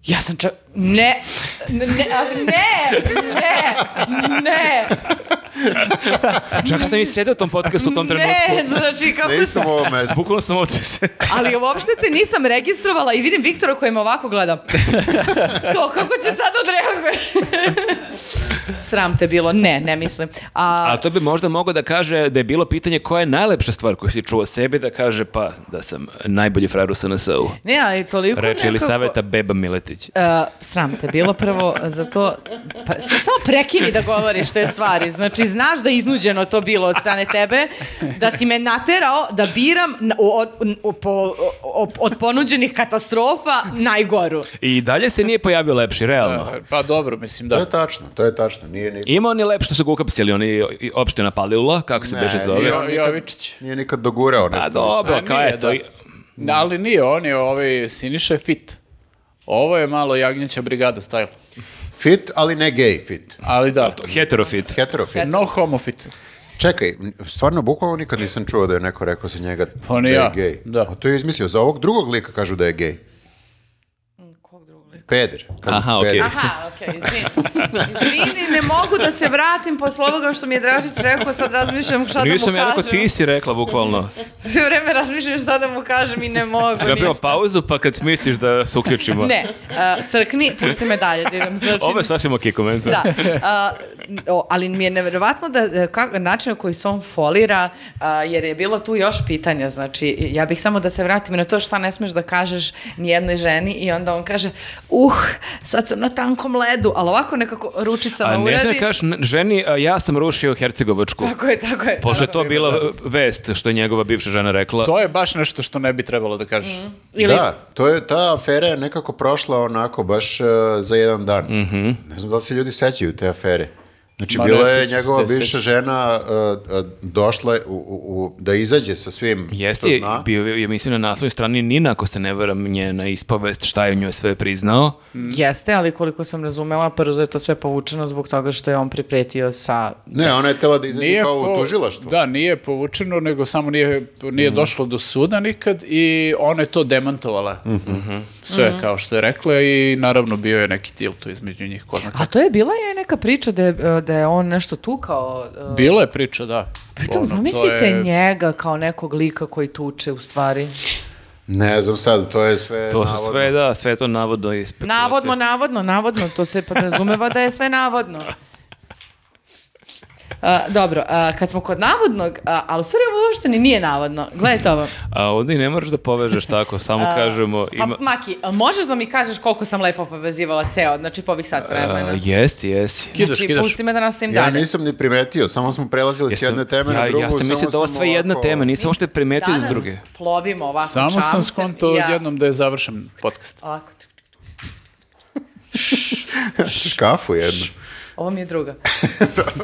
Speaker 4: Ja sam čak... Ne, ne, ne, ne, ne, ne,
Speaker 2: Čak sam i sedeo u tom podcastu u tom trenutku.
Speaker 4: ne, znači
Speaker 1: Na
Speaker 4: kako sam...
Speaker 1: istom
Speaker 2: *laughs*
Speaker 1: ovom mestu.
Speaker 2: Bukvalno sam ovdje se...
Speaker 4: Ali uopšte te nisam registrovala i vidim Viktora koji me
Speaker 2: *laughs*
Speaker 4: ovako gleda. to, kako će sad odreaguje? *laughs* Sram te bilo, ne, ne mislim. A,
Speaker 2: Ali to bi možda mogao da kaže da je bilo pitanje koja je najlepša stvar koju si čuo o sebi, da kaže pa da sam najbolji frajer u SNS-u.
Speaker 4: ne, ali toliko
Speaker 2: Reče ili
Speaker 4: nekako-
Speaker 2: saveta Beba Miletić.
Speaker 4: E, sram te bilo prvo, zato pa, s- samo prekini da govoriš te stvari. Znači, znaš da je iznuđeno to bilo od strane tebe, da si me naterao da biram na- o- o- o- po- o- o- od ponuđenih katastrofa najgoru.
Speaker 2: I dalje se nije pojavio lepši,
Speaker 4: Da.
Speaker 2: realno.
Speaker 3: Pa dobro, mislim
Speaker 1: To
Speaker 3: da.
Speaker 1: je tačno, to je tačno. Nije ni...
Speaker 2: Ima on je lep što su ga uhapsili, oni i opština Palilula, kako se
Speaker 1: Ne,
Speaker 2: beže zove.
Speaker 1: nije
Speaker 3: Jo-
Speaker 1: on nikad,
Speaker 3: Jovičić.
Speaker 1: nije nikad dogurao nešto.
Speaker 2: Pa dobro,
Speaker 3: A
Speaker 2: kao
Speaker 3: nije,
Speaker 2: je to.
Speaker 3: da. Da, ali nije, on je ovaj Siniša je fit. Ovo je malo jagnjeća brigada style.
Speaker 1: Fit, ali ne gej fit.
Speaker 3: Ali da,
Speaker 2: Heterofit.
Speaker 1: Heterofit.
Speaker 3: no homo fit.
Speaker 1: Čekaj, stvarno bukvalno nikad nisam čuo da je neko rekao za njega
Speaker 3: Pa
Speaker 1: da
Speaker 3: ni
Speaker 1: je
Speaker 3: ja,
Speaker 1: gej.
Speaker 3: da.
Speaker 1: A to je izmislio. Za ovog drugog lika kažu da je gej. Peder. Kažu
Speaker 2: Aha, okej.
Speaker 1: peder.
Speaker 4: Aha, okej, izvini. Izvini, ne mogu da se vratim posle ovoga što mi je Dražić rekao, sad razmišljam šta da mu
Speaker 2: Nisam ja rekao,
Speaker 4: kažem.
Speaker 2: ti si rekla bukvalno.
Speaker 4: Sve vreme razmišljam šta da mu kažem i ne mogu.
Speaker 2: Napravimo
Speaker 4: ništa.
Speaker 2: pauzu, pa kad smisliš da se uključimo.
Speaker 4: Ne, e, crkni, pusti me dalje, da idem zračim.
Speaker 2: Ovo je sasvim ok komentar.
Speaker 4: da.
Speaker 2: *laughs*
Speaker 4: A, o, ali mi je nevjerovatno da, e, ka- način na koji se on folira, a, jer je bilo tu još pitanja, znači ja bih samo da se vratim na to šta ne smeš da kažeš nijednoj ženi i onda on kaže, uh, sad sam na tankom ledu, ali ovako nekako ručicama
Speaker 2: A ne
Speaker 4: uradi.
Speaker 2: znam da kažeš n- ženi, a ja sam rušio Hercegovačku.
Speaker 4: Tako je, tako je.
Speaker 2: Pošto je
Speaker 4: tako
Speaker 2: to
Speaker 4: je.
Speaker 2: bila e, vest što je njegova bivša žena rekla.
Speaker 3: To je baš nešto što ne bi trebalo da kažeš.
Speaker 4: Mhm. Ili,
Speaker 1: Da, to je, ta afera je nekako prošla onako baš e, za jedan dan.
Speaker 2: Mhm.
Speaker 1: Ne znam da li se ljudi sećaju te afere. Znači,
Speaker 3: Ma,
Speaker 1: bila
Speaker 3: ne
Speaker 1: je
Speaker 3: sećam se,
Speaker 1: njegova
Speaker 3: ne
Speaker 1: bivša
Speaker 3: sećam.
Speaker 1: žena e, e, došla je u, u- u- da izađe sa svim
Speaker 2: Jeste,
Speaker 1: što
Speaker 2: je,
Speaker 1: zna.
Speaker 2: bio je, mislim, na naslovnoj strani Nina, ako se ne varam, njena ispovest šta je u njoj sve priznao.
Speaker 4: jeste, ali koliko sam razumela, prvo je to sve povučeno zbog toga što je on pripretio sa...
Speaker 1: Ne, ona je tela da izađe kao u
Speaker 3: po-
Speaker 1: tužilaštvo.
Speaker 3: Da, nije povučeno, nego samo nije, nije
Speaker 1: Mhm.
Speaker 3: došlo do suda nikad i ona je to demantovala.
Speaker 1: Mhm.
Speaker 3: Mhm. Sve
Speaker 4: Mhm.
Speaker 3: kao što je rekla i naravno bio je neki til tu između njih. Ko zna kako.
Speaker 4: A to je bila je neka priča da je, e, da je on nešto tukao... e,
Speaker 3: Bila je priča, da.
Speaker 4: Pritom,
Speaker 3: Ono, to
Speaker 4: zamislite
Speaker 3: je-
Speaker 4: njega kao nekog lika koji tuče u stvari.
Speaker 1: Ne znam sad, to je sve
Speaker 2: To su
Speaker 1: navodno.
Speaker 2: sve, da, sve je to navodno i spekulacije.
Speaker 4: Navodno, navodno, navodno, to se podrazumeva da je sve
Speaker 3: *laughs*
Speaker 4: navodno. A, dobro, a, kad smo kod navodnog, a, ali u stvari ovo uopšte ni nije navodno. Gledajte ovo.
Speaker 2: A ovdje i ne moraš da povežeš
Speaker 4: *laughs*
Speaker 2: tako, samo kažemo...
Speaker 4: Pa,
Speaker 2: Ima...
Speaker 4: Maki, a možeš da mi kažeš koliko sam lepo povezivala ceo, znači po ovih sat vremena?
Speaker 2: A, Jesi, jesi.
Speaker 3: Kidaš,
Speaker 4: znači,
Speaker 3: kidaš.
Speaker 4: pusti me da nastavim
Speaker 1: Ja
Speaker 4: dalje.
Speaker 1: nisam ni primetio, samo smo prelazili s
Speaker 2: Jesam-
Speaker 1: jedne teme na
Speaker 2: ja,
Speaker 1: drugu.
Speaker 2: Ja sam
Speaker 1: samo
Speaker 2: mislio da ovo
Speaker 1: sam
Speaker 2: sve jedna
Speaker 1: ovako-
Speaker 2: tema, nisam uopšte primetio do
Speaker 4: Danas
Speaker 2: druge.
Speaker 4: plovimo ovako
Speaker 3: Samo
Speaker 4: čamcem
Speaker 3: sam skonto
Speaker 4: i ja-
Speaker 3: odjednom da je završen podcast.
Speaker 4: Ovako, tk, tk.
Speaker 1: Škafu jednu.
Speaker 4: ovo mi je
Speaker 3: *laughs*
Speaker 4: druga.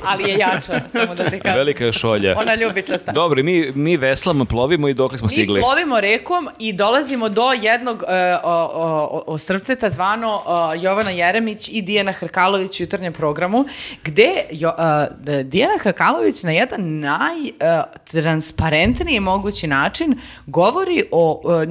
Speaker 4: Ali je jača, samo da ti kažem.
Speaker 2: Velika je šolja.
Speaker 4: Ona ljubičasta.
Speaker 2: Dobro, mi, mi veslamo, plovimo i dokle smo
Speaker 4: Da.
Speaker 3: Pa
Speaker 4: Mi
Speaker 2: stigli.
Speaker 4: plovimo rekom i dolazimo do jednog e, o, o, o- ostrvceta zvano e, Jovana Jeremić i Dijana Hrkalović u jutarnjem programu, gde jo, e, d- Dijana Hrkalović na jedan najtransparentniji mogući način govori o e,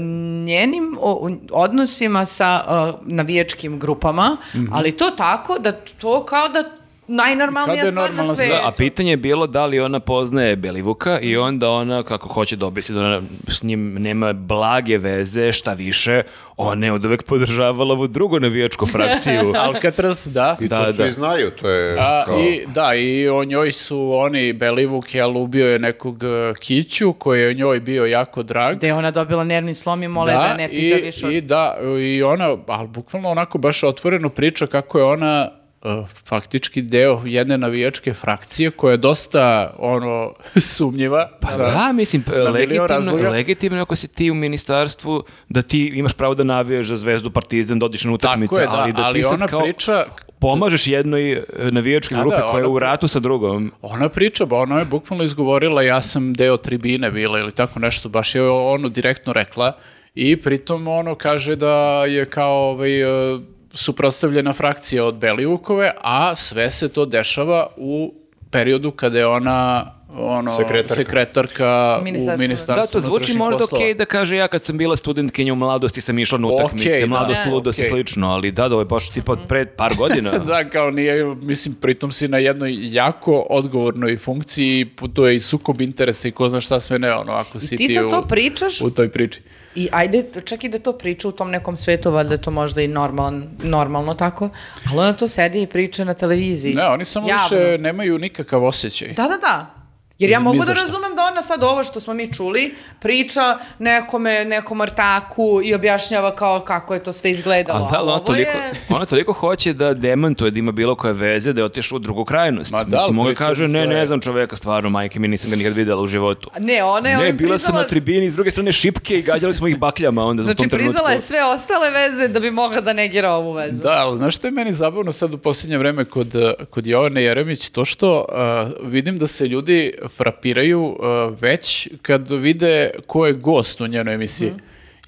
Speaker 4: njenim o- o odnosima sa e, navijačkim grupama,
Speaker 3: Mhm.
Speaker 4: ali to tako da to kao da najnormalnija
Speaker 3: Kao da je
Speaker 4: stvar na
Speaker 3: normalna stvar.
Speaker 4: svetu.
Speaker 2: Da, a pitanje je bilo da li ona poznaje Belivuka i onda ona kako hoće da objasni da ona s njim nema blage veze, šta više, ona je od uvek podržavala ovu drugu navijačku frakciju.
Speaker 3: Alcatraz, da.
Speaker 1: I
Speaker 2: Da,
Speaker 1: to svi
Speaker 2: da.
Speaker 1: znaju, to je
Speaker 3: A,
Speaker 1: kao...
Speaker 3: i, da, i o njoj su oni, Belivuk je ali ubio je nekog e, kiću koji je njoj bio jako drag.
Speaker 4: Gde Da je ona dobila nervni slom i mole da, ne pita
Speaker 3: i,
Speaker 4: više. od-
Speaker 3: i da, i ona, ali bukvalno onako baš otvoreno priča kako je ona uh, faktički deo jedne navijačke frakcije koja je dosta ono *laughs* sumnjiva.
Speaker 2: Pa da, mislim, p-
Speaker 3: milion
Speaker 2: legitimno,
Speaker 3: razloga.
Speaker 2: legitimno je ako si ti u ministarstvu da ti imaš pravo da navijaš za Zvezdu, Partizan, da odiš na utakmice,
Speaker 3: Tako je, da,
Speaker 2: ali da ti
Speaker 3: ali
Speaker 2: sad
Speaker 3: ona
Speaker 2: kao
Speaker 3: priča-
Speaker 2: pomažeš jednoj e, navijačkoj
Speaker 3: Da,
Speaker 2: grupi
Speaker 3: da,
Speaker 2: koja je
Speaker 3: ona-
Speaker 2: u ratu sa drugom.
Speaker 3: Ona priča, ba ona je bukvalno izgovorila ja sam deo tribine bila ili tako nešto, baš je ono direktno rekla i pritom ono kaže da je kao ovaj, e, suprotstavljena frakcija od Belivukove, a sve se to dešava u periodu kada je ona ono,
Speaker 1: Sekretarka.
Speaker 3: sekretarka, sekretarka u
Speaker 4: Ministarstvu.
Speaker 3: ministarstvu
Speaker 2: Da, to zvuči
Speaker 3: unutrašnjih
Speaker 2: možda okej
Speaker 3: poslova.
Speaker 2: da kaže ja kad sam bila studentkinja u mladosti sam išla na
Speaker 3: Okej,
Speaker 2: utakmice,
Speaker 3: da.
Speaker 2: mladost,
Speaker 4: Ne,
Speaker 2: ludost i
Speaker 3: okej.
Speaker 2: slično, ali da, da, ovo je baš tipa
Speaker 4: Mhm.
Speaker 2: pred par
Speaker 4: *laughs*
Speaker 2: godina.
Speaker 3: *laughs* Da, kao nije, mislim, pritom si na jednoj jako odgovornoj funkciji, to je i sukob interesa i ko zna šta sve ne, ono, ako da si
Speaker 4: I ti sad
Speaker 3: u,
Speaker 4: to pričaš
Speaker 3: u toj priči.
Speaker 4: i ajde, čak i da to priča u tom nekom svetu, valjda je to možda i normalan, normalno tako, ali ona to sedi i priča na televiziji.
Speaker 3: Ne, Da, oni samo
Speaker 4: javno.
Speaker 3: više nemaju nikakav osjećaj.
Speaker 4: Da, da, da. Jer ja
Speaker 3: Ni
Speaker 4: mogu
Speaker 3: za
Speaker 4: da
Speaker 3: šta.
Speaker 4: razumem da ona sad ovo što smo mi čuli priča nekome, nekom ortaku i objašnjava kao kako je to sve izgledalo.
Speaker 2: Ali da, ali
Speaker 4: ali
Speaker 2: ona
Speaker 4: ovo
Speaker 2: toliko,
Speaker 4: je-
Speaker 2: ona toliko hoće da demantuje da ima bilo koje veze, da je otišla u drugu krajnost.
Speaker 3: Ma da,
Speaker 2: Mislim, mogu
Speaker 3: ali to je-
Speaker 2: kaže, ne,
Speaker 3: to je-
Speaker 2: ne znam čoveka stvarno, majke mi nisam ga nikad videla u životu.
Speaker 4: A Ne, ona je
Speaker 2: Ne,
Speaker 4: ovim
Speaker 2: bila sam
Speaker 4: priznala-
Speaker 2: na tribini, s druge strane šipke i gađali smo ih bakljama onda u
Speaker 4: Znači,
Speaker 2: tom trenutku.
Speaker 4: priznala je sve ostale veze da bi mogla da negira ovu vezu.
Speaker 3: Da, ali znaš što je meni zabavno sad u posljednje vreme kod, eh, kod Jovane Jeremić? To što eh, vidim da se ljudi frapiraju eh, već kad vide ko je gost u njenoj emisiji.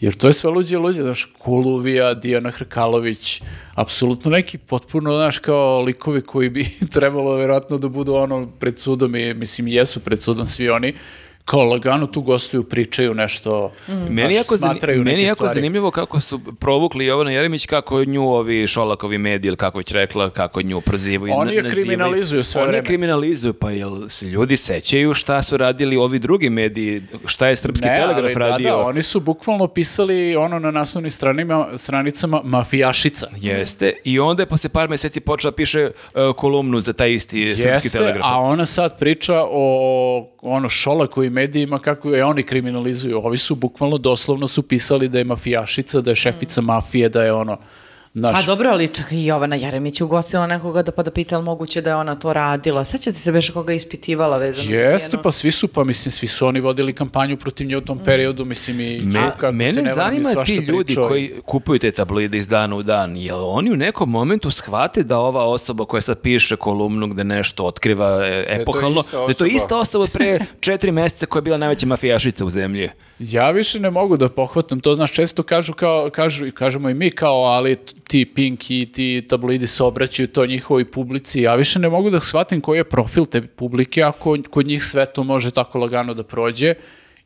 Speaker 3: Jer to je sve luđe i luđe, znaš, Kuluvija, Dijana Hrkalović, apsolutno neki potpuno, znaš, kao likovi koji bi *laughs* trebalo vjerojatno da budu ono pred sudom i, mislim, jesu pred sudom svi oni, kao lagano tu gostuju, pričaju nešto,
Speaker 2: Meni
Speaker 3: znaš,
Speaker 2: je jako, zani-
Speaker 3: smatraju
Speaker 2: meni je
Speaker 3: neke
Speaker 2: jako
Speaker 3: stvari.
Speaker 2: zanimljivo kako su provukli Jovana Jeremić, kako nju ovi Šolakovi mediji ili kako je već rekla, kako nju prozivaju.
Speaker 3: Oni je
Speaker 2: na- nazivaju.
Speaker 3: kriminalizuju sve
Speaker 2: Oni je
Speaker 3: vreme.
Speaker 2: kriminalizuju, pa jel se ljudi sećaju šta su radili ovi drugi mediji, šta je Srpski telegraf
Speaker 3: ali da,
Speaker 2: radio.
Speaker 3: Da, oni su bukvalno pisali ono na naslovnim stranima, stranicama mafijašica.
Speaker 2: Jeste, i onda je posle par meseci počela piše e, kolumnu za taj isti srpski telegraf.
Speaker 3: a ona sad priča o ono Šolaku i medijima kako je oni kriminalizuju. Ovi su bukvalno doslovno su pisali da je mafijašica, da je šefica mafije, da je ono naš...
Speaker 4: Mm. Pa dobro, ali čak i Jovana Jeremić je ugostila nekoga da pa da pita, ali moguće da je ona to radila. Sećate se beše koga je ispitivala vezano? za
Speaker 3: Jeste,
Speaker 4: njeno-
Speaker 3: pa svi su, pa mislim, svi su oni vodili kampanju protiv nje u
Speaker 4: Mm.
Speaker 3: tom periodu, mislim i
Speaker 2: Me-
Speaker 3: Čuka, ako se ne
Speaker 2: mene
Speaker 3: varam, je
Speaker 2: zanima ti
Speaker 3: svašta
Speaker 2: ljudi
Speaker 3: pričao.
Speaker 2: koji kupuju te tablide iz dana u dan, jel oni u nekom momentu shvate da ova osoba koja sad piše kolumnu gde nešto otkriva e,
Speaker 1: je
Speaker 2: epohalno,
Speaker 1: ista
Speaker 2: da je to
Speaker 1: osoba.
Speaker 2: ista osoba od
Speaker 3: *laughs*
Speaker 2: pre četiri meseca koja je bila najveća mafijašica u zemlji.
Speaker 3: Ja više ne mogu da pohvatam to, znaš, često kažu kao, kažu, i kažemo i mi kao, ali t- ti Pink i ti tablidi se obraćaju to njihovoj publici, ja više ne mogu da shvatim koji je profil te publike, ako kod njih sve to može tako lagano da prođe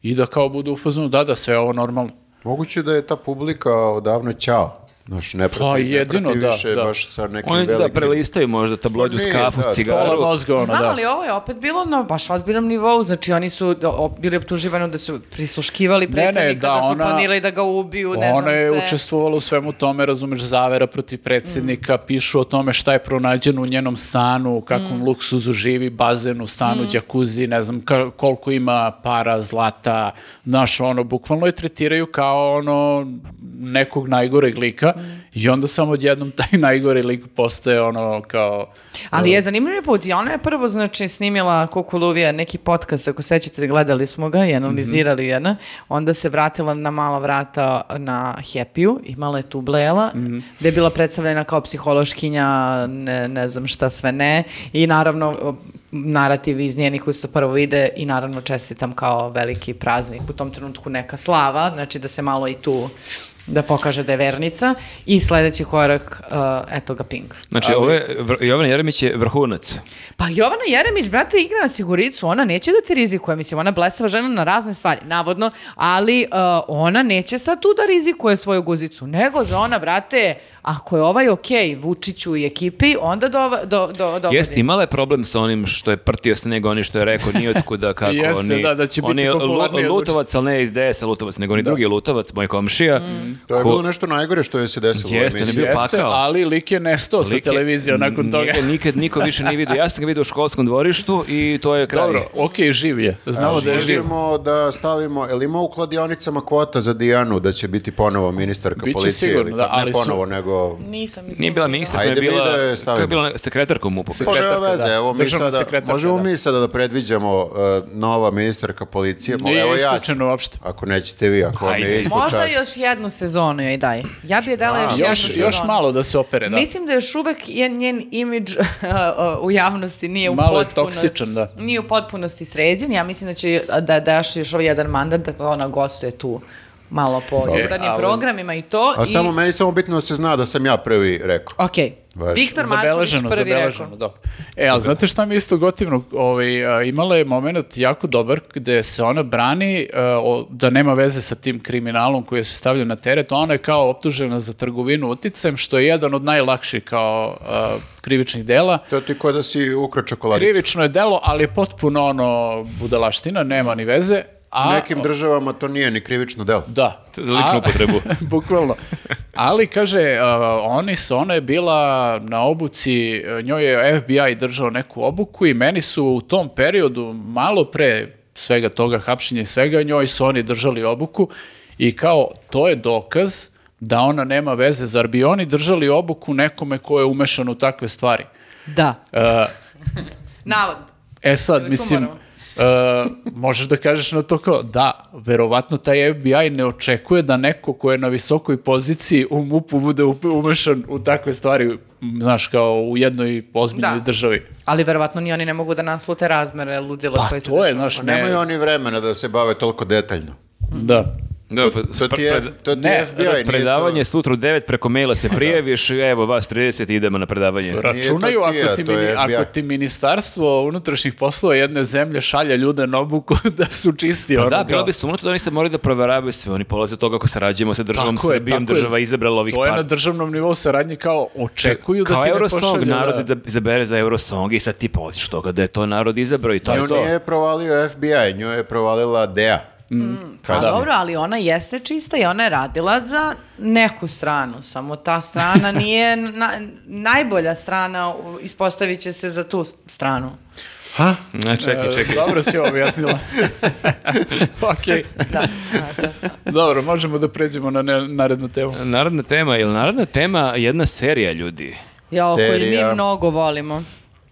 Speaker 3: i da kao budu u fazonu, da, da, sve je ovo normalno.
Speaker 1: Moguće da je ta publika odavno ćao. Znaš, ne prati,
Speaker 3: Pa,
Speaker 1: ne
Speaker 3: jedino
Speaker 1: prati
Speaker 3: da,
Speaker 1: više
Speaker 3: da.
Speaker 1: baš sa nekim
Speaker 2: Oni da
Speaker 1: velikim-
Speaker 2: prelistaju možda tabloid
Speaker 1: Pa
Speaker 2: u
Speaker 1: ne,
Speaker 2: skafu,
Speaker 1: da,
Speaker 2: s cigaru.
Speaker 3: Pola mozga, ono,
Speaker 4: Znam,
Speaker 3: da.
Speaker 4: ali ovo je opet bilo na baš ozbiljnom nivou, znači oni su da, o- bili optuživani da su prisluškivali
Speaker 3: ne,
Speaker 4: predsjednika, da,
Speaker 3: da,
Speaker 4: su
Speaker 3: ona-
Speaker 4: planirali da ga ubiju, ne znam
Speaker 3: Ona je
Speaker 4: sve.
Speaker 3: učestvovala u svemu tome, razumeš, zavera protiv
Speaker 4: Mm.
Speaker 3: predsjednika, pišu o tome šta je pronađeno u njenom stanu, u kakvom
Speaker 4: Mm.
Speaker 3: luksuzu živi, bazen u stanu, džakuzi, ne znam ka- koliko ima para, zlata, znaš, ono, bukvalno je tretiraju kao ono nekog najgoreg
Speaker 4: Mm.
Speaker 3: lika i onda samo odjednom taj *laughs* najgori lik postaje ono kao...
Speaker 4: Ali je zanimljiv put i ona je prvo znači snimila Kukuluvija neki podcast, ako sećate gledali smo ga i analizirali jedna, onda se vratila na mala vrata na Happy-u, imala je tu Blela, gde je bila predstavljena kao psihološkinja, ne, ne znam šta sve ne i naravno o, narativ iz njenih usta prvo ide i naravno čestitam kao veliki praznik u tom trenutku neka slava, znači da se malo i tu da pokaže da je vernica i sledeći korak, uh, eto ga Pink.
Speaker 2: Znači, ovo je, Vr- Jovan Jeremić je vrhunac.
Speaker 4: Pa Jovana Jeremić, brate, igra na siguricu, ona neće da ti rizikuje, mislim, ona blesava žena na razne stvari, navodno, ali uh, ona neće sad tu da rizikuje svoju guzicu, nego za ona, brate, ako je ovaj okej Vučiću i ekipi, onda do, do, do, dovodi.
Speaker 2: Jeste, imala je problem sa onim što je prtio s nego oni što je rekao nije
Speaker 3: *laughs*
Speaker 2: otkuda kako
Speaker 3: Jeste,
Speaker 2: oni.
Speaker 3: da, da će biti
Speaker 2: on je lu-
Speaker 3: popularniji od Da.
Speaker 2: lutovac, ali ne iz DS-a lutovac, nego oni drugi lutovac, moj komšija.
Speaker 1: To je
Speaker 2: Ko-
Speaker 1: bilo nešto najgore što je se desilo u
Speaker 2: Jeste,
Speaker 1: emisiji.
Speaker 2: ne bio
Speaker 3: Jeste,
Speaker 2: pakao.
Speaker 3: ali lik je nestao sa
Speaker 2: Lik je-
Speaker 3: televizijom nakon toga.
Speaker 2: Njega nikad niko više nije vidio. Ja sam ga vidio u školskom dvorištu i to je kraj.
Speaker 3: *laughs* Dobro, okej, živ je. Znamo da je živ.
Speaker 1: Možemo da stavimo, jel ima u kladionicama kvota za Dijanu da će biti ponovo ministarka
Speaker 3: Biće
Speaker 1: policije?
Speaker 3: sigurno,
Speaker 1: ili
Speaker 3: da,
Speaker 1: tako?
Speaker 3: ali
Speaker 1: ne
Speaker 3: su-
Speaker 1: ponovo, nego...
Speaker 4: Nisam izgledala.
Speaker 2: Nije bila ministar, je
Speaker 1: Ajde, mi
Speaker 2: bila,
Speaker 1: da je
Speaker 2: koja
Speaker 1: stavimo.
Speaker 2: je bila sekretarka u MUP-u.
Speaker 1: Pa nema
Speaker 3: Sekretarka,
Speaker 1: veze,
Speaker 3: da.
Speaker 1: evo mi
Speaker 3: Državna
Speaker 1: sada,
Speaker 3: sekretarka,
Speaker 1: možemo
Speaker 3: da.
Speaker 1: mi sada da predviđamo e, nova ministarka policije, Mo-
Speaker 3: Nije
Speaker 1: evo ja ću,
Speaker 3: isključeno uopšte.
Speaker 1: ako nećete vi, ako vam
Speaker 2: Ajde.
Speaker 1: je ispod
Speaker 4: Možda
Speaker 1: časti.
Speaker 4: još jednu sezonu joj daj. Ja bi je dala još, jednu
Speaker 3: Još,
Speaker 4: sezonu.
Speaker 3: još malo da se opere, da.
Speaker 4: Mislim da još uvek je njen imidž *laughs* uh, u javnosti nije da u
Speaker 3: Malo je
Speaker 4: potpuno-
Speaker 3: toksičan, da.
Speaker 4: Nije u potpunosti sređen. Ja mislim da će da daš još ovaj jedan mandat da ona gostuje tu malo po jutarnjim
Speaker 3: ali-
Speaker 4: programima i to.
Speaker 1: A
Speaker 4: i...
Speaker 1: samo meni je samo bitno da se zna da sam ja prvi rekao.
Speaker 4: Ok.
Speaker 1: Važno.
Speaker 4: Viktor Marković prvi rekao.
Speaker 3: dobro. E, ali znate šta mi je isto gotivno? Ovaj, a, imala je moment jako dobar gde se ona brani a, o- da nema veze sa tim kriminalom koji se stavlja na teret. Ona je kao optužena za trgovinu uticajem, što je jedan od najlakših kao a, krivičnih dela.
Speaker 1: To ti ko da si ukrao čokoladicu.
Speaker 3: Krivično je delo, ali je potpuno ono budalaština, nema ni veze.
Speaker 1: U
Speaker 3: A,
Speaker 1: nekim državama to nije ni krivično delo.
Speaker 3: Da.
Speaker 2: Za ličnu
Speaker 3: A-
Speaker 2: upotrebu.
Speaker 3: *laughs* Bukvalno. Ali, kaže, uh, oni su, ona je bila na obuci, uh, njoj je FBI držao neku obuku i meni su u tom periodu, malo pre svega toga, hapšenja i svega, njoj su oni držali obuku i kao, to je dokaz da ona nema veze. Zar bi oni držali obuku nekome ko je umešan u takve stvari?
Speaker 4: Da.
Speaker 3: Uh,
Speaker 4: Navod.
Speaker 3: E sad,
Speaker 4: to
Speaker 3: mislim,
Speaker 4: moramo?
Speaker 3: e, možeš da kažeš na to kao, da, verovatno taj FBI ne očekuje da neko ko je na visokoj poziciji u MUP-u bude up- umešan u takve stvari, m, znaš, kao u jednoj ozbiljnoj
Speaker 4: Da.
Speaker 3: državi.
Speaker 4: Ali verovatno ni oni ne mogu da naslute razmere ludila
Speaker 3: Pa
Speaker 4: koje se
Speaker 3: to je,
Speaker 4: dešava.
Speaker 3: znaš, ne,
Speaker 1: Nemaju oni vremena da se bave toliko detaljno.
Speaker 3: da.
Speaker 2: Da, pa-
Speaker 1: To ti je,
Speaker 2: pred-
Speaker 1: to ti
Speaker 3: ne,
Speaker 1: je FBI. nije to- Da.
Speaker 2: predavanje sutra u 9 preko maila se prijaviš i evo vas 30 i idemo na predavanje.
Speaker 3: Računaju
Speaker 1: Pa to CIA,
Speaker 3: ako, ti,
Speaker 1: to je
Speaker 3: mini-
Speaker 1: FBI.
Speaker 3: ako ti ministarstvo unutrašnjih poslova jedne zemlje šalje ljude na obuku *laughs* da su čisti.
Speaker 2: Pa
Speaker 3: ono,
Speaker 2: da, bilo
Speaker 3: kao-
Speaker 2: bi sumnuto da oni sad moraju da proveravaju sve. Oni polaze od toga ako sarađujemo sa državom
Speaker 3: Tako je,
Speaker 2: Srbijom,
Speaker 3: tako je.
Speaker 2: država izabrala ovih
Speaker 3: To je na
Speaker 2: par.
Speaker 3: državnom nivou saradnje kao očekuju da
Speaker 2: Kao
Speaker 3: ti ne
Speaker 2: Eurosong,
Speaker 3: pošalju,
Speaker 2: narod
Speaker 3: da.
Speaker 2: da izabere za Eurosong i sad ti polaziš od toga da je to narod izabrao i to je
Speaker 1: Nju
Speaker 2: to.
Speaker 1: nije provalio FBI, nju je provalila DEA.
Speaker 4: Pa
Speaker 1: Kasnije.
Speaker 4: dobro, ali ona jeste čista i ona je radila za neku stranu, samo ta strana nije na- najbolja strana, u- ispostavit će se za tu s- stranu.
Speaker 1: Ha?
Speaker 2: Ne, čekaj,
Speaker 3: E,
Speaker 2: čekaj.
Speaker 3: Dobro si
Speaker 2: *laughs*
Speaker 3: ovo objasnila. Okej.
Speaker 4: Da, znate.
Speaker 3: Dobro, možemo da pređemo na ne- narednu temu.
Speaker 2: Narodna tema, ili narodna tema jedna serija ljudi.
Speaker 4: Ja, koju mi
Speaker 1: Serija.
Speaker 4: mnogo volimo.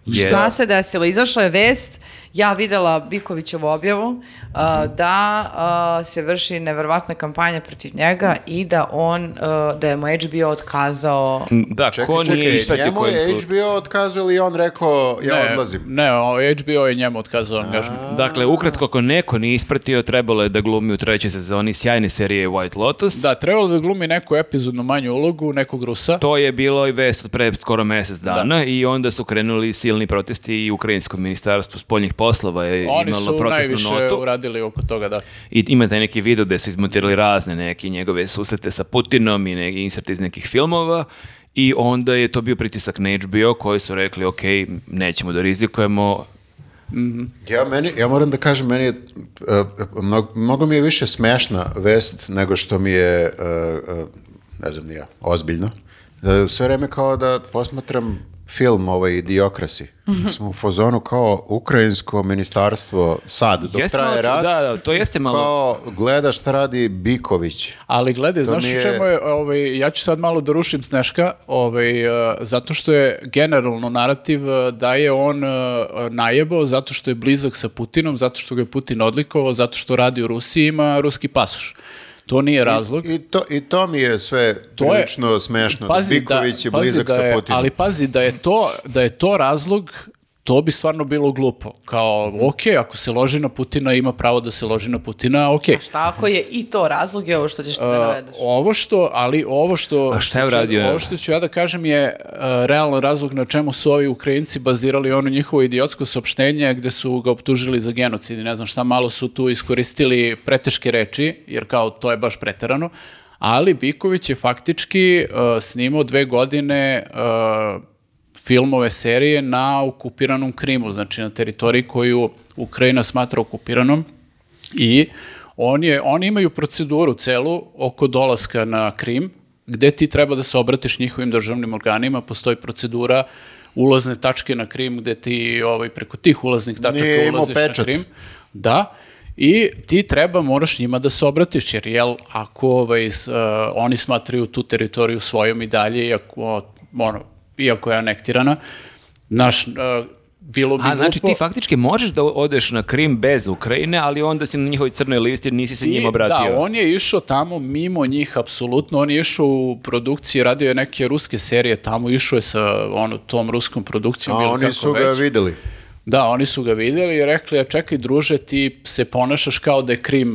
Speaker 2: Jeste.
Speaker 4: Šta se desilo? Izašla je vest, ja videla Bikovićevu objavu, a, da a, se vrši neverovatna kampanja protiv njega i da on, a, da je mu HBO otkazao
Speaker 2: Da,
Speaker 1: Čekaj,
Speaker 2: ko nije
Speaker 1: čekaj,
Speaker 2: ispati
Speaker 1: njemu
Speaker 2: kojim
Speaker 1: je
Speaker 2: slučaju.
Speaker 1: HBO otkazao ili je on rekao ja odlazim?
Speaker 3: Ne, o, HBO je njemu otkazao angažman.
Speaker 2: Dakle, ukratko, ako neko nije ispratio, trebalo je da glumi u trećoj sezoni sjajne serije White Lotus.
Speaker 3: Da, trebalo da glumi neku epizodnu manju ulogu, nekog Rusa.
Speaker 2: To je bilo i vest od pre skoro mesec
Speaker 1: Da.
Speaker 2: dana i onda su krenuli silni protesti i Ukrajinsko ministarstvo spoljnih poslova je
Speaker 3: Oni
Speaker 2: imalo
Speaker 3: su
Speaker 2: protestnu
Speaker 3: najviše
Speaker 2: notu.
Speaker 3: uradili oko toga, da.
Speaker 2: I ima taj neki video gde su izmontirali razne neke njegove susrete sa Putinom i neki insert iz nekih filmova i onda je to bio pritisak na HBO koji su rekli ok, nećemo da rizikujemo,
Speaker 1: Ja, meni, ja moram da kažem, meni je, e, mnogo, mnogo mi je više smešna vest nego što mi je, e, e, ne znam nija, ozbiljno. E, Sve vreme kao da posmatram film ovaj Idiokrasi.
Speaker 3: Mhm.
Speaker 1: Smo u fozonu kao ukrajinsko ministarstvo sad, dok
Speaker 2: Jeste
Speaker 1: traje
Speaker 3: znači,
Speaker 2: malo ču-
Speaker 1: rat,
Speaker 2: Da, da, to jeste malo.
Speaker 1: kao gleda šta radi Biković.
Speaker 3: Ali gledaj, znaš
Speaker 1: nije-
Speaker 3: u čemu je, ovaj, ja ću sad malo da rušim Sneška, ovaj, eh, zato što je generalno narativ eh, da je on eh, najebao, zato što je blizak sa Putinom, zato što ga je Putin odlikovao, zato što radi u Rusiji, ima ruski pasoš. To nije razlog.
Speaker 1: I to, I to mi je sve
Speaker 3: To je-
Speaker 1: prilično smešno. da Biković je
Speaker 3: pazi
Speaker 1: blizak
Speaker 3: da je-
Speaker 1: sa Putinom.
Speaker 3: Ali pazi, da je, to, da je to razlog, to bi stvarno bilo glupo. Kao, ok, ako se loži na Putina, ima pravo da se loži na Putina, ok.
Speaker 4: Šta ako je i to razlog je ovo što ćeš ti da
Speaker 3: A,
Speaker 4: navedeš?
Speaker 3: ovo što, ali ovo što...
Speaker 2: A šta je
Speaker 3: što ću-
Speaker 2: uradio?
Speaker 3: Ovo što ću ja da kažem je a, realno razlog na čemu su ovi Ukrajinci bazirali ono njihovo idiotsko saopštenje gde su ga optužili za genocid i ne znam šta, malo su tu iskoristili preteške reči, jer kao to je baš preterano, ali Biković je faktički a, snimao dve godine a, filmove serije na okupiranom Krimu, znači na teritoriji koju Ukrajina smatra okupiranom i on je, oni imaju proceduru celu oko dolaska na Krim, gde ti treba da se obratiš njihovim državnim organima, postoji procedura ulazne tačke na Krim, gde ti ovaj, preko tih ulaznih tačaka
Speaker 1: Nije imao
Speaker 3: ulaziš na
Speaker 1: pečat.
Speaker 3: Krim. Da, i ti treba, moraš njima da se obratiš, jer jel, ako ovaj, s- e, oni smatraju tu teritoriju svojom i dalje, iako, ono, iako je anektirana, naš, e, bilo bi
Speaker 2: A, znači
Speaker 3: glupo-
Speaker 2: ti faktički možeš da odeš na Krim bez Ukrajine, ali onda si na njihovoj crnoj listi, nisi se
Speaker 3: I-
Speaker 2: njima obratio.
Speaker 3: Da, on je išao tamo mimo njih, apsolutno. On je išao u produkciji, radio je neke ruske serije tamo, išao je sa ono, tom ruskom
Speaker 1: A
Speaker 3: produkcijom. ili
Speaker 1: oni
Speaker 3: kako
Speaker 1: su ga
Speaker 3: već.
Speaker 1: videli.
Speaker 3: Da, oni su ga vidjeli i rekli, a čekaj druže, ti se ponašaš kao da je Krim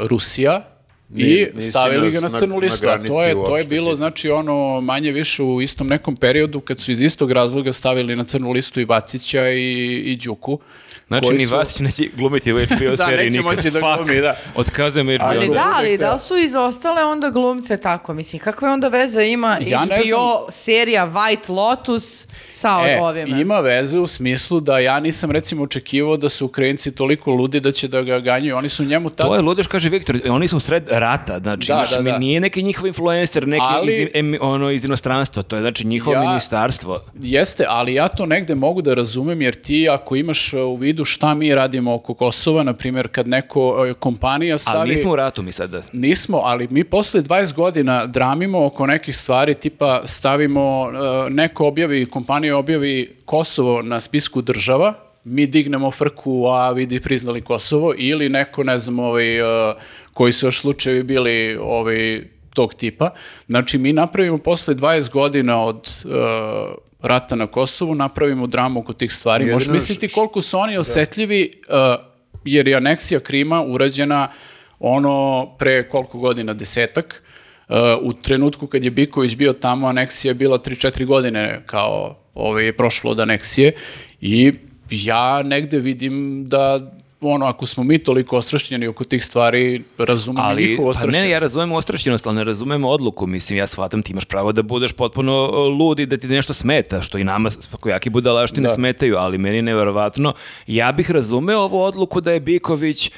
Speaker 3: uh, Rusija,
Speaker 1: Nije-
Speaker 3: I
Speaker 1: nisi
Speaker 3: stavili ga
Speaker 1: nas
Speaker 3: na
Speaker 1: na-
Speaker 3: crnu
Speaker 1: na
Speaker 3: listu. a to
Speaker 1: granici
Speaker 3: je, to je
Speaker 1: uopšte.
Speaker 3: bilo, znači, ono manje više u istom nekom periodu kad su iz istog razloga stavili na crnu listu i Vacića i, i Đuku.
Speaker 2: Znači,
Speaker 3: koji
Speaker 2: ni
Speaker 3: su-
Speaker 2: Vasić neće glumiti u HBO
Speaker 3: *laughs* Da,
Speaker 2: seriji
Speaker 3: neće
Speaker 2: nikad.
Speaker 3: moći da
Speaker 2: Fuck.
Speaker 3: glumi, da.
Speaker 2: Otkazujem HBO.
Speaker 4: Ali
Speaker 3: Dobro,
Speaker 4: da, ali
Speaker 3: uvek
Speaker 4: da
Speaker 3: treba.
Speaker 4: li su izostale onda glumce tako? Mislim, kakve onda veze ima
Speaker 3: Ja ne
Speaker 4: HBO serija White Lotus sa
Speaker 3: E,
Speaker 4: ovime?
Speaker 3: ima veze u smislu da ja nisam recimo očekivao da su Ukrajinci toliko ludi da će da ga ganjaju. Oni su njemu tad...
Speaker 2: To je ludeš, kaže Viktor, e, oni su u sred rata, znači
Speaker 3: Da,
Speaker 2: imaš,
Speaker 3: da, da.
Speaker 2: nije neki njihov influencer, neki
Speaker 3: Ali-
Speaker 2: iz, em, ono, iz inostranstva, to je znači njihovo
Speaker 3: Ja-
Speaker 2: ministarstvo.
Speaker 3: Jeste, ali ja to negde mogu da razumem jer ti ako imaš e, u vidu šta mi radimo oko Kosova, na primjer kad neko e, kompanija stavi...
Speaker 2: Ali nismo u ratu mi sada.
Speaker 3: Nismo, ali mi posle 20 godina dramimo oko nekih stvari, tipa stavimo, e, neko objavi, kompanija objavi Kosovo na spisku država, mi dignemo frku, a vidi priznali Kosovo, ili neko, ne znam, ovaj, e, koji su još slučajevi bili ovaj, tog tipa. Znači, mi napravimo posle 20 godina od e, rata na Kosovu, napravimo dramu oko tih stvari.
Speaker 1: Jedino
Speaker 3: Možeš
Speaker 1: š-
Speaker 3: misliti koliko su
Speaker 2: Da.
Speaker 3: oni osetljivi, uh, jer je aneksija Krima urađena ono pre koliko godina, desetak, Uh, u trenutku kad je Biković bio tamo, aneksija je bila 3-4 godine kao ovaj, je prošlo od aneksije i ja negde vidim da ono, ako smo mi toliko ostrašćeni oko tih stvari, razumem i
Speaker 2: Ali,
Speaker 3: njihovu
Speaker 2: pa ne,
Speaker 3: ostrašćenost.
Speaker 2: ja razumem ostrašćenost, ali ne razumem odluku. Mislim, ja shvatam, ti imaš pravo da budeš potpuno e, lud i da ti nešto smeta, što i nama svakojaki budalaštine
Speaker 3: Da.
Speaker 2: smetaju, ali meni je nevjerovatno. Ja bih razumeo ovu odluku da je Biković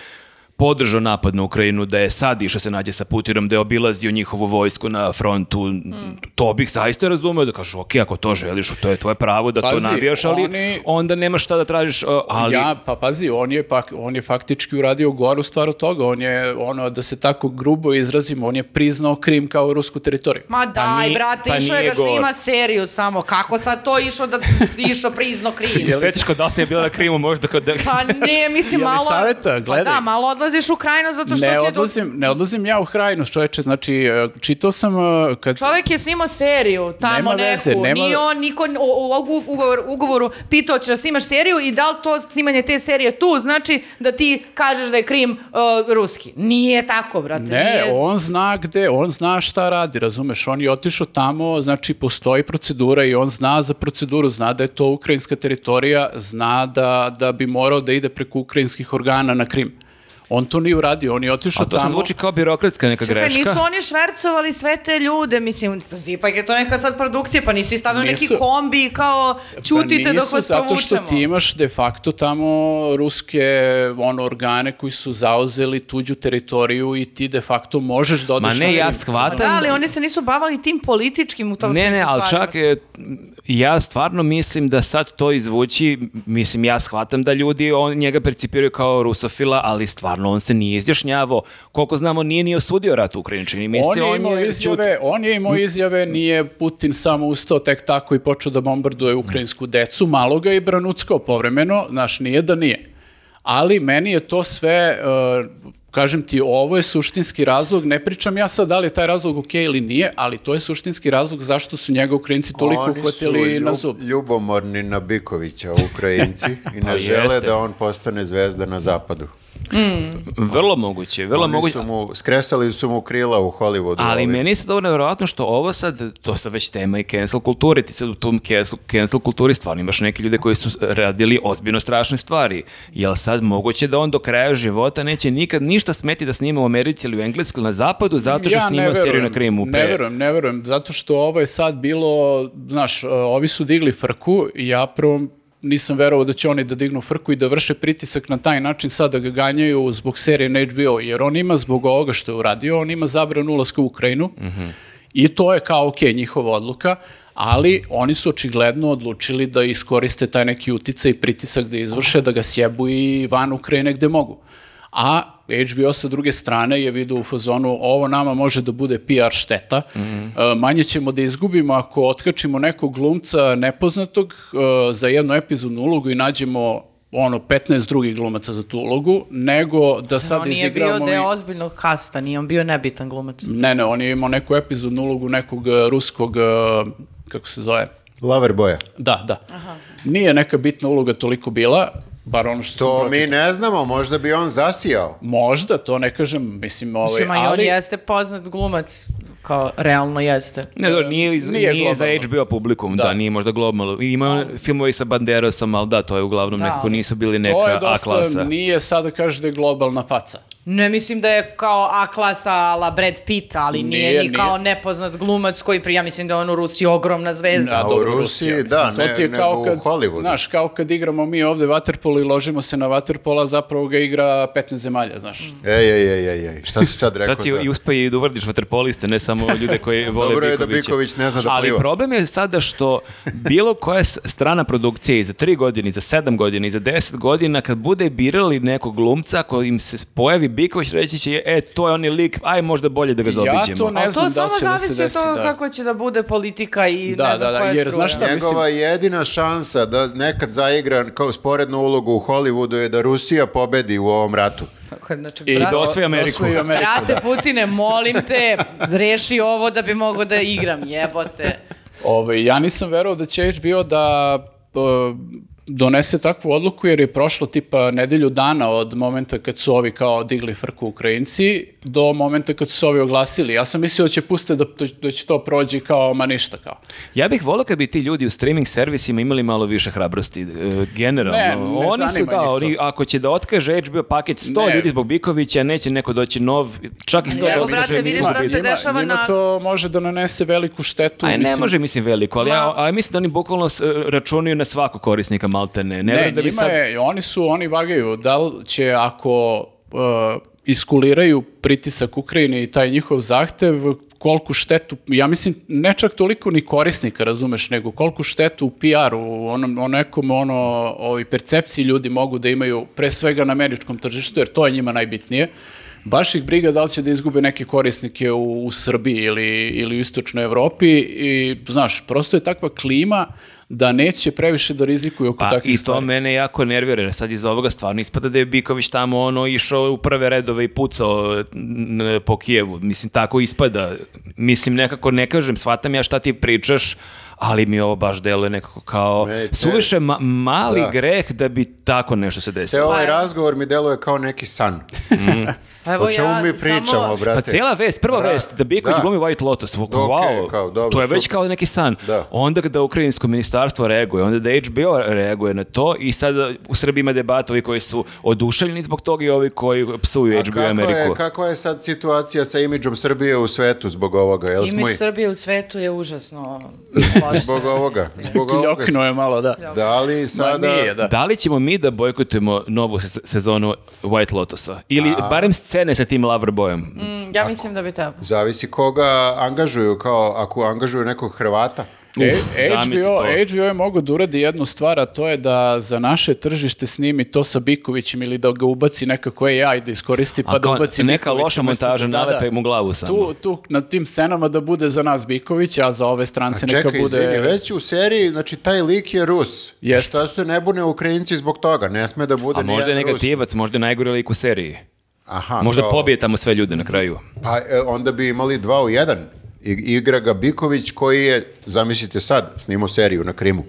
Speaker 2: podržao napad na Ukrajinu, da je sad išao se nađe sa Putinom, da je obilazio njihovu vojsku na frontu, to bih zaista razumeo da kažu, ok, ako to želiš, to je tvoje pravo da
Speaker 3: Pazi,
Speaker 2: to navijaš, ali
Speaker 3: oni-
Speaker 2: onda nemaš šta da tražiš, e, ali
Speaker 3: Ja, pa pazi, on je, pak, on je faktički uradio goru stvar od toga. On je, ono, da se tako grubo izrazimo, on je priznao Krim kao rusku teritoriju.
Speaker 4: Ma daj,
Speaker 2: ni-
Speaker 4: brate,
Speaker 2: pa
Speaker 4: išao je
Speaker 2: nije
Speaker 4: da
Speaker 2: govor.
Speaker 4: snima seriju samo. Kako sad to išao da išao
Speaker 2: *laughs*
Speaker 4: prizno kriv?
Speaker 2: *laughs* ti sećaš kod da li sam ja bila na Krimu, možda kod da...
Speaker 4: Pa ne, mislim,
Speaker 3: Jel mi
Speaker 4: malo...
Speaker 3: saveta? Gledaj.
Speaker 4: Pa da, malo odlaziš u krajinu zato što ti
Speaker 3: Ne
Speaker 4: je... do-
Speaker 3: odlazim, ne odlazim ja u Krajnost, čoveče, znači, e, čitao sam e, kad...
Speaker 4: Čovek je snimao seriju, tamo
Speaker 3: Nema
Speaker 4: neku.
Speaker 3: veze, nema-
Speaker 4: Nije on niko n- u, u ovu ugovor- ugovoru pitao će da snimaš seriju i da li to snimanje te serije tu znači da ti kažeš da je Krim uh, ruski. Nije tako, brate.
Speaker 3: Ne,
Speaker 4: nije...
Speaker 3: on zna gde, on zna šta radi, razumeš, on je otišao tamo, znači postoji procedura i on zna za proceduru, zna da je to ukrajinska teritorija, zna da, da bi morao da ide preko ukrajinskih organa na Krim. On to nije uradio, on je otišao
Speaker 2: A to
Speaker 3: tamo.
Speaker 2: se zvuči kao birokratska neka
Speaker 4: Čekaj,
Speaker 2: greška.
Speaker 4: nisu oni švercovali sve te ljude, mislim, ipak je to neka sad produkcija, pa nisi stavio neki
Speaker 3: Nisu.
Speaker 4: kombi i kao ćutite
Speaker 3: pa nisu,
Speaker 4: dok vas
Speaker 3: zato što
Speaker 4: provučemo.
Speaker 3: ti imaš de facto tamo ruske ono, organe koji su zauzeli tuđu teritoriju i ti de facto možeš da odeš
Speaker 2: Ma
Speaker 3: na
Speaker 2: ne, ja
Speaker 3: Krim.
Speaker 4: Pa
Speaker 2: shvatam.
Speaker 4: Da, ali oni se nisu bavili tim političkim u tom
Speaker 2: Ne,
Speaker 4: smislu
Speaker 2: ne, ali
Speaker 4: stvarima.
Speaker 2: čak e, ja stvarno mislim da sad to izvući, mislim ja shvatam da ljudi on, njega percipiraju kao rusofila, ali stvarno on se nije izjašnjavao. Koliko znamo nije ni osudio rat u Ukrajini, čini mi
Speaker 3: On
Speaker 2: se.
Speaker 3: je imao
Speaker 2: je
Speaker 3: izjave, on je imao izjave, nije Putin samo ustao tek tako i počeo da bombarduje ukrajinsku decu, malo ga je i Branuckao povremeno, znaš, nije da nije. Ali meni je to sve, uh, kažem ti, ovo je suštinski razlog, ne pričam ja sad da li je taj razlog okej ili nije, ali to je suštinski razlog zašto su njega Ukrajinci toliko
Speaker 1: Oni su
Speaker 3: uhvatili na
Speaker 1: ljub-
Speaker 3: zub.
Speaker 1: ljubomorni na Bikovića, Ukrajinci,
Speaker 3: *laughs*
Speaker 1: i ne
Speaker 2: Pa
Speaker 1: žele
Speaker 2: jeste.
Speaker 1: da on postane zvezda na zapadu.
Speaker 2: Vrlo moguće, vrlo
Speaker 1: Oni
Speaker 2: moguće.
Speaker 1: su mu, skresali su mu krila u Hollywoodu. ovaj.
Speaker 2: Ali
Speaker 1: ovi.
Speaker 2: meni se dobro nevjerojatno što ovo sad, to sad već tema i cancel kulture, ti sad u tom cancel, cancel kulturi stvarno imaš neke ljude koji su radili ozbiljno strašne stvari. Jel sad moguće da on do kraja života neće nikad ništa smeti da snima u Americi ili u Engleskoj ili na zapadu zato što
Speaker 3: Ja ne
Speaker 2: snima seriju
Speaker 3: verujem,
Speaker 2: na Krimu?
Speaker 3: Ne
Speaker 2: pre-
Speaker 3: verujem, ne verujem, zato što ovo je sad bilo, znaš, e, ovi su digli frku i ja prvo nisam verovao da će oni da dignu frku i da vrše pritisak na taj način sad da ga ganjaju zbog serije na HBO, jer on ima zbog ovoga što je uradio, on ima zabran ulazka u Ukrajinu i to je kao, ok, njihova odluka, ali oni su očigledno odlučili da iskoriste taj neki uticaj i pritisak da izvrše, da ga sjebu i van Ukrajine gde mogu. A HBO sa druge strane je vidio u fazonu ovo nama može da bude PR šteta,
Speaker 1: Mhm.
Speaker 3: E, manje ćemo da izgubimo ako otkačimo nekog glumca nepoznatog e, za jednu epizodnu ulogu i nađemo ono 15 drugih glumaca za tu ulogu, nego da sad
Speaker 4: on nije
Speaker 3: izigramo...
Speaker 4: bio
Speaker 3: i-
Speaker 4: deo ozbiljnog hasta, nije on bio nebitan glumac.
Speaker 3: Ne, ne, on je imao neku epizodnu ulogu nekog e, ruskog, e, kako se zove,
Speaker 1: Lover boja.
Speaker 3: da, da. Nije neka bitna uloga toliko bila, bar ono što
Speaker 1: To
Speaker 3: sam
Speaker 1: mi
Speaker 3: pročitao.
Speaker 1: ne znamo, možda bi on zasijao.
Speaker 3: Možda, to ne kažem, mislim, ovaj,
Speaker 4: Mislim, ali... on
Speaker 3: ali...
Speaker 4: jeste poznat glumac, kao realno jeste.
Speaker 2: Ne, dobro, nije, iz-
Speaker 3: Nije
Speaker 2: nije, za
Speaker 3: globalno.
Speaker 2: HBO publikum, da,
Speaker 3: Da.
Speaker 2: nije možda globalno. Ima filmove i sa Banderosom, ali da, to je uglavnom
Speaker 4: Da.
Speaker 2: nekako nisu bili neka
Speaker 3: To je
Speaker 2: A
Speaker 3: dosta,
Speaker 2: klasa.
Speaker 3: nije sad da kažeš da je globalna faca.
Speaker 4: Ne mislim da je kao A klasa a la Brad Pitt, ali nije,
Speaker 3: Nije,
Speaker 4: ni
Speaker 3: nije.
Speaker 4: kao nepoznat glumac koji pri, ja mislim da je on u Rusiji ogromna zvezda.
Speaker 1: u Rusiji, da, ne- nego u Hollywoodu.
Speaker 3: Znaš, kao kad igramo mi ovde vaterpolo i ložimo se na vaterpola, zapravo ga igra 15 zemalja, znaš.
Speaker 1: Ej, ej, ej, ej, ej, šta si sad rekao?
Speaker 2: *laughs* Sad si
Speaker 1: za-
Speaker 2: i uspe i da uvrdiš vaterpoliste, ne samo ljude
Speaker 1: *laughs*
Speaker 2: koji vole
Speaker 1: Dobro je da
Speaker 2: Bikovića.
Speaker 1: Biković ne zna da
Speaker 2: Ali
Speaker 1: pliva.
Speaker 2: problem je sada što bilo koja s- strana produkcije i za tri godine, i za sedam godina, i za deset godina, kad bude birali nekog glumca koji im se pojavi Biković, reći će, e, to je onaj lik, aj možda bolje da ga
Speaker 3: Ja
Speaker 2: zaobiđemo.
Speaker 3: to ne-
Speaker 4: Ali to
Speaker 3: znam da
Speaker 4: samo
Speaker 3: će da se
Speaker 4: zavisi
Speaker 3: desi,
Speaker 4: od toga
Speaker 3: da.
Speaker 4: kako će da bude politika i
Speaker 3: Da,
Speaker 4: ne znam
Speaker 3: da, da,
Speaker 4: koja
Speaker 3: jer
Speaker 4: struja.
Speaker 3: znaš šta-
Speaker 1: Njegova jedina šansa da nekad zaigra kao sporednu ulogu u Hollywoodu je da Rusija pobedi u ovom ratu.
Speaker 4: *laughs* Tako, znači,
Speaker 3: I
Speaker 4: bra-
Speaker 2: da osvoji Ameriku.
Speaker 3: *laughs* Osvoji Ameriku,
Speaker 4: Brate
Speaker 3: da.
Speaker 4: Putine, molim
Speaker 3: *laughs*
Speaker 4: te, reši ovo da bi mogao da igram, jebote.
Speaker 3: Ovaj, ja nisam verovao da će HBO da p- donese takvu odluku jer je prošlo tipa nedelju dana od momenta kad su ovi kao digli frku Ukrajinci do momenta kad su se ovi oglasili. Ja sam mislio da će puste da, da će to prođi kao ma ništa kao.
Speaker 2: Ja bih volio kad bi ti ljudi u streaming servisima imali malo više hrabrosti, e, generalno.
Speaker 3: Ne, ne
Speaker 2: oni su,
Speaker 3: zanima
Speaker 2: da,
Speaker 3: njih to.
Speaker 2: oni, ako će da otkaže HBO paket 100
Speaker 3: Ne.
Speaker 2: ljudi zbog Bikovića, neće neko doći nov, čak i 100
Speaker 3: Pa
Speaker 4: Evo,
Speaker 2: ljudi
Speaker 4: brate,
Speaker 2: će
Speaker 4: vidiš
Speaker 2: njima
Speaker 4: šta se
Speaker 2: biti.
Speaker 4: de- dešava
Speaker 3: njima
Speaker 4: na-
Speaker 3: to može da nanese veliku štetu.
Speaker 2: Aj, ne
Speaker 3: mislim.
Speaker 2: može, mislim, veliko, ali, ja,
Speaker 4: Ma-
Speaker 2: ali mislim da oni bukvalno s- računaju na svakog korisnika maltene. Ne,
Speaker 3: Ne,
Speaker 2: verujem da bi
Speaker 3: njima
Speaker 2: sad...
Speaker 3: je, oni su, oni vagaju da li će ako uh, iskuliraju pritisak Ukrajini i taj njihov zahtev, koliku štetu, ja mislim, ne čak toliko ni korisnika, razumeš, nego koliku štetu u PR-u, u onom, o nekom ono, ovi percepciji ljudi mogu da imaju, pre svega na američkom tržištu, jer to je njima najbitnije. Baš ih briga da li će da izgube neke korisnike u, u Srbiji ili, ili u istočnoj Evropi i, znaš, prosto je takva klima da neće previše da rizikuju oko
Speaker 2: Pa
Speaker 3: takvih
Speaker 2: i to
Speaker 3: stvari.
Speaker 2: mene jako nervira, jer sad iz ovoga stvarno ispada da je Biković tamo ono išao u prve redove i pucao n- po Kijevu. Mislim, tako ispada. Mislim, nekako ne kažem, shvatam ja šta ti pričaš, ali mi ovo baš deluje nekako kao
Speaker 1: Me, te-
Speaker 2: suviše ma- mali
Speaker 1: Da.
Speaker 2: greh da bi tako nešto se
Speaker 1: Te
Speaker 2: desilo.
Speaker 1: ovaj
Speaker 4: Pa-
Speaker 1: razgovor mi deluje kao neki san.
Speaker 4: Pa evo
Speaker 1: O čemu
Speaker 4: ja
Speaker 1: mi pričamo,
Speaker 4: samo-
Speaker 1: brate?
Speaker 2: Mhm. Pa cijela vest, prva
Speaker 1: Bra-
Speaker 2: vest, da Biković
Speaker 1: da.
Speaker 2: glumi White Lotus, wow, wow,
Speaker 1: kao, dobro,
Speaker 2: to je već
Speaker 1: super.
Speaker 2: kao neki san.
Speaker 1: Da.
Speaker 2: Onda da ukrajinsko ministarstvo reaguje, onda da HBO reaguje na to i sad u Srbiji ima debat ovi koji su oduševljeni zbog toga i ovi koji psuju
Speaker 1: A
Speaker 2: HBO i
Speaker 1: kako je,
Speaker 2: Ameriku.
Speaker 1: kako je sad situacija sa imidžom Srbije u svetu zbog ovoga? Jel smo
Speaker 4: Imidž
Speaker 1: i-
Speaker 4: Srbije u svetu je
Speaker 1: *laughs*
Speaker 4: užasno loše.
Speaker 1: Zbog
Speaker 3: *laughs*
Speaker 1: ovoga. Zbog ovoga.
Speaker 3: Kljokno je malo, da.
Speaker 1: Da li
Speaker 3: Ma
Speaker 1: sada...
Speaker 3: nije, da.
Speaker 2: Da li ćemo mi da bojkotujemo novu se- sezonu White Lotusa? Ili barem scene sa tim Loverboyem?
Speaker 4: Mm, Ja mislim da bi to.
Speaker 1: Zavisi koga angažuju, kao ako angažuju nekog Hrvata.
Speaker 3: E,
Speaker 2: Uf, zamisli
Speaker 3: HBO,
Speaker 2: to.
Speaker 3: HBO je mogao da uradi jednu stvar, a to je da za naše tržište snimi to sa Bikovićem ili da ga ubaci nekako AI da iskoristi pa
Speaker 2: A
Speaker 3: da
Speaker 2: kao
Speaker 3: ubaci
Speaker 2: neka
Speaker 3: Bikovića
Speaker 2: loša
Speaker 3: umesto
Speaker 2: montaža,
Speaker 3: da- da,
Speaker 2: nalepe
Speaker 3: da.
Speaker 2: mu glavu samo.
Speaker 3: Tu, tu na tim scenama da bude za nas Biković, a za ove
Speaker 1: A
Speaker 3: strance neka
Speaker 1: čekaj,
Speaker 3: bude...
Speaker 1: izvini, već u seriji, znači taj lik je Rus.
Speaker 3: Jeste.
Speaker 1: Šta se ne bune Ukrajinci zbog toga? Ne sme da bude
Speaker 2: A možda je
Speaker 1: nijedan Rus.
Speaker 2: negativac, možda je najgori lik u seriji.
Speaker 1: Aha,
Speaker 2: Možda
Speaker 1: kao-
Speaker 2: pobije tamo sve ljude na kraju.
Speaker 1: Pa e, onda bi imali dva u jedan. I, igra ga Biković koji je, zamislite sad, snimao seriju na Krimu.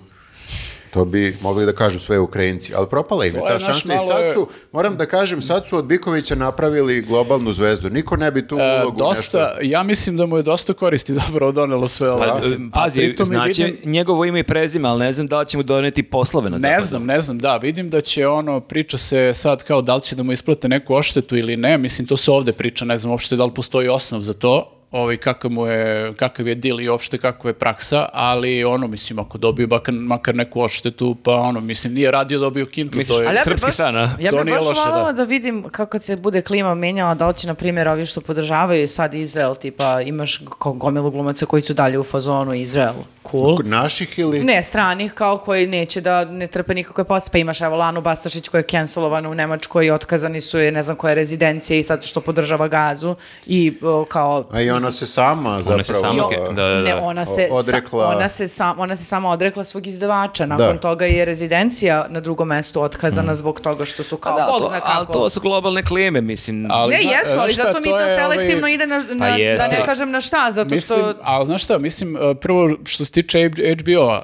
Speaker 1: To bi mogli da kažu sve Ukrajinci, ali propala im je
Speaker 3: To je
Speaker 1: ta
Speaker 3: naš
Speaker 1: šansa i
Speaker 3: malo-
Speaker 1: sad su, moram da kažem, sad su od Bikovića napravili globalnu zvezdu. Niko ne bi tu
Speaker 3: E,
Speaker 1: ulogu
Speaker 3: dosta, ja mislim da mu je dosta koristi dobro donelo sve ovo.
Speaker 1: Da.
Speaker 2: Pa,
Speaker 3: Mislim, a
Speaker 2: pazi,
Speaker 3: pritom i
Speaker 2: znači
Speaker 3: vidim-
Speaker 2: njegovo ime i prezime, ali ne znam da li će mu doneti poslove na zapadu.
Speaker 3: Ne znam, ne znam, da, vidim da će ono, priča se sad kao da li će da mu isplate neku oštetu ili ne, mislim to se ovde priča, ne znam uopšte da li postoji osnov za to, ovaj, kakav, mu je, kakav je deal i uopšte kakva je praksa, ali ono, mislim, ako dobio makar, makar neku odštetu, pa ono, mislim, nije radio dobio kintu,
Speaker 2: Misliš,
Speaker 3: to je...
Speaker 2: ali
Speaker 4: bi
Speaker 2: Srpski
Speaker 4: baš-
Speaker 2: stan, a?
Speaker 4: Ja
Speaker 3: To
Speaker 4: bih
Speaker 3: nije
Speaker 4: baš
Speaker 3: loše, da.
Speaker 4: voljela da. vidim kako se bude klima menjala, da li će, na primjer, ovi što podržavaju sad Izrael, tipa imaš kao gomilu glumaca koji su dalje u fazonu Izrael. Cool.
Speaker 1: Naših ili...
Speaker 4: Ne, stranih kao koji neće da ne trpe nikakve posle. Pa imaš evo Lanu Bastašić koja je cancelovana u Nemačkoj i otkazani su je ne znam koja rezidencija i sad što podržava gazu i o, kao
Speaker 1: A i ona se sama zapravo...
Speaker 2: Ona se sama...
Speaker 1: o,
Speaker 2: Da, da, da.
Speaker 4: Ne, ona se,
Speaker 1: O- odrekla-
Speaker 4: sa- ona, se sa- ona se samo odrekla svog izdavača. Nakon
Speaker 1: Da.
Speaker 4: toga je rezidencija na drugom mestu
Speaker 3: Mm.
Speaker 4: otkazana zbog toga što su kao,
Speaker 2: Da,
Speaker 4: bog
Speaker 2: to-
Speaker 4: zna kako.
Speaker 2: ali to su globalne klime, mislim.
Speaker 3: Ali
Speaker 4: ne,
Speaker 3: zna-
Speaker 4: jesu,
Speaker 3: znaš
Speaker 4: ali
Speaker 3: šta,
Speaker 4: zato mi to,
Speaker 3: je, ovaj,
Speaker 4: selektivno ide na, na- da
Speaker 2: Pa jeste.
Speaker 4: ne kažem na šta, zato
Speaker 3: Mislim,
Speaker 4: što...
Speaker 3: ali znaš šta, mislim, e, prvo što se tiče HBO-a,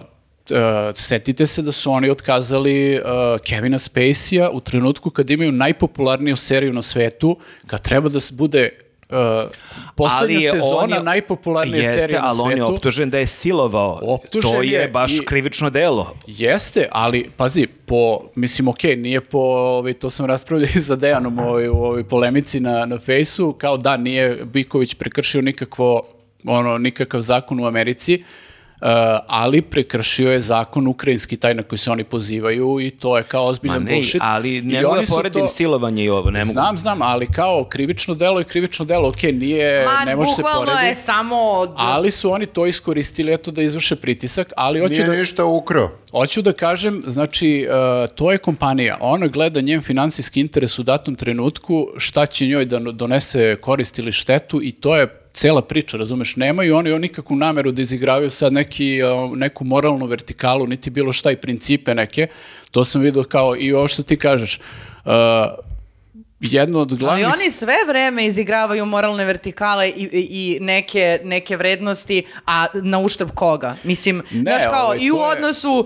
Speaker 3: e, setite se da su oni otkazali e, Kevina Spacey-a u trenutku kad imaju najpopularniju seriju na svetu, kad treba da se bude e, poslednja
Speaker 2: Ali je- on
Speaker 3: sezona
Speaker 2: je-
Speaker 3: najpopularnije serije na
Speaker 2: Jeste, ali on
Speaker 3: svetu.
Speaker 2: je optužen da je silovao.
Speaker 3: Optužen
Speaker 2: to je,
Speaker 3: je
Speaker 2: baš
Speaker 3: i-
Speaker 2: krivično delo.
Speaker 3: Jeste, ali pazi, po, mislim, okej, nije po, ovaj, to sam raspravljao i sa Dejanom ovaj, u ovoj polemici na, na fejsu, kao da nije Biković prekršio nikakvo, ono, nikakav zakon u Americi, eh, ali prekršio je zakon ukrajinski, taj na koji se oni pozivaju i to je kao
Speaker 2: Ma
Speaker 3: ozbiljan
Speaker 2: ne,
Speaker 3: bullshit.
Speaker 2: ali
Speaker 3: I
Speaker 2: ne mogu
Speaker 3: oni
Speaker 2: da
Speaker 3: su
Speaker 2: poredim
Speaker 3: to-
Speaker 2: silovanje i ovo. Ne mogu.
Speaker 3: Znam, znam, ali kao krivično delo je krivično delo, okej, nije,
Speaker 4: Ma,
Speaker 3: ne može se
Speaker 4: bukvalno
Speaker 3: porediti.
Speaker 4: je samo... Od...
Speaker 3: Ali su oni to iskoristili, eto, da izvrše pritisak, ali hoću
Speaker 1: Nije
Speaker 3: da...
Speaker 1: ništa ukrao.
Speaker 3: Hoću da kažem, znači, e, to je kompanija, ona gleda njen finansijski interes u datom trenutku, šta će njoj da no- donese korist ili štetu i to je cela priča, razumeš, nemaju oni oni nikakvu nameru da izigravaju sad neki, e, neku moralnu vertikalu, niti bilo šta i principe neke, to sam vidio kao i ovo što ti kažeš, E, jedno od
Speaker 4: Ali
Speaker 3: glavnih...
Speaker 4: oni sve vreme izigravaju moralne vertikale i, i, i neke, neke vrednosti, a na uštrb koga? Mislim,
Speaker 3: Ne,
Speaker 4: znaš kao,
Speaker 3: ovaj,
Speaker 4: i u
Speaker 3: to je-
Speaker 4: odnosu uh,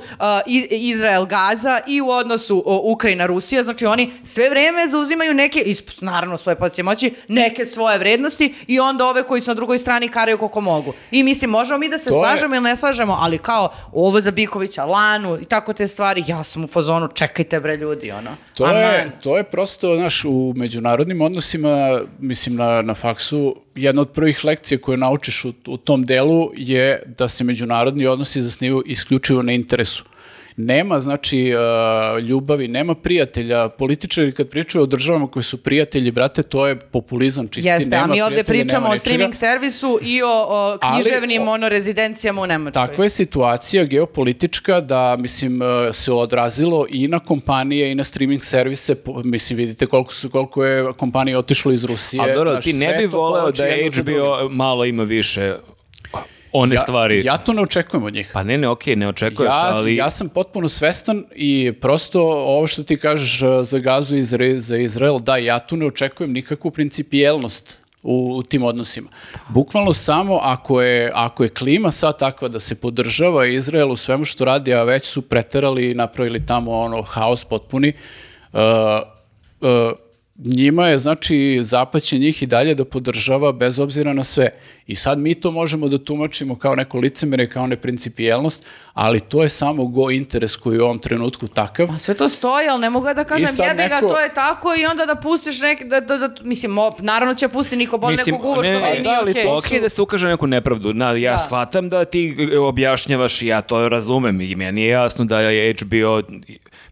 Speaker 4: Izrael-Gaza i u odnosu o, Ukrajina-Rusija, znači oni sve vreme zauzimaju neke, isp, naravno svoje pozicije moći, neke svoje vrednosti i onda ove koji su na drugoj strani karaju koliko mogu. I mislim, možemo mi da se
Speaker 3: To je-
Speaker 4: slažemo ili ne slažemo, ali kao ovo za Bikovića, Lanu i tako te stvari, ja sam u fazonu, čekajte bre ljudi, ono.
Speaker 3: To
Speaker 4: Aman.
Speaker 3: je, to je prosto, znaš, u međunarodnim odnosima, mislim na, na faksu, jedna od prvih lekcija koje naučiš u, u tom delu je da se međunarodni odnosi zasnivaju isključivo na interesu. Nema, znači, e, ljubavi, nema prijatelja. Političari kad pričaju o državama koji su prijatelji, brate, to je populizam čisti.
Speaker 4: Jeste, a
Speaker 3: nema
Speaker 4: mi ovdje
Speaker 3: prijatelja, nema
Speaker 4: pričamo o
Speaker 3: ničega.
Speaker 4: streaming servisu i o, o
Speaker 3: Ali,
Speaker 4: književnim
Speaker 3: o-
Speaker 4: ono, rezidencijama u Nemačkoj.
Speaker 3: Takva je situacija geopolitička da, mislim, e, se odrazilo i na kompanije i na streaming servise. Po- Mislim, vidite koliko, su, koliko je kompanije otišlo iz Rusije.
Speaker 2: Ali dobro,
Speaker 3: Znaš,
Speaker 2: ti ne
Speaker 3: sve
Speaker 2: bi
Speaker 3: to
Speaker 2: voleo
Speaker 3: povlači
Speaker 2: da
Speaker 3: jedno za drugo.
Speaker 2: HBO malo ima više one stvari.
Speaker 3: Ja to ne očekujem od njih.
Speaker 2: Pa ne, ne, okej, ne očekuješ,
Speaker 3: Ja,
Speaker 2: ali...
Speaker 3: ja sam potpuno svestan i prosto ovo što ti kažeš e, za gazu i Izra- za Izrael, da, ja tu ne očekujem nikakvu principijelnost u, u tim odnosima. Bukvalno samo ako je, ako je klima sad takva da se podržava Izrael u svemu što radi, a već su preterali i napravili tamo ono haos potpuni, e, e, njima je, znači, zapad će njih i dalje da podržava bez obzira na sve. I sad mi to možemo da tumačimo kao neko licemere, kao neprincipijelnost, ali to je samo go interes koji je u ovom trenutku takav.
Speaker 4: Ma Sve to stoji, ali ne mogu ja da kažem
Speaker 3: sad
Speaker 4: jebi ga,
Speaker 3: neko-
Speaker 4: to je tako i onda da pustiš neki, da, da, da, mislim, op, naravno će pusti niko bol
Speaker 2: Mislim,
Speaker 4: nekog uvo što
Speaker 2: ne,
Speaker 4: meni
Speaker 2: ne,
Speaker 4: nije
Speaker 3: da, ali
Speaker 4: okej.
Speaker 3: to
Speaker 2: Ok, da se ukaže na neku nepravdu. Na, ja shvatam da ti e, objašnjavaš i ja to razumem i meni je jasno da je HBO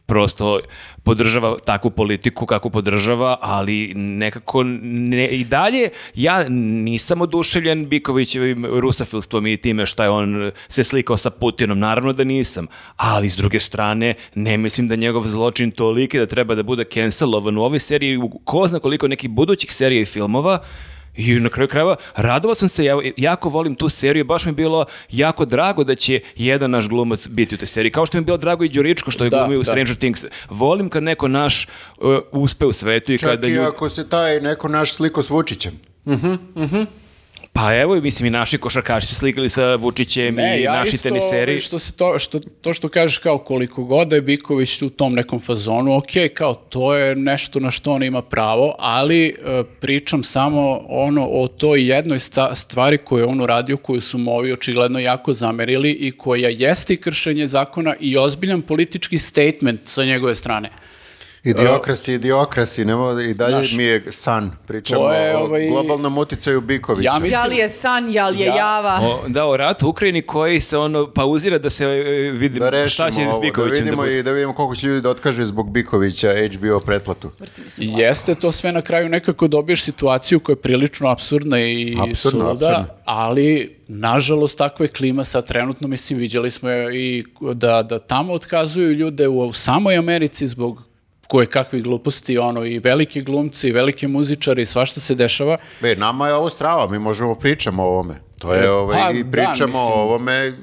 Speaker 2: prosto podržava takvu politiku kako podržava, ali nekako ne, i dalje ja nisam oduševljen Bikovićevim rusafilstvom i time šta je on se slikao sa Putinom. Naravno da nisam, ali s druge strane ne mislim da je njegov zločin toliki da treba da bude cancelovan u ovoj seriji, u ko zna koliko nekih budućih serija i filmova, i na kraju krajeva, radovao sam se, ja jako volim tu seriju, baš mi je bilo jako drago da će jedan naš glumac biti u toj seriji. Kao što mi je bilo drago i Đuričko što je
Speaker 3: Da,
Speaker 2: glumio u
Speaker 3: da.
Speaker 2: Stranger Things. Volim kad neko naš uh, uspe u svetu i
Speaker 1: Čak
Speaker 2: kada
Speaker 1: i
Speaker 2: ljudi...
Speaker 1: ako se taj neko naš sliko s Vučićem.
Speaker 2: Pa evo, mislim i naši košarkaši su slikali sa Vučićem i naši
Speaker 3: isto,
Speaker 2: teniseri.
Speaker 3: Što se to, što, to što kažeš kao koliko god da je Biković u tom nekom fazonu, ok, kao to je nešto na što on ima pravo, ali e, pričam samo ono o toj jednoj sta- stvari koju je on uradio, koju su mu ovi očigledno jako zamerili i koja jeste i kršenje zakona i ozbiljan politički statement sa njegove strane.
Speaker 1: Idiokrasi, idiokrasi, nemo, i dalje
Speaker 3: Znaš,
Speaker 1: mi je san. Pričamo
Speaker 3: to je,
Speaker 1: o
Speaker 3: ovaj-
Speaker 1: globalnom uticaju Bikovića.
Speaker 3: Ja mislim-
Speaker 4: Ja li je san, ja li je
Speaker 3: Ja-
Speaker 4: java?
Speaker 2: O, da, o ratu u Ukrajini koji se ono pauzira da se e, vidi
Speaker 1: da
Speaker 2: šta
Speaker 1: rešimo
Speaker 2: će s
Speaker 1: ovo, da
Speaker 2: Bikovićem da,
Speaker 1: vidimo
Speaker 2: bude.
Speaker 1: i da vidimo koliko će ljudi da otkaže zbog Bikovića HBO pretplatu.
Speaker 4: Vrti mi se glava.
Speaker 3: Jeste to sve na kraju nekako dobiješ situaciju koja je prilično apsurdna i
Speaker 1: Apsurdno,
Speaker 3: suluda,
Speaker 1: apsurdno.
Speaker 3: ali nažalost takva je klima sad trenutno, mislim vidjeli smo je i da, da tamo otkazuju ljude u, u samoj Americi zbog koje kakvih gluposti, ono i veliki glumci, i veliki muzičari, i svašta se dešava.
Speaker 1: Be, E, nama je ovo strava, mi možemo pričamo o ovome. To je, ovaj, i
Speaker 3: da,
Speaker 1: pričamo
Speaker 3: mislim.
Speaker 1: o ovome.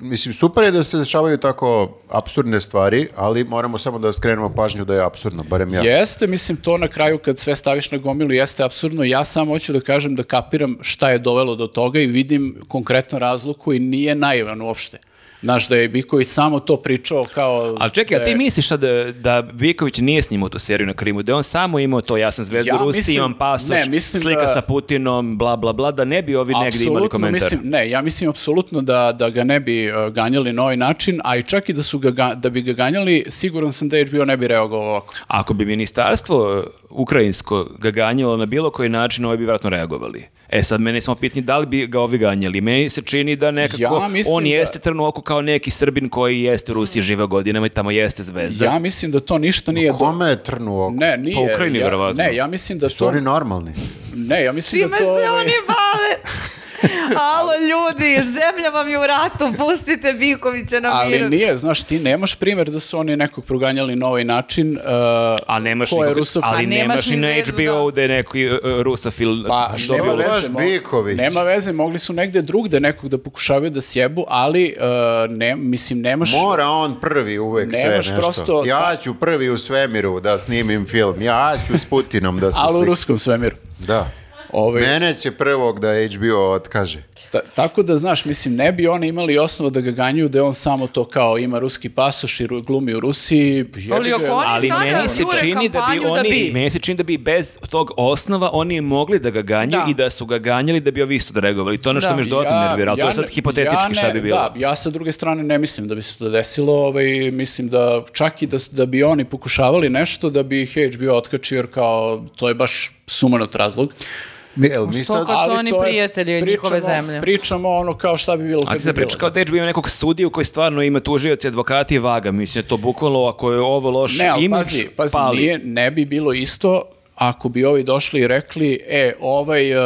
Speaker 1: Mislim, super je da se dešavaju tako apsurdne stvari, ali moramo samo da skrenemo pažnju da je apsurdno, barem ja.
Speaker 3: Jeste, mislim, to na kraju kad sve staviš na gomilu jeste apsurdno. Ja samo hoću da kažem da kapiram šta je dovelo do toga i vidim konkretnu razluku i nije naivan uopšte. Znaš, da je Biković samo to pričao kao...
Speaker 2: Ali čekaj, a ti
Speaker 3: da je-
Speaker 2: misliš sad da, da Biković nije snimao tu seriju na Krimu, da je on samo imao to, ja sam zvezda
Speaker 3: Ja
Speaker 2: Rusi,
Speaker 3: mislim-
Speaker 2: imam pasoš,
Speaker 3: ne, mislim
Speaker 2: slika
Speaker 3: da-
Speaker 2: sa Putinom, bla, bla, bla, da ne bi ovi negdje imali
Speaker 3: Apsolutno
Speaker 2: komentar.
Speaker 3: Mislim, ne, ja mislim apsolutno da, da ga ne bi e, ganjali na ovaj način, a i čak i da, su ga, ga- da bi ga ganjali, siguran sam da HBO ne bi reagovao ovako.
Speaker 2: Ako bi ministarstvo e, ukrajinsko ga ganjalo na bilo koji način, ovi bi vjerojatno reagovali. E sad, mene je samo pitanje da li bi ga ovi ganjali. Meni se čini da nekako
Speaker 3: Ja mislim
Speaker 2: on
Speaker 3: da-
Speaker 2: jeste trnu oko kao neki srbin koji jeste u Rusiji živa godinama i tamo jeste zvezda.
Speaker 3: Ja mislim da to ništa nije... do-
Speaker 1: Kome je trnu oko?
Speaker 3: Ne, nije.
Speaker 2: pa Ukrajini,
Speaker 3: ja,
Speaker 2: verovatno.
Speaker 3: Ne, ja mislim da
Speaker 1: Su
Speaker 3: to...
Speaker 1: oni normalni?
Speaker 3: Ne, ja mislim
Speaker 4: Čime
Speaker 3: da to...
Speaker 4: se
Speaker 3: ovaj,
Speaker 4: oni
Speaker 3: *laughs*
Speaker 4: bave? Alo ljudi, zemlja vam je u ratu, pustite Bikovića na miru.
Speaker 3: Ali nije, znaš, ti nemaš primjer da su oni nekog proganjali na ovaj način. Uh,
Speaker 2: A nemaš,
Speaker 3: ko je
Speaker 2: nikog-
Speaker 3: Rusofil.
Speaker 2: ali
Speaker 4: Pa nemaš
Speaker 2: nemaš ni
Speaker 4: ni
Speaker 2: na
Speaker 4: zvezdu,
Speaker 2: HBO-u
Speaker 4: da.
Speaker 2: da je neki e, e, rusofil
Speaker 3: Pa,
Speaker 2: dobio
Speaker 3: nema
Speaker 1: bi bilo?
Speaker 3: veze,
Speaker 1: Baš
Speaker 3: mo-
Speaker 1: Biković.
Speaker 3: Nema veze, mogli su negde drugde nekog da pokušavaju da sjebu, ali uh, ne, mislim, nemaš...
Speaker 1: Mora on prvi uvek sve
Speaker 3: Nemaš
Speaker 1: nešto.
Speaker 3: prosto-
Speaker 1: Ja ću prvi u svemiru da snimim film. Ja ću s Putinom da se
Speaker 3: ali u
Speaker 1: slikam.
Speaker 3: ruskom svemiru.
Speaker 1: Da.
Speaker 3: Ovaj,
Speaker 1: Mene će prvog da HBO otkaže.
Speaker 3: ta- tako da, znaš, mislim, ne bi oni imali osnova da ga ganjuju da je on samo to kao ima ruski pasoš i ru- glumi u Rusiji. jebi
Speaker 4: Ali
Speaker 3: ga,
Speaker 4: ako oni
Speaker 2: ali
Speaker 4: sada
Speaker 2: meni se
Speaker 4: jure
Speaker 2: čini da bi
Speaker 4: kampanju da
Speaker 2: oni
Speaker 4: bi.
Speaker 2: meni se čini da bi bez tog osnova oni mogli da ga ganjaju
Speaker 4: Da.
Speaker 2: i da su ga ganjali da bi ovi isto reagovali. To je ono što
Speaker 4: Da.
Speaker 2: me još dodatno nervira, ali to je sad
Speaker 3: ne-
Speaker 2: hipotetički
Speaker 3: ja
Speaker 2: šta
Speaker 3: ne-
Speaker 2: bi bilo.
Speaker 3: Da, ja sa druge strane ne mislim da bi se to desilo, ovaj, mislim da čak i da, s- da bi oni pokušavali nešto, da bi ih HBO otkačio, jer kao to je baš sumanut razlog.
Speaker 1: Mi, jel mi
Speaker 4: što
Speaker 1: sad...
Speaker 4: kad- Pa su oni
Speaker 3: to je-
Speaker 4: prijatelji njihove zemlje.
Speaker 3: Pričamo ono kao šta bi bilo
Speaker 2: A
Speaker 3: kad
Speaker 2: ti se
Speaker 3: bi bilo,
Speaker 2: priča kao da HBO ima nekog sudiju koji stvarno ima tužioci, advokati i vaga. Mislim, to bukvalno ako je ovo loš
Speaker 3: Ne, ali
Speaker 2: da imidž,
Speaker 3: pazi, pazi,
Speaker 2: pali.
Speaker 3: nije, ne bi bilo isto ako bi ovi došli i rekli, e, ovaj uh,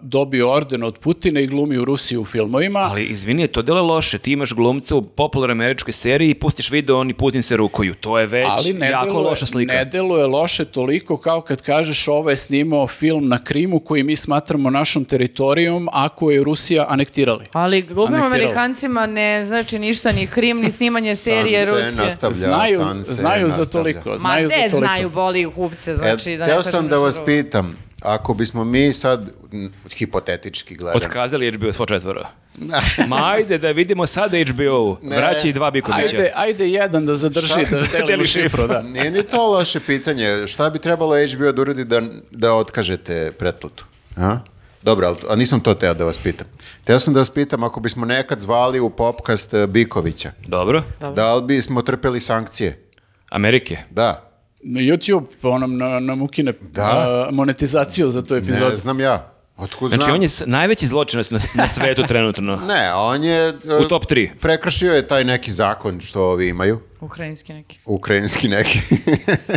Speaker 3: dobio orden od Putina i glumi u Rusiji u filmovima,
Speaker 2: Ali izvini, to delo loše. Ti imaš glumca u popularnoj američkoj seriji i pustiš video, oni Putin se rukuju. To je već
Speaker 3: ali ne
Speaker 2: jako
Speaker 3: deluje,
Speaker 2: loša slika.
Speaker 3: ne deluje loše toliko kao kad kažeš ovo je snimao film na Krimu koji mi smatramo našom teritorijom ako je Rusija anektirali.
Speaker 4: Ali glupim
Speaker 3: Anektiralo.
Speaker 4: Amerikancima ne znači ništa, ni Krim, ni snimanje serije
Speaker 1: San se
Speaker 4: ruske.
Speaker 1: nastavlja,
Speaker 3: Znaju,
Speaker 1: san se
Speaker 3: znaju za
Speaker 1: nastavlja.
Speaker 3: toliko.
Speaker 4: Ma
Speaker 3: Znaju
Speaker 4: ne
Speaker 3: za toliko.
Speaker 4: znaju, boli u huvce, znači
Speaker 1: E,
Speaker 4: da ne
Speaker 1: teo
Speaker 4: kažem
Speaker 1: sam da
Speaker 4: ništa
Speaker 1: vas
Speaker 4: drugo.
Speaker 1: pitam, ako bismo mi sad, m, hipotetički gledali,
Speaker 2: Otkazali HBO svo četvoro. *laughs* Ma ajde da vidimo sada HBO.
Speaker 1: Ne.
Speaker 2: Vraća i dva Bikovića.
Speaker 3: Ajde, ajde jedan da zadrži da delimo
Speaker 2: Deli
Speaker 3: šifru. Da.
Speaker 1: nije ni to loše pitanje, šta bi trebalo HBO da uradi da, da otkažete pretplatu? A? Dobro, ali, a nisam to teo da vas pitam. Teo sam da vas pitam, ako bismo nekad zvali u popkast e, Bikovića,
Speaker 2: Dobro.
Speaker 1: da li bismo trpeli sankcije?
Speaker 2: Amerike.
Speaker 1: Da,
Speaker 3: Na YouTube onom na, nam ukine
Speaker 1: Da.
Speaker 3: a, monetizaciju za tu epizodu.
Speaker 1: ne znam ja. Otkud
Speaker 2: Znači,
Speaker 1: znam?
Speaker 2: on je s- najveći zločinac na, na svetu
Speaker 1: *laughs*
Speaker 2: trenutno.
Speaker 1: Ne, on je... e,
Speaker 2: U top tri.
Speaker 1: Prekršio je taj neki zakon što ovi imaju.
Speaker 4: Ukrajinski neki.
Speaker 1: Ukrajinski neki.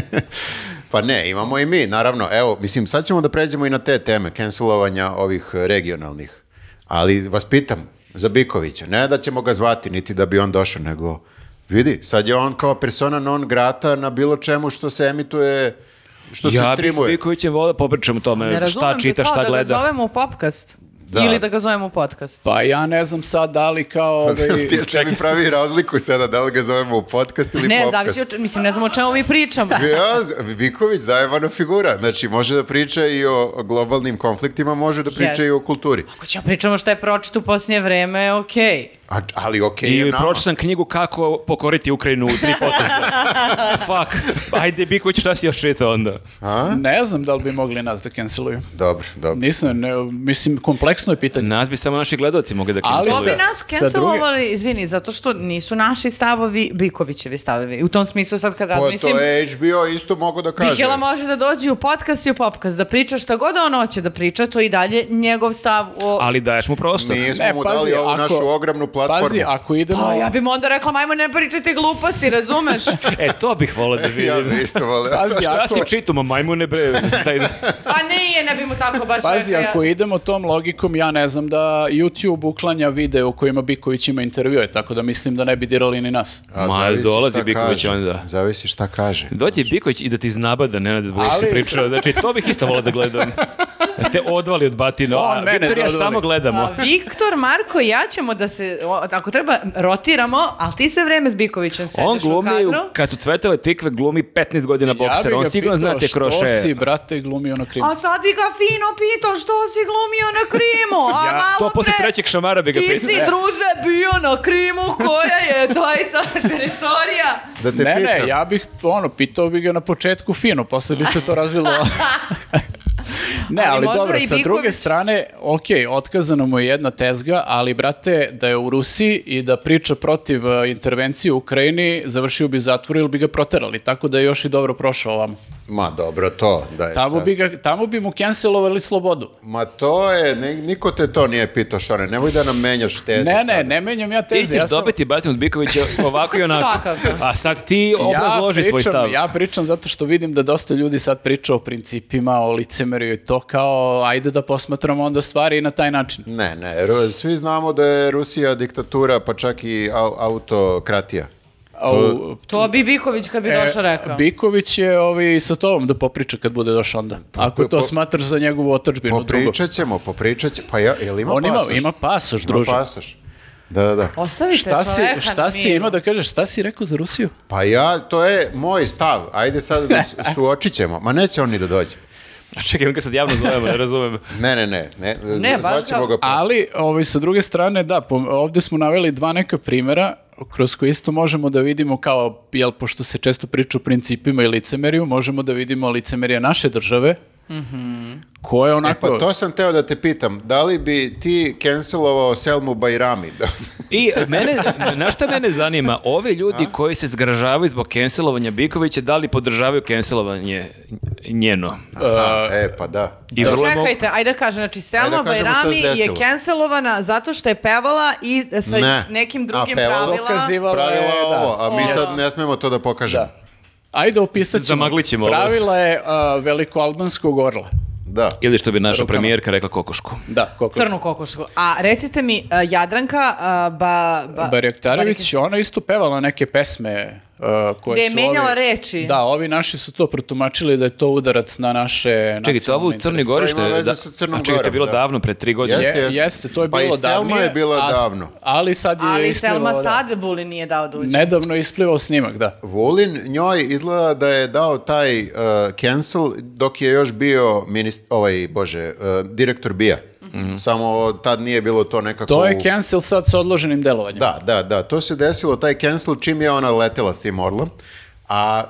Speaker 1: *laughs* pa ne, imamo i mi, naravno. Evo, mislim, sad ćemo da pređemo i na te teme, cancelovanja ovih eh, regionalnih. Ali vas pitam, za Bikovića, ne da ćemo ga zvati, niti da bi on došao, nego vidi, sad je on kao persona non grata na bilo čemu što se emituje, što
Speaker 2: ja
Speaker 1: se
Speaker 2: bih s
Speaker 1: streamuje. *laughs*
Speaker 2: Bikovićem volio da popričam o
Speaker 4: Ne
Speaker 2: tome
Speaker 4: razumem
Speaker 2: šta
Speaker 4: bi
Speaker 2: čita,
Speaker 4: kao
Speaker 2: šta
Speaker 4: da ga
Speaker 2: gleda.
Speaker 4: zovemo u popkast.
Speaker 1: Da.
Speaker 4: Ili da ga zovemo u podcast.
Speaker 3: Pa ja ne znam sad da li kao... Ovaj,
Speaker 1: Pa Ti mi pravi razliku sada, da li ga zovemo u podcast ili
Speaker 4: Ne,
Speaker 1: popkast.
Speaker 4: zavisi, o če- mislim, ne znam o čemu mi pričamo.
Speaker 1: Ja, z- Biković zajevana figura. Znači, može da priča i o globalnim konfliktima, može da priča
Speaker 4: Jeste.
Speaker 1: i o kulturi.
Speaker 4: Ako ćemo pričamo šta je pročito u posljednje vreme, okej.
Speaker 1: A, ali okej je
Speaker 2: I
Speaker 1: nama.
Speaker 2: pročitao sam knjigu kako pokoriti Ukrajinu u tri
Speaker 4: *laughs*
Speaker 2: poteza. Fuck. Ajde, Biković, šta si još čitao onda?
Speaker 1: A?
Speaker 3: Ne znam da li bi mogli nas da canceluju.
Speaker 1: Dobro, dobro.
Speaker 3: Nisam, ne, mislim, kompleksno je pitanje.
Speaker 2: Nas bi samo naši gledalci mogli da
Speaker 3: Ali
Speaker 1: E,
Speaker 4: To
Speaker 2: canceluju.
Speaker 4: bi
Speaker 3: sa-
Speaker 4: nas
Speaker 3: sa
Speaker 4: cancelovali, izvini, zato što nisu naši stavovi Bikovićevi stavovi. U tom smislu sad kad
Speaker 1: Pa
Speaker 4: razmislim,
Speaker 1: to je HBO isto mogu da kažem.
Speaker 4: Bikela može da dođe i u podcast i u popkast, da priča šta god on hoće da priča, to je i dalje njegov stav o...
Speaker 2: Ali daješ mu prostor.
Speaker 1: Mi smo mu dali ovu našu ogromnu platformu.
Speaker 3: E, Pazi, ako idemo...
Speaker 4: Pa, ja bi mu onda rekla, majmo ne pričajte gluposti, razumeš?
Speaker 2: *laughs* E, to bih volao da
Speaker 1: *laughs* *laughs* ja
Speaker 2: vidim.
Speaker 1: bi isto voleo.
Speaker 3: Pazi,
Speaker 2: Šta
Speaker 3: ako,
Speaker 2: si čitao, ma
Speaker 1: *laughs*
Speaker 2: majmune bre, staj da...
Speaker 4: Pa nije, ne bi mu tako *laughs* baš
Speaker 3: pazi,
Speaker 4: rekla.
Speaker 3: ako idemo tom logikom, ja ne znam da YouTube uklanja video u kojima Biković ima intervjue, tako da mislim da ne bi dirali ni nas.
Speaker 1: A
Speaker 2: Ma,
Speaker 1: zavisi
Speaker 2: dolazi
Speaker 1: šta
Speaker 2: Biković
Speaker 1: kaže.
Speaker 2: onda.
Speaker 1: Zavisi šta kaže.
Speaker 2: Dođe Biković i da ti iznabada, ne da budeš
Speaker 3: Ali-
Speaker 2: pričao. Znači, to bih isto volao da gledam.
Speaker 3: *laughs*
Speaker 2: Da Te odvali od batina.
Speaker 3: On
Speaker 2: A,
Speaker 3: mene
Speaker 2: Viktor, ja
Speaker 3: odvali.
Speaker 2: samo gledamo.
Speaker 4: A, Pa Viktor, Marko i ja ćemo da se, o, ako treba, rotiramo, ali ti sve vreme s Bikovićem sediš
Speaker 2: On
Speaker 4: u
Speaker 2: glumi,
Speaker 4: kadru.
Speaker 2: kad su cvetele tikve, glumi 15 godina
Speaker 3: ja
Speaker 2: boksera.
Speaker 3: bih
Speaker 2: On
Speaker 3: ga
Speaker 2: sigurno zna
Speaker 3: pitao,
Speaker 2: te kroše.
Speaker 3: Što si, brate, glumio na krimu?
Speaker 4: A sad bi ga fino pitao što si glumio na Krimu, a
Speaker 3: Ja-
Speaker 4: malo
Speaker 2: To posle
Speaker 4: pre-
Speaker 2: trećeg šamara bi ga
Speaker 4: Ti
Speaker 2: pitao.
Speaker 4: si, druže, bio na Krimu, koja je ta i ta teritorija.
Speaker 1: Da te
Speaker 3: Ne,
Speaker 1: pitam.
Speaker 3: ne, ja bih, ono, pitao bi ga na početku fino, posle bi se to razvilo.
Speaker 4: *laughs*
Speaker 3: ne,
Speaker 4: Ali
Speaker 3: ali,
Speaker 4: možda
Speaker 3: dobro,
Speaker 4: i
Speaker 3: sa druge
Speaker 4: Biković-
Speaker 3: strane, ok, otkazana mu je jedna tezga, ali, brate, da je u Rusiji i da priča protiv e, intervencije u Ukrajini, završio bi u zatvoru ili bi ga proterali, tako da je još i dobro prošao ovamo.
Speaker 1: Ma dobro to, da je
Speaker 3: E Tamo
Speaker 1: sad.
Speaker 3: bi, ga, tamo bi mu cancelovali slobodu.
Speaker 1: Ma to je, ni- niko te to nije pitao, Šone, nemoj da nam menjaš teze
Speaker 3: Ne, ne,
Speaker 1: sada.
Speaker 3: ne menjam ja
Speaker 2: Ti
Speaker 3: teze.
Speaker 2: ćeš
Speaker 3: ja sam-
Speaker 2: dobiti batin od Bikovića ovako i onako.
Speaker 4: Svakako.
Speaker 2: A sad ti obrazloži svoj
Speaker 3: pričam-
Speaker 2: stav.
Speaker 3: Ja pričam zato što vidim da dosta ljudi sad priča o principima, o licemerju i to kao ajde da posmatramo onda stvari i na taj način.
Speaker 1: Ne, ne, Ru- svi znamo da je Rusija diktatura, pa čak i au- autokratija.
Speaker 3: A u-
Speaker 4: To bi Biković kad bi došao
Speaker 3: e,
Speaker 4: rekao.
Speaker 3: Biković je ovaj, sa tobom da popriča kad bude došao onda. Ako to
Speaker 1: po-
Speaker 3: smatraš za njegovu otačbinu drugo.
Speaker 1: Popričat ćemo, popričat ćemo. Pa ja, jel ima
Speaker 3: On ima,
Speaker 1: pasoš?
Speaker 3: ima pasoš,
Speaker 1: Ima
Speaker 3: druže.
Speaker 1: pasoš. Da, da, da.
Speaker 4: Ostavite
Speaker 3: Šta si,
Speaker 4: čoveka na
Speaker 3: šta si
Speaker 4: miru.
Speaker 3: ima da kažeš? Šta si rekao za Rusiju?
Speaker 1: Pa ja, to je moj stav. Ajde sad da
Speaker 3: *laughs*
Speaker 1: su- suočit ćemo. Ma neće on ni da dođe.
Speaker 2: A čekaj, mi ga sad javno zovemo, ne razumem.
Speaker 1: Ne, ne, ne. ne,
Speaker 4: Ne,
Speaker 1: ne
Speaker 4: baš kao-
Speaker 1: ga posle.
Speaker 3: Ali, ovaj, sa druge strane, da, po, ovde smo naveli dva neka primjera kroz koje isto možemo da vidimo kao, jel, pošto se često priča o principima i licemeriju, možemo da vidimo licemerije naše države,
Speaker 4: Mhm.
Speaker 3: koje je
Speaker 1: E,
Speaker 3: onako...
Speaker 1: pa to sam teo da te pitam. Da li bi ti cancelovao Selmu Bajrami? *laughs* Da.
Speaker 3: E,
Speaker 2: I mene, na šta mene zanima, ovi ljudi koji se zgražavaju zbog cancelovanja Bikovića, da li podržavaju cancelovanje njeno?
Speaker 1: Aha, e, pa da.
Speaker 2: I vrlo je mo-
Speaker 4: Čekajte, ajde da kažem, znači Selma
Speaker 1: Ajde da kažemo šta se
Speaker 4: Bajrami je
Speaker 1: desilo.
Speaker 4: cancelovana zato što je pevala i sa
Speaker 1: Ne.
Speaker 4: nekim drugim
Speaker 1: A pevala?
Speaker 4: pravila.
Speaker 3: Dokazivalo
Speaker 1: Pravila
Speaker 3: je, da.
Speaker 1: ovo, a mi
Speaker 4: Ovo.
Speaker 1: sad ne smemo to da pokažemo.
Speaker 3: Da. Ajde, opisat ćemo.
Speaker 2: Zamaglit ćemo ovo.
Speaker 3: Pravila je a, velikoalbanskog orla.
Speaker 1: Da.
Speaker 2: Ili što bi naša premijerka rekla kokošku.
Speaker 3: Da, koliko
Speaker 4: Crnu kokošku. A recite mi, a, Jadranka a, ba, ba,
Speaker 3: Barjaktarević, ona je isto pevala neke pesme uh, koje
Speaker 4: Gde je
Speaker 3: su
Speaker 4: menjala
Speaker 3: ovi-
Speaker 4: reči.
Speaker 3: Da, ovi naši su to protumačili da je to udarac na naše
Speaker 2: Čekaj, to ovo u
Speaker 3: nacionalne
Speaker 2: Crnoj
Speaker 1: To
Speaker 2: Gori
Speaker 3: interese.
Speaker 2: što
Speaker 1: ima
Speaker 2: je...
Speaker 1: veze
Speaker 2: Da,
Speaker 1: sa Crnom
Speaker 2: a čekaj, to je
Speaker 1: Gorom,
Speaker 2: bilo
Speaker 1: da.
Speaker 2: davno, pre tri godine.
Speaker 1: Jeste,
Speaker 3: Je-
Speaker 1: jeste.
Speaker 3: jeste. to je
Speaker 1: Pa
Speaker 3: bilo
Speaker 1: i Selma
Speaker 3: davnije,
Speaker 1: je bila
Speaker 3: a-
Speaker 1: davno.
Speaker 3: Ali sad je
Speaker 4: Ali
Speaker 3: isplivao,
Speaker 4: Selma
Speaker 3: da.
Speaker 4: sad Vulin nije dao da uđe.
Speaker 3: Nedavno je isplivao snimak, da.
Speaker 1: Vulin njoj izgleda da je dao taj uh, cancel dok je još bio minist, ovaj, bože, uh, direktor BIA. Samo tad nije bilo to nekako...
Speaker 3: To je
Speaker 1: u-
Speaker 3: cancel sad sa odloženim delovanjem.
Speaker 1: Da, da, da. To se desilo, taj cancel, čim je ona letela s tim orlom. A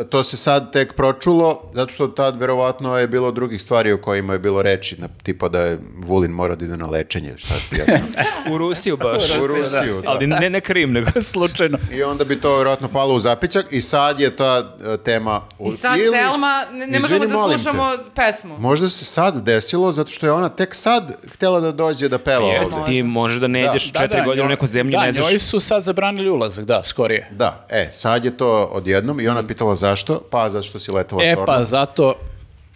Speaker 1: e, to se sad tek pročulo, zato što tad verovatno je bilo drugih stvari o kojima je bilo reči, na, tipa da je Vulin morao da ide na lečenje, šta ti ja znam.
Speaker 2: U Rusiju baš.
Speaker 1: U Rusiju, da.
Speaker 2: Ali ne, ne Krim, nego...
Speaker 3: *laughs* Slučajno.
Speaker 1: I onda bi to vjerojatno palo u zapićak i sad je ta e, tema... u-
Speaker 4: I sad
Speaker 1: ili-
Speaker 4: Selma, ne, ne
Speaker 1: Izvini,
Speaker 4: možemo da
Speaker 1: molim te.
Speaker 4: slušamo pesmu.
Speaker 1: Možda se sad desilo zato što je ona tek sad htjela da dođe da
Speaker 3: Pa
Speaker 1: peva
Speaker 2: Jeste,
Speaker 1: ovdje.
Speaker 2: ti možeš da ne ideš četiri godine u
Speaker 3: njoj-
Speaker 2: neku zemlju,
Speaker 3: da,
Speaker 2: ne znaš...
Speaker 3: njoj su sad zabranili ulazak, da, skorije.
Speaker 1: Da, e, sad je to odjednom
Speaker 4: Mm.
Speaker 1: i ona pitala zašto, pa zato što si letela
Speaker 3: E
Speaker 1: s
Speaker 3: pa,
Speaker 1: orlom.
Speaker 3: zato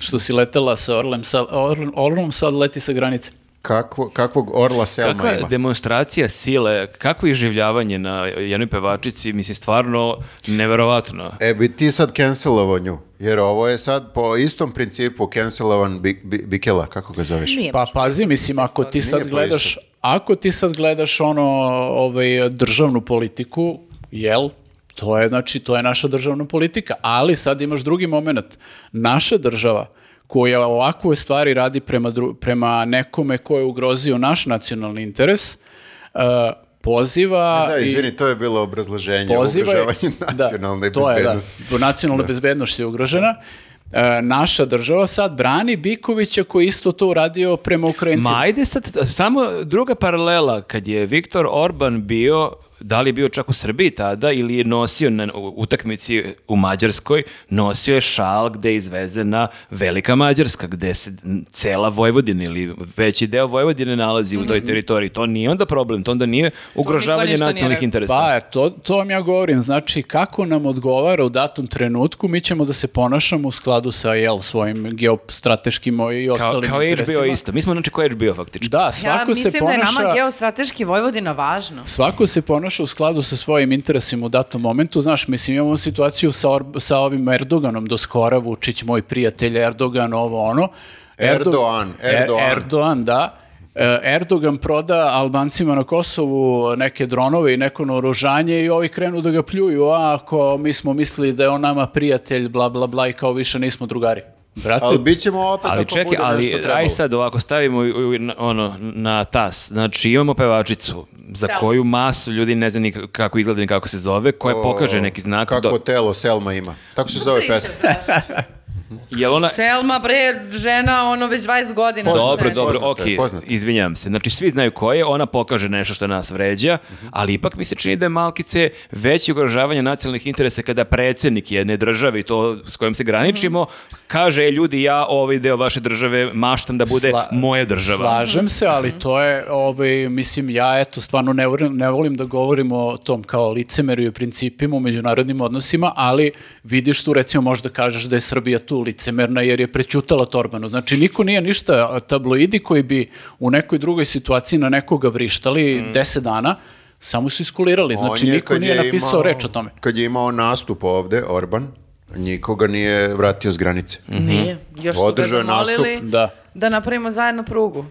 Speaker 3: što si letela sa Orlem, sa, Orl- Orlom sad leti sa granice.
Speaker 1: Kakvo, kakvog orla Selma
Speaker 2: Kakva
Speaker 1: ima.
Speaker 2: demonstracija sile, kakvo iživljavanje na jednoj pevačici, mislim, stvarno neverovatno.
Speaker 1: E, bi ti sad cancelovao nju, jer ovo je sad po istom principu cancelovan bi, bi- Bikela, kako ga zoveš?
Speaker 4: Nije.
Speaker 3: Pa pazi, mislim, ako ti sad
Speaker 1: po
Speaker 3: gledaš,
Speaker 1: istom.
Speaker 3: ako ti sad gledaš ono, ovaj, državnu politiku, jel, to je, znači, to je naša državna politika, ali sad imaš drugi moment. Naša država, koja ovakve stvari radi prema, dru- prema nekome ko je ugrozio naš nacionalni interes, eh, poziva...
Speaker 1: Da,
Speaker 3: i-
Speaker 1: izvini, to je bilo obrazloženje,
Speaker 3: poziva je-
Speaker 1: ugrožavanje
Speaker 3: *laughs* da,
Speaker 1: nacionalne
Speaker 3: to je,
Speaker 1: bezbednosti. Da.
Speaker 3: da, nacionalna bezbednost je ugrožena. E, naša država sad brani Bikovića koji je isto to uradio prema Ukrajincima.
Speaker 2: Ma ajde sad, samo druga paralela, kad je Viktor Orban bio, da li je bio čak u Srbiji tada ili je nosio na utakmici u Mađarskoj, nosio je šal gde je izvezena Velika Mađarska, gde se cela Vojvodina ili veći deo Vojvodine nalazi u toj teritoriji. To nije onda problem, to onda nije ugrožavanje
Speaker 4: Mhm. ništa nije
Speaker 2: nacionalnih
Speaker 4: rekao.
Speaker 2: interesa.
Speaker 3: Pa, to, to vam ja govorim. Znači, kako nam odgovara u datom trenutku, mi ćemo da se ponašamo u skladu sa jel, svojim geostrateškim i
Speaker 2: kao,
Speaker 3: ostalim
Speaker 2: kao
Speaker 3: interesima.
Speaker 2: HBO isto. Mi smo znači kao HBO faktički.
Speaker 3: Da, svako
Speaker 4: ja
Speaker 3: se
Speaker 4: mislim da
Speaker 3: ponaša...
Speaker 4: je nama geostrateški Vojvodina važno.
Speaker 3: Svako se ponaša u skladu sa svojim interesima u datom momentu. Znaš, mislim, imamo situaciju sa, Or- sa ovim Erdoganom do skora, Vučić, moj prijatelj, Erdogan, ovo ono.
Speaker 1: Erdogan,
Speaker 3: Er-
Speaker 1: Erdogan.
Speaker 3: Erdogan, da. E, Erdogan proda Albancima na Kosovu neke dronove i neko naoružanje i ovi krenu da ga pljuju, a ako mi smo mislili da je on nama prijatelj, bla, bla, bla, i kao više nismo drugari. Brate,
Speaker 1: Ali bit ćemo opet
Speaker 2: Ali
Speaker 1: ako
Speaker 2: čekaj,
Speaker 1: bude nešto
Speaker 2: ali
Speaker 1: trebalo.
Speaker 2: aj sad ovako stavimo u- u- na- ono na tas. Znači imamo pevačicu za
Speaker 4: Da.
Speaker 2: koju masu ljudi ne zna ni k- kako izgleda ni kako se zove, koja pokaže neki znak.
Speaker 1: Kako
Speaker 2: Do,
Speaker 1: telo Selma ima. Tako se zove pesma.
Speaker 2: jel ona,
Speaker 4: da. Selma, bre, žena, ono, već 20 godina. na
Speaker 2: dobro,
Speaker 4: sceni.
Speaker 2: dobro,
Speaker 1: Poznato je,
Speaker 2: ok,
Speaker 1: poznato.
Speaker 2: izvinjavam se. Znači svi znaju ko je, ona pokaže nešto što nas vređa, ali ipak mi se čini da je malkice veće ugrožavanje nacionalnih interesa kada predsjednik jedne države i to s kojom se graničimo, kaže, e, ljudi, ja ovaj deo vaše države maštam da bude
Speaker 3: Sla-
Speaker 2: moja država.
Speaker 3: Slažem se, ali to je, ovaj, mislim, ja eto, stvarno ne volim, ne volim da govorim o tom kao licemerju i principima u međunarodnim odnosima, ali vidiš tu, recimo, možda kažeš da je Srbija tu licemerna jer je prećutala Torbanu. Znači, niko nije ništa, a tabloidi koji bi u nekoj drugoj situaciji na nekoga vrištali 10 dana, samo su iskulirali.
Speaker 1: Mhm.
Speaker 3: Znači,
Speaker 1: On je,
Speaker 3: niko
Speaker 1: kad
Speaker 3: nije
Speaker 1: je
Speaker 3: napisao
Speaker 1: imao-
Speaker 3: reč o tome.
Speaker 1: Kad je imao nastup ovde, Orban, nikoga nije vratio s granice.
Speaker 4: Nije. Još su ga
Speaker 1: Održao je nastup.
Speaker 4: zamolili
Speaker 3: Da.
Speaker 4: da napravimo zajedno prugu.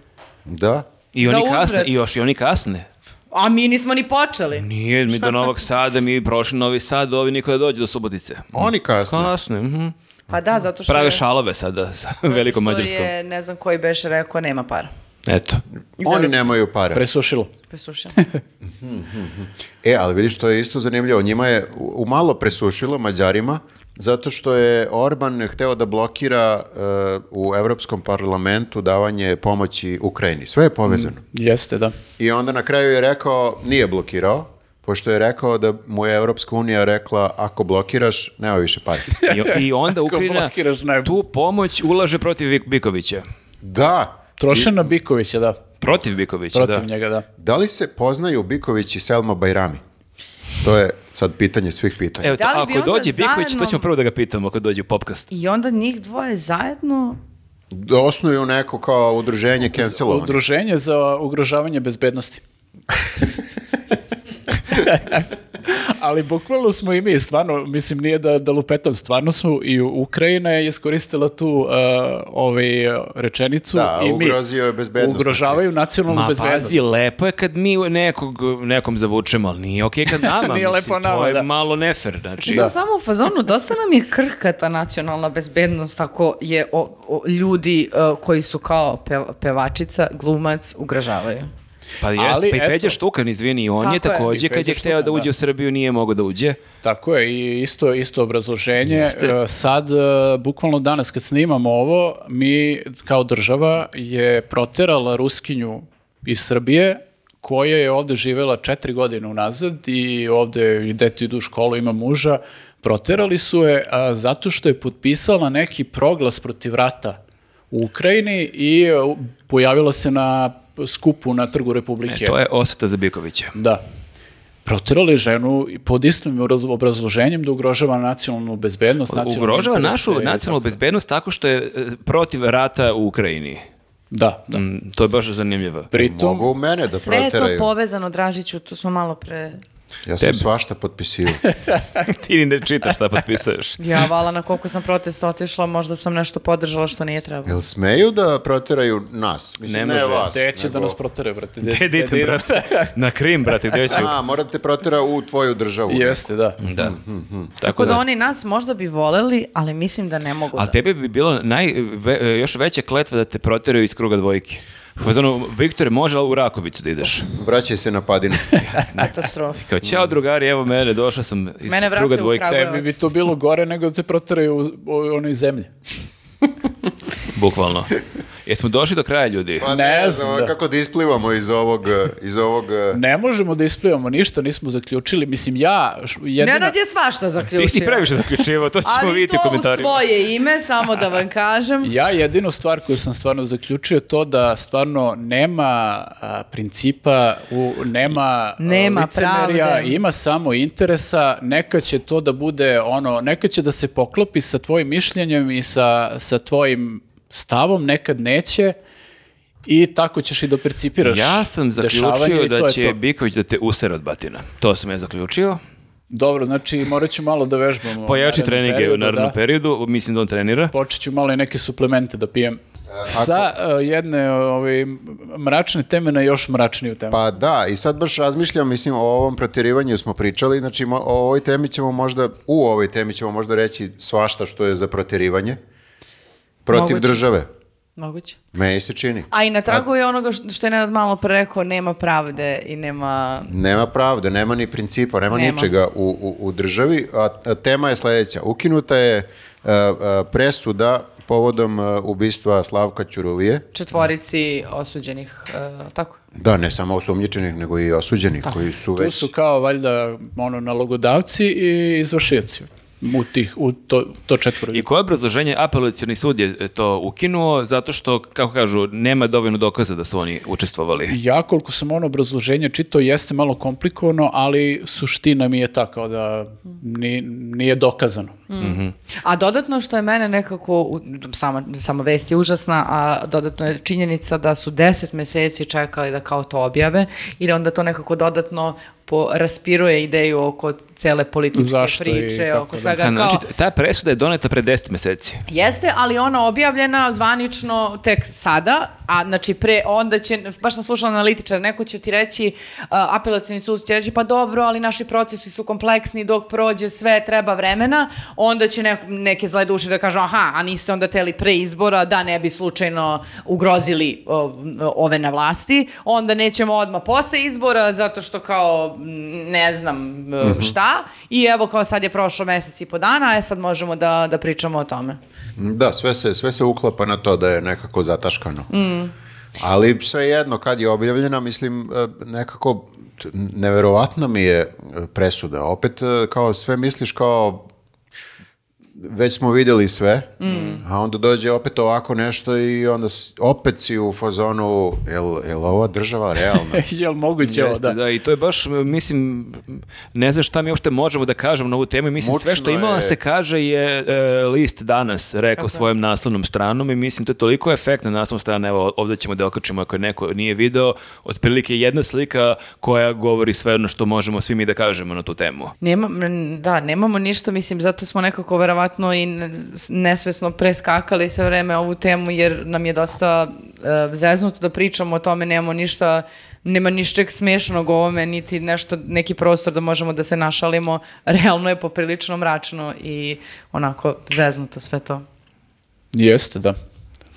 Speaker 1: Da.
Speaker 2: I
Speaker 4: Za
Speaker 2: oni kasne,
Speaker 4: uzvrat.
Speaker 2: i još i oni kasne.
Speaker 4: A mi nismo ni počeli.
Speaker 2: Nije, mi do Novog Sada, mi prošli Novi Sad, ovi niko da dođe do Subotice.
Speaker 1: Oni kasne.
Speaker 2: Kasne, mhm.
Speaker 4: Pa da, zato što
Speaker 2: Prave
Speaker 4: je-
Speaker 2: šalove sada sa
Speaker 4: zato
Speaker 2: velikom
Speaker 4: što
Speaker 2: mađarskom.
Speaker 4: je, ne znam koji beše rekao, nema para.
Speaker 2: Eto.
Speaker 1: Oni nemaju para.
Speaker 3: Presušilo.
Speaker 4: Presušeno.
Speaker 1: E, ali vidiš, to je isto zanimljivo. Njima je u u malo presušilo Mađarima, zato što je Orban hteo da blokira e, u Evropskom parlamentu davanje pomoći Ukrajini. Sve je povezano.
Speaker 3: Jeste, da.
Speaker 1: I onda na kraju je rekao, nije blokirao, pošto je rekao da mu je Evropska unija rekla, ako blokiraš, nema više pare.
Speaker 2: I, i onda Ukrajina
Speaker 3: blokiraš najbolje.
Speaker 2: tu pomoć ulaže protiv Vik- Bikovića.
Speaker 1: Da,
Speaker 3: Trošena Bikovića, da.
Speaker 2: Protiv Bikovića, da.
Speaker 3: Protiv njega, da.
Speaker 1: da li se poznaju Biković i Selma Bajrami? To je sad pitanje svih pitanja.
Speaker 2: Evo, to-
Speaker 4: Da li bi
Speaker 2: ako
Speaker 4: onda
Speaker 2: dođe Biković, to
Speaker 4: zajedno-
Speaker 2: ćemo prvo da ga pitamo ako dođe u popkast.
Speaker 4: I onda njih dvoje zajedno
Speaker 1: Da Osnuju neko kao udruženje cancelovanje.
Speaker 3: Udruženje za ugrožavanje
Speaker 1: *laughs*
Speaker 3: bezbednosti. Ali bukvalno smo i mi, stvarno, mislim, nije da, da lupetam, stvarno su i Ukrajina je iskoristila tu uh, ovaj, uh, rečenicu
Speaker 1: Da,
Speaker 3: i mi.
Speaker 1: ugrozio je bezbednost.
Speaker 3: Ugrožavaju nacionalnu
Speaker 2: Ma
Speaker 3: bezbednost.
Speaker 2: pazi, lepo je kad mi nekog, nekom zavučemo, ali nije okej kad nama,
Speaker 3: Nije
Speaker 2: mislim,
Speaker 3: lepo nama,
Speaker 2: to je
Speaker 3: da.
Speaker 2: malo nefer, znači.
Speaker 4: Mislim, samo u fazonu, dosta nam je krhka ta nacionalna bezbednost, ako je o- o- ljudi e, koji su kao pe- pevačica, glumac, ugražavaju.
Speaker 2: Pa jest,
Speaker 3: Ali,
Speaker 2: pa i
Speaker 3: eto.
Speaker 2: Feđa Štukan, izvini, on je
Speaker 4: Tako je.
Speaker 2: takođe,
Speaker 3: I
Speaker 2: kad je
Speaker 3: Feđa
Speaker 2: hteo da
Speaker 3: Štukan,
Speaker 2: uđe
Speaker 3: da.
Speaker 2: u Srbiju, nije mogao da uđe.
Speaker 3: Tako je, i isto, isto obrazloženje.
Speaker 2: Jeste.
Speaker 3: E, Sad, e, bukvalno danas kad snimamo ovo, mi kao država je proterala Ruskinju iz Srbije, koja je ovde živela četiri godine unazad i ovde i dete idu u školu, ima muža. Proterali su je a, zato što je potpisala neki proglas protiv rata u Ukrajini i e, u- pojavila se na skupu na Trgu Republike.
Speaker 2: E, to je osveta za Bikovića.
Speaker 3: Da. Proterali ženu i pod istim obraz- obrazloženjem da ugrožava nacionalnu bezbednost. nacionalne
Speaker 2: Ugrožava
Speaker 3: interese
Speaker 2: našu
Speaker 3: i-
Speaker 2: nacionalnu bezbednost tako što je e, protiv rata u Ukrajini.
Speaker 3: Da, da.
Speaker 2: Mm, To je baš zanimljivo.
Speaker 3: Pritom,
Speaker 1: Mogu mene da
Speaker 4: Sve je to
Speaker 1: proteraju.
Speaker 4: povezano, Dražiću, tu smo malo pre...
Speaker 1: Ja sam
Speaker 2: Tebi.
Speaker 1: svašta potpisio.
Speaker 2: Da Ti ni ne čitaš šta potpisuješ.
Speaker 4: Ja, vala, na koliko sam protest otišla, možda sam nešto podržala što nije trebalo.
Speaker 1: Jel smeju da proteraju nas? Mislim, ne,
Speaker 2: Ne može.
Speaker 1: vas.
Speaker 3: te će da
Speaker 1: nego-
Speaker 3: nas protere, brate.
Speaker 2: Gde idete, brate? Na Krim, brate, gde ću?
Speaker 1: A, mora da te protera u tvoju državu.
Speaker 3: Jeste, da.
Speaker 2: Da.
Speaker 4: Tako da oni nas možda bi voleli, ali mislim da ne mogu
Speaker 2: Ali
Speaker 4: da.
Speaker 2: tebi bi bilo naj, ve- e, još veća kletva da te proteraju iz kruga dvojke. U fazonu, Viktore, može li u Rakovicu da ideš?
Speaker 1: Vraćaj se na padinu.
Speaker 4: Katastrofa.
Speaker 2: Kao, ćao drugari, evo mene, došao sam iz
Speaker 4: Mene vrate
Speaker 2: kruga
Speaker 4: u
Speaker 2: dvojke.
Speaker 4: Kragujevac.
Speaker 3: Tebi bi to bilo gore nego da te proteraju u, u onoj zemlji.
Speaker 2: Bukvalno. Jesmo došli do kraja, ljudi?
Speaker 1: Pa
Speaker 3: Ne
Speaker 1: ne,
Speaker 3: znam,
Speaker 1: znam
Speaker 3: da.
Speaker 1: kako da isplivamo iz ovog... eh, Iz ovog eh,
Speaker 3: Ne možemo da isplivamo ništa, nismo zaključili. Mislim, ja š- jedina...
Speaker 4: Nenad je svašta zaključio.
Speaker 2: Ti si previše zaključivo, to *laughs* ćemo
Speaker 4: da. Ali
Speaker 2: vidjeti
Speaker 4: to
Speaker 2: u
Speaker 4: u
Speaker 2: komentarima.
Speaker 4: svoje ime, samo da vam
Speaker 3: *laughs*
Speaker 4: kažem.
Speaker 3: Ja jedinu stvar koju sam stvarno zaključio je to da stvarno nema a, principa, u, nema, a,
Speaker 4: Nema
Speaker 3: licemerja,
Speaker 4: pravde.
Speaker 3: ima samo interesa, neka će to da bude ono, neka će da se poklopi sa tvojim mišljenjem i sa, sa tvojim stavom, nekad neće i tako ćeš i da percipiraš
Speaker 2: Ja sam
Speaker 3: dešavanje
Speaker 2: zaključio
Speaker 3: i to
Speaker 2: da
Speaker 3: je
Speaker 2: će
Speaker 3: to.
Speaker 2: Biković da te usere od batina. To sam ja zaključio.
Speaker 3: Dobro, znači morat ću malo da vežbamo.
Speaker 2: Pojači
Speaker 3: u narednom
Speaker 2: treninge u
Speaker 3: periodu,
Speaker 2: narednom
Speaker 3: da.
Speaker 2: periodu, mislim da on trenira.
Speaker 3: počet ću malo i neke suplemente da pijem. Sa e, jedne ove, mračne teme na još mračniju temu.
Speaker 1: Pa da, i sad baš razmišljam, mislim, o ovom protjerivanju smo pričali, znači mo- o ovoj temi ćemo možda, u ovoj temi ćemo možda reći svašta što je za protjerivanje protiv
Speaker 4: Moguće.
Speaker 1: države.
Speaker 4: Moguće.
Speaker 1: Meni se čini.
Speaker 4: A i na tragu je onoga š- što je Nenad malo pre rekao, nema pravde i nema...
Speaker 1: Nema pravde, nema ni principa, nema,
Speaker 4: Nema.
Speaker 1: ničega u, u, u državi. A, a tema je sledeća. Ukinuta je e, e, presuda povodom e, ubistva Slavka Ćuruvije.
Speaker 4: četvorici osuđenih, e, tako?
Speaker 1: Da, ne samo osumnjičenih, nego i osuđenih
Speaker 4: Da.
Speaker 1: koji su
Speaker 3: Tu
Speaker 1: već...
Speaker 3: su kao valjda ono nalogodavci i izvršioci u, tih, u to, to četvoro.
Speaker 2: I koje obrazloženje apelacioni sud je to ukinuo zato što, kako kažu, nema dovoljno dokaza da su oni učestvovali.
Speaker 3: Ja koliko sam ono obrazloženje čitao jeste malo komplikovano, ali suština mi je ta kao da ni- nije dokazano.
Speaker 2: Mhm.
Speaker 4: A dodatno što je mene nekako, u- sama, sama vest je užasna, a dodatno je činjenica da su deset meseci čekali da kao to objave i da onda to nekako dodatno po, raspiruje ideju oko cele političke
Speaker 3: Zašto i
Speaker 4: priče,
Speaker 3: kako
Speaker 4: oko
Speaker 3: da.
Speaker 4: svega
Speaker 2: Ha,
Speaker 4: kao...
Speaker 2: Znači, ta presuda je doneta pre 10 meseci.
Speaker 4: Jeste, ali ona objavljena zvanično tek sada, a znači pre onda će, baš sam slušala analitičara, neko će ti reći, uh, apelacijni sud će reći pa dobro, ali naši procesi su kompleksni, dok prođe sve, treba vremena, onda će neko- neke zle duše da kažu aha, a niste onda teli pre izbora da ne bi slučajno ugrozili o, ove na vlasti, onda nećemo odmah posle izbora zato što kao m, ne znam e, šta i evo kao sad je prošlo mesec i po dana, e sad možemo da, da pričamo o tome.
Speaker 1: Da, sve se, sve se uklapa na to da je nekako zataškano. Ali sve jedno, kad je objavljena, mislim, e, nekako t- neverovatna mi je e, presuda. Opet, e, kao sve misliš kao već smo vidjeli sve, a onda dođe opet ovako nešto i onda s- opet si u fazonu, jel, jel ova država
Speaker 3: *laughs*
Speaker 1: realna?
Speaker 3: *laughs* Jel moguće ovo,
Speaker 2: Jeste,
Speaker 3: da?
Speaker 2: da. i to je baš, mislim, ne znam šta mi uopšte možemo da kažemo na ovu temu. Mislim, sve što
Speaker 1: Mučno
Speaker 2: ima da
Speaker 1: je.
Speaker 2: se kaže je e, list danas rekao svojom naslovnom stranom i mislim, to je toliko efektna naslovna strana, evo ovdje ćemo da okačimo ako je neko nije video, otprilike jedna slika koja govori sve ono što možemo svi mi da kažemo na tu temu.
Speaker 4: Nema, m, da, nemamo ništa, mislim, zato smo nekako verovatno i n- s- nesvesno preskakali sve vreme ovu temu, jer nam je dosta e, zeznuto da pričamo o tome, nemamo ništa, nema ničeg smešnog o ovome, niti nešto, neki prostor da možemo da se našalimo, realno je poprilično mračno i onako zeznuto sve to.
Speaker 3: Jeste, da.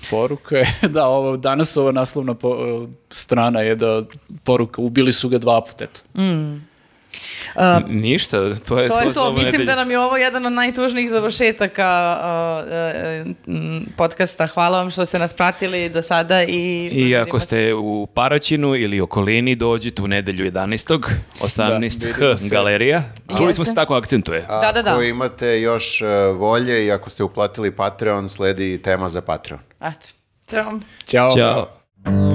Speaker 3: Poruka je, *laughs* da, ovo, danas ova naslovna po- strana je da poruka, ubili su ga dva puta, eto.
Speaker 2: N- Ništa, E, to je
Speaker 4: To je
Speaker 2: za
Speaker 4: to,
Speaker 2: ovu
Speaker 4: mislim
Speaker 2: nedelju.
Speaker 4: da nam je ovo jedan od najtužnijih završetaka e, e, m, podcasta. Hvala vam što ste nas pratili do sada i...
Speaker 2: I ako
Speaker 4: vidimo se.
Speaker 2: ste u Paraćinu ili okolini, dođite u nedelju 11. 18.
Speaker 3: vidimo se.
Speaker 2: galerija. Čuli smo
Speaker 4: Jeste.
Speaker 2: se tako akcentuje.
Speaker 4: Da, da, da.
Speaker 1: Ako imate još e, volje i ako ste uplatili Patreon, sledi tema za Patreon.
Speaker 4: Eto. Ćao.
Speaker 3: Ćao.
Speaker 2: Ćao.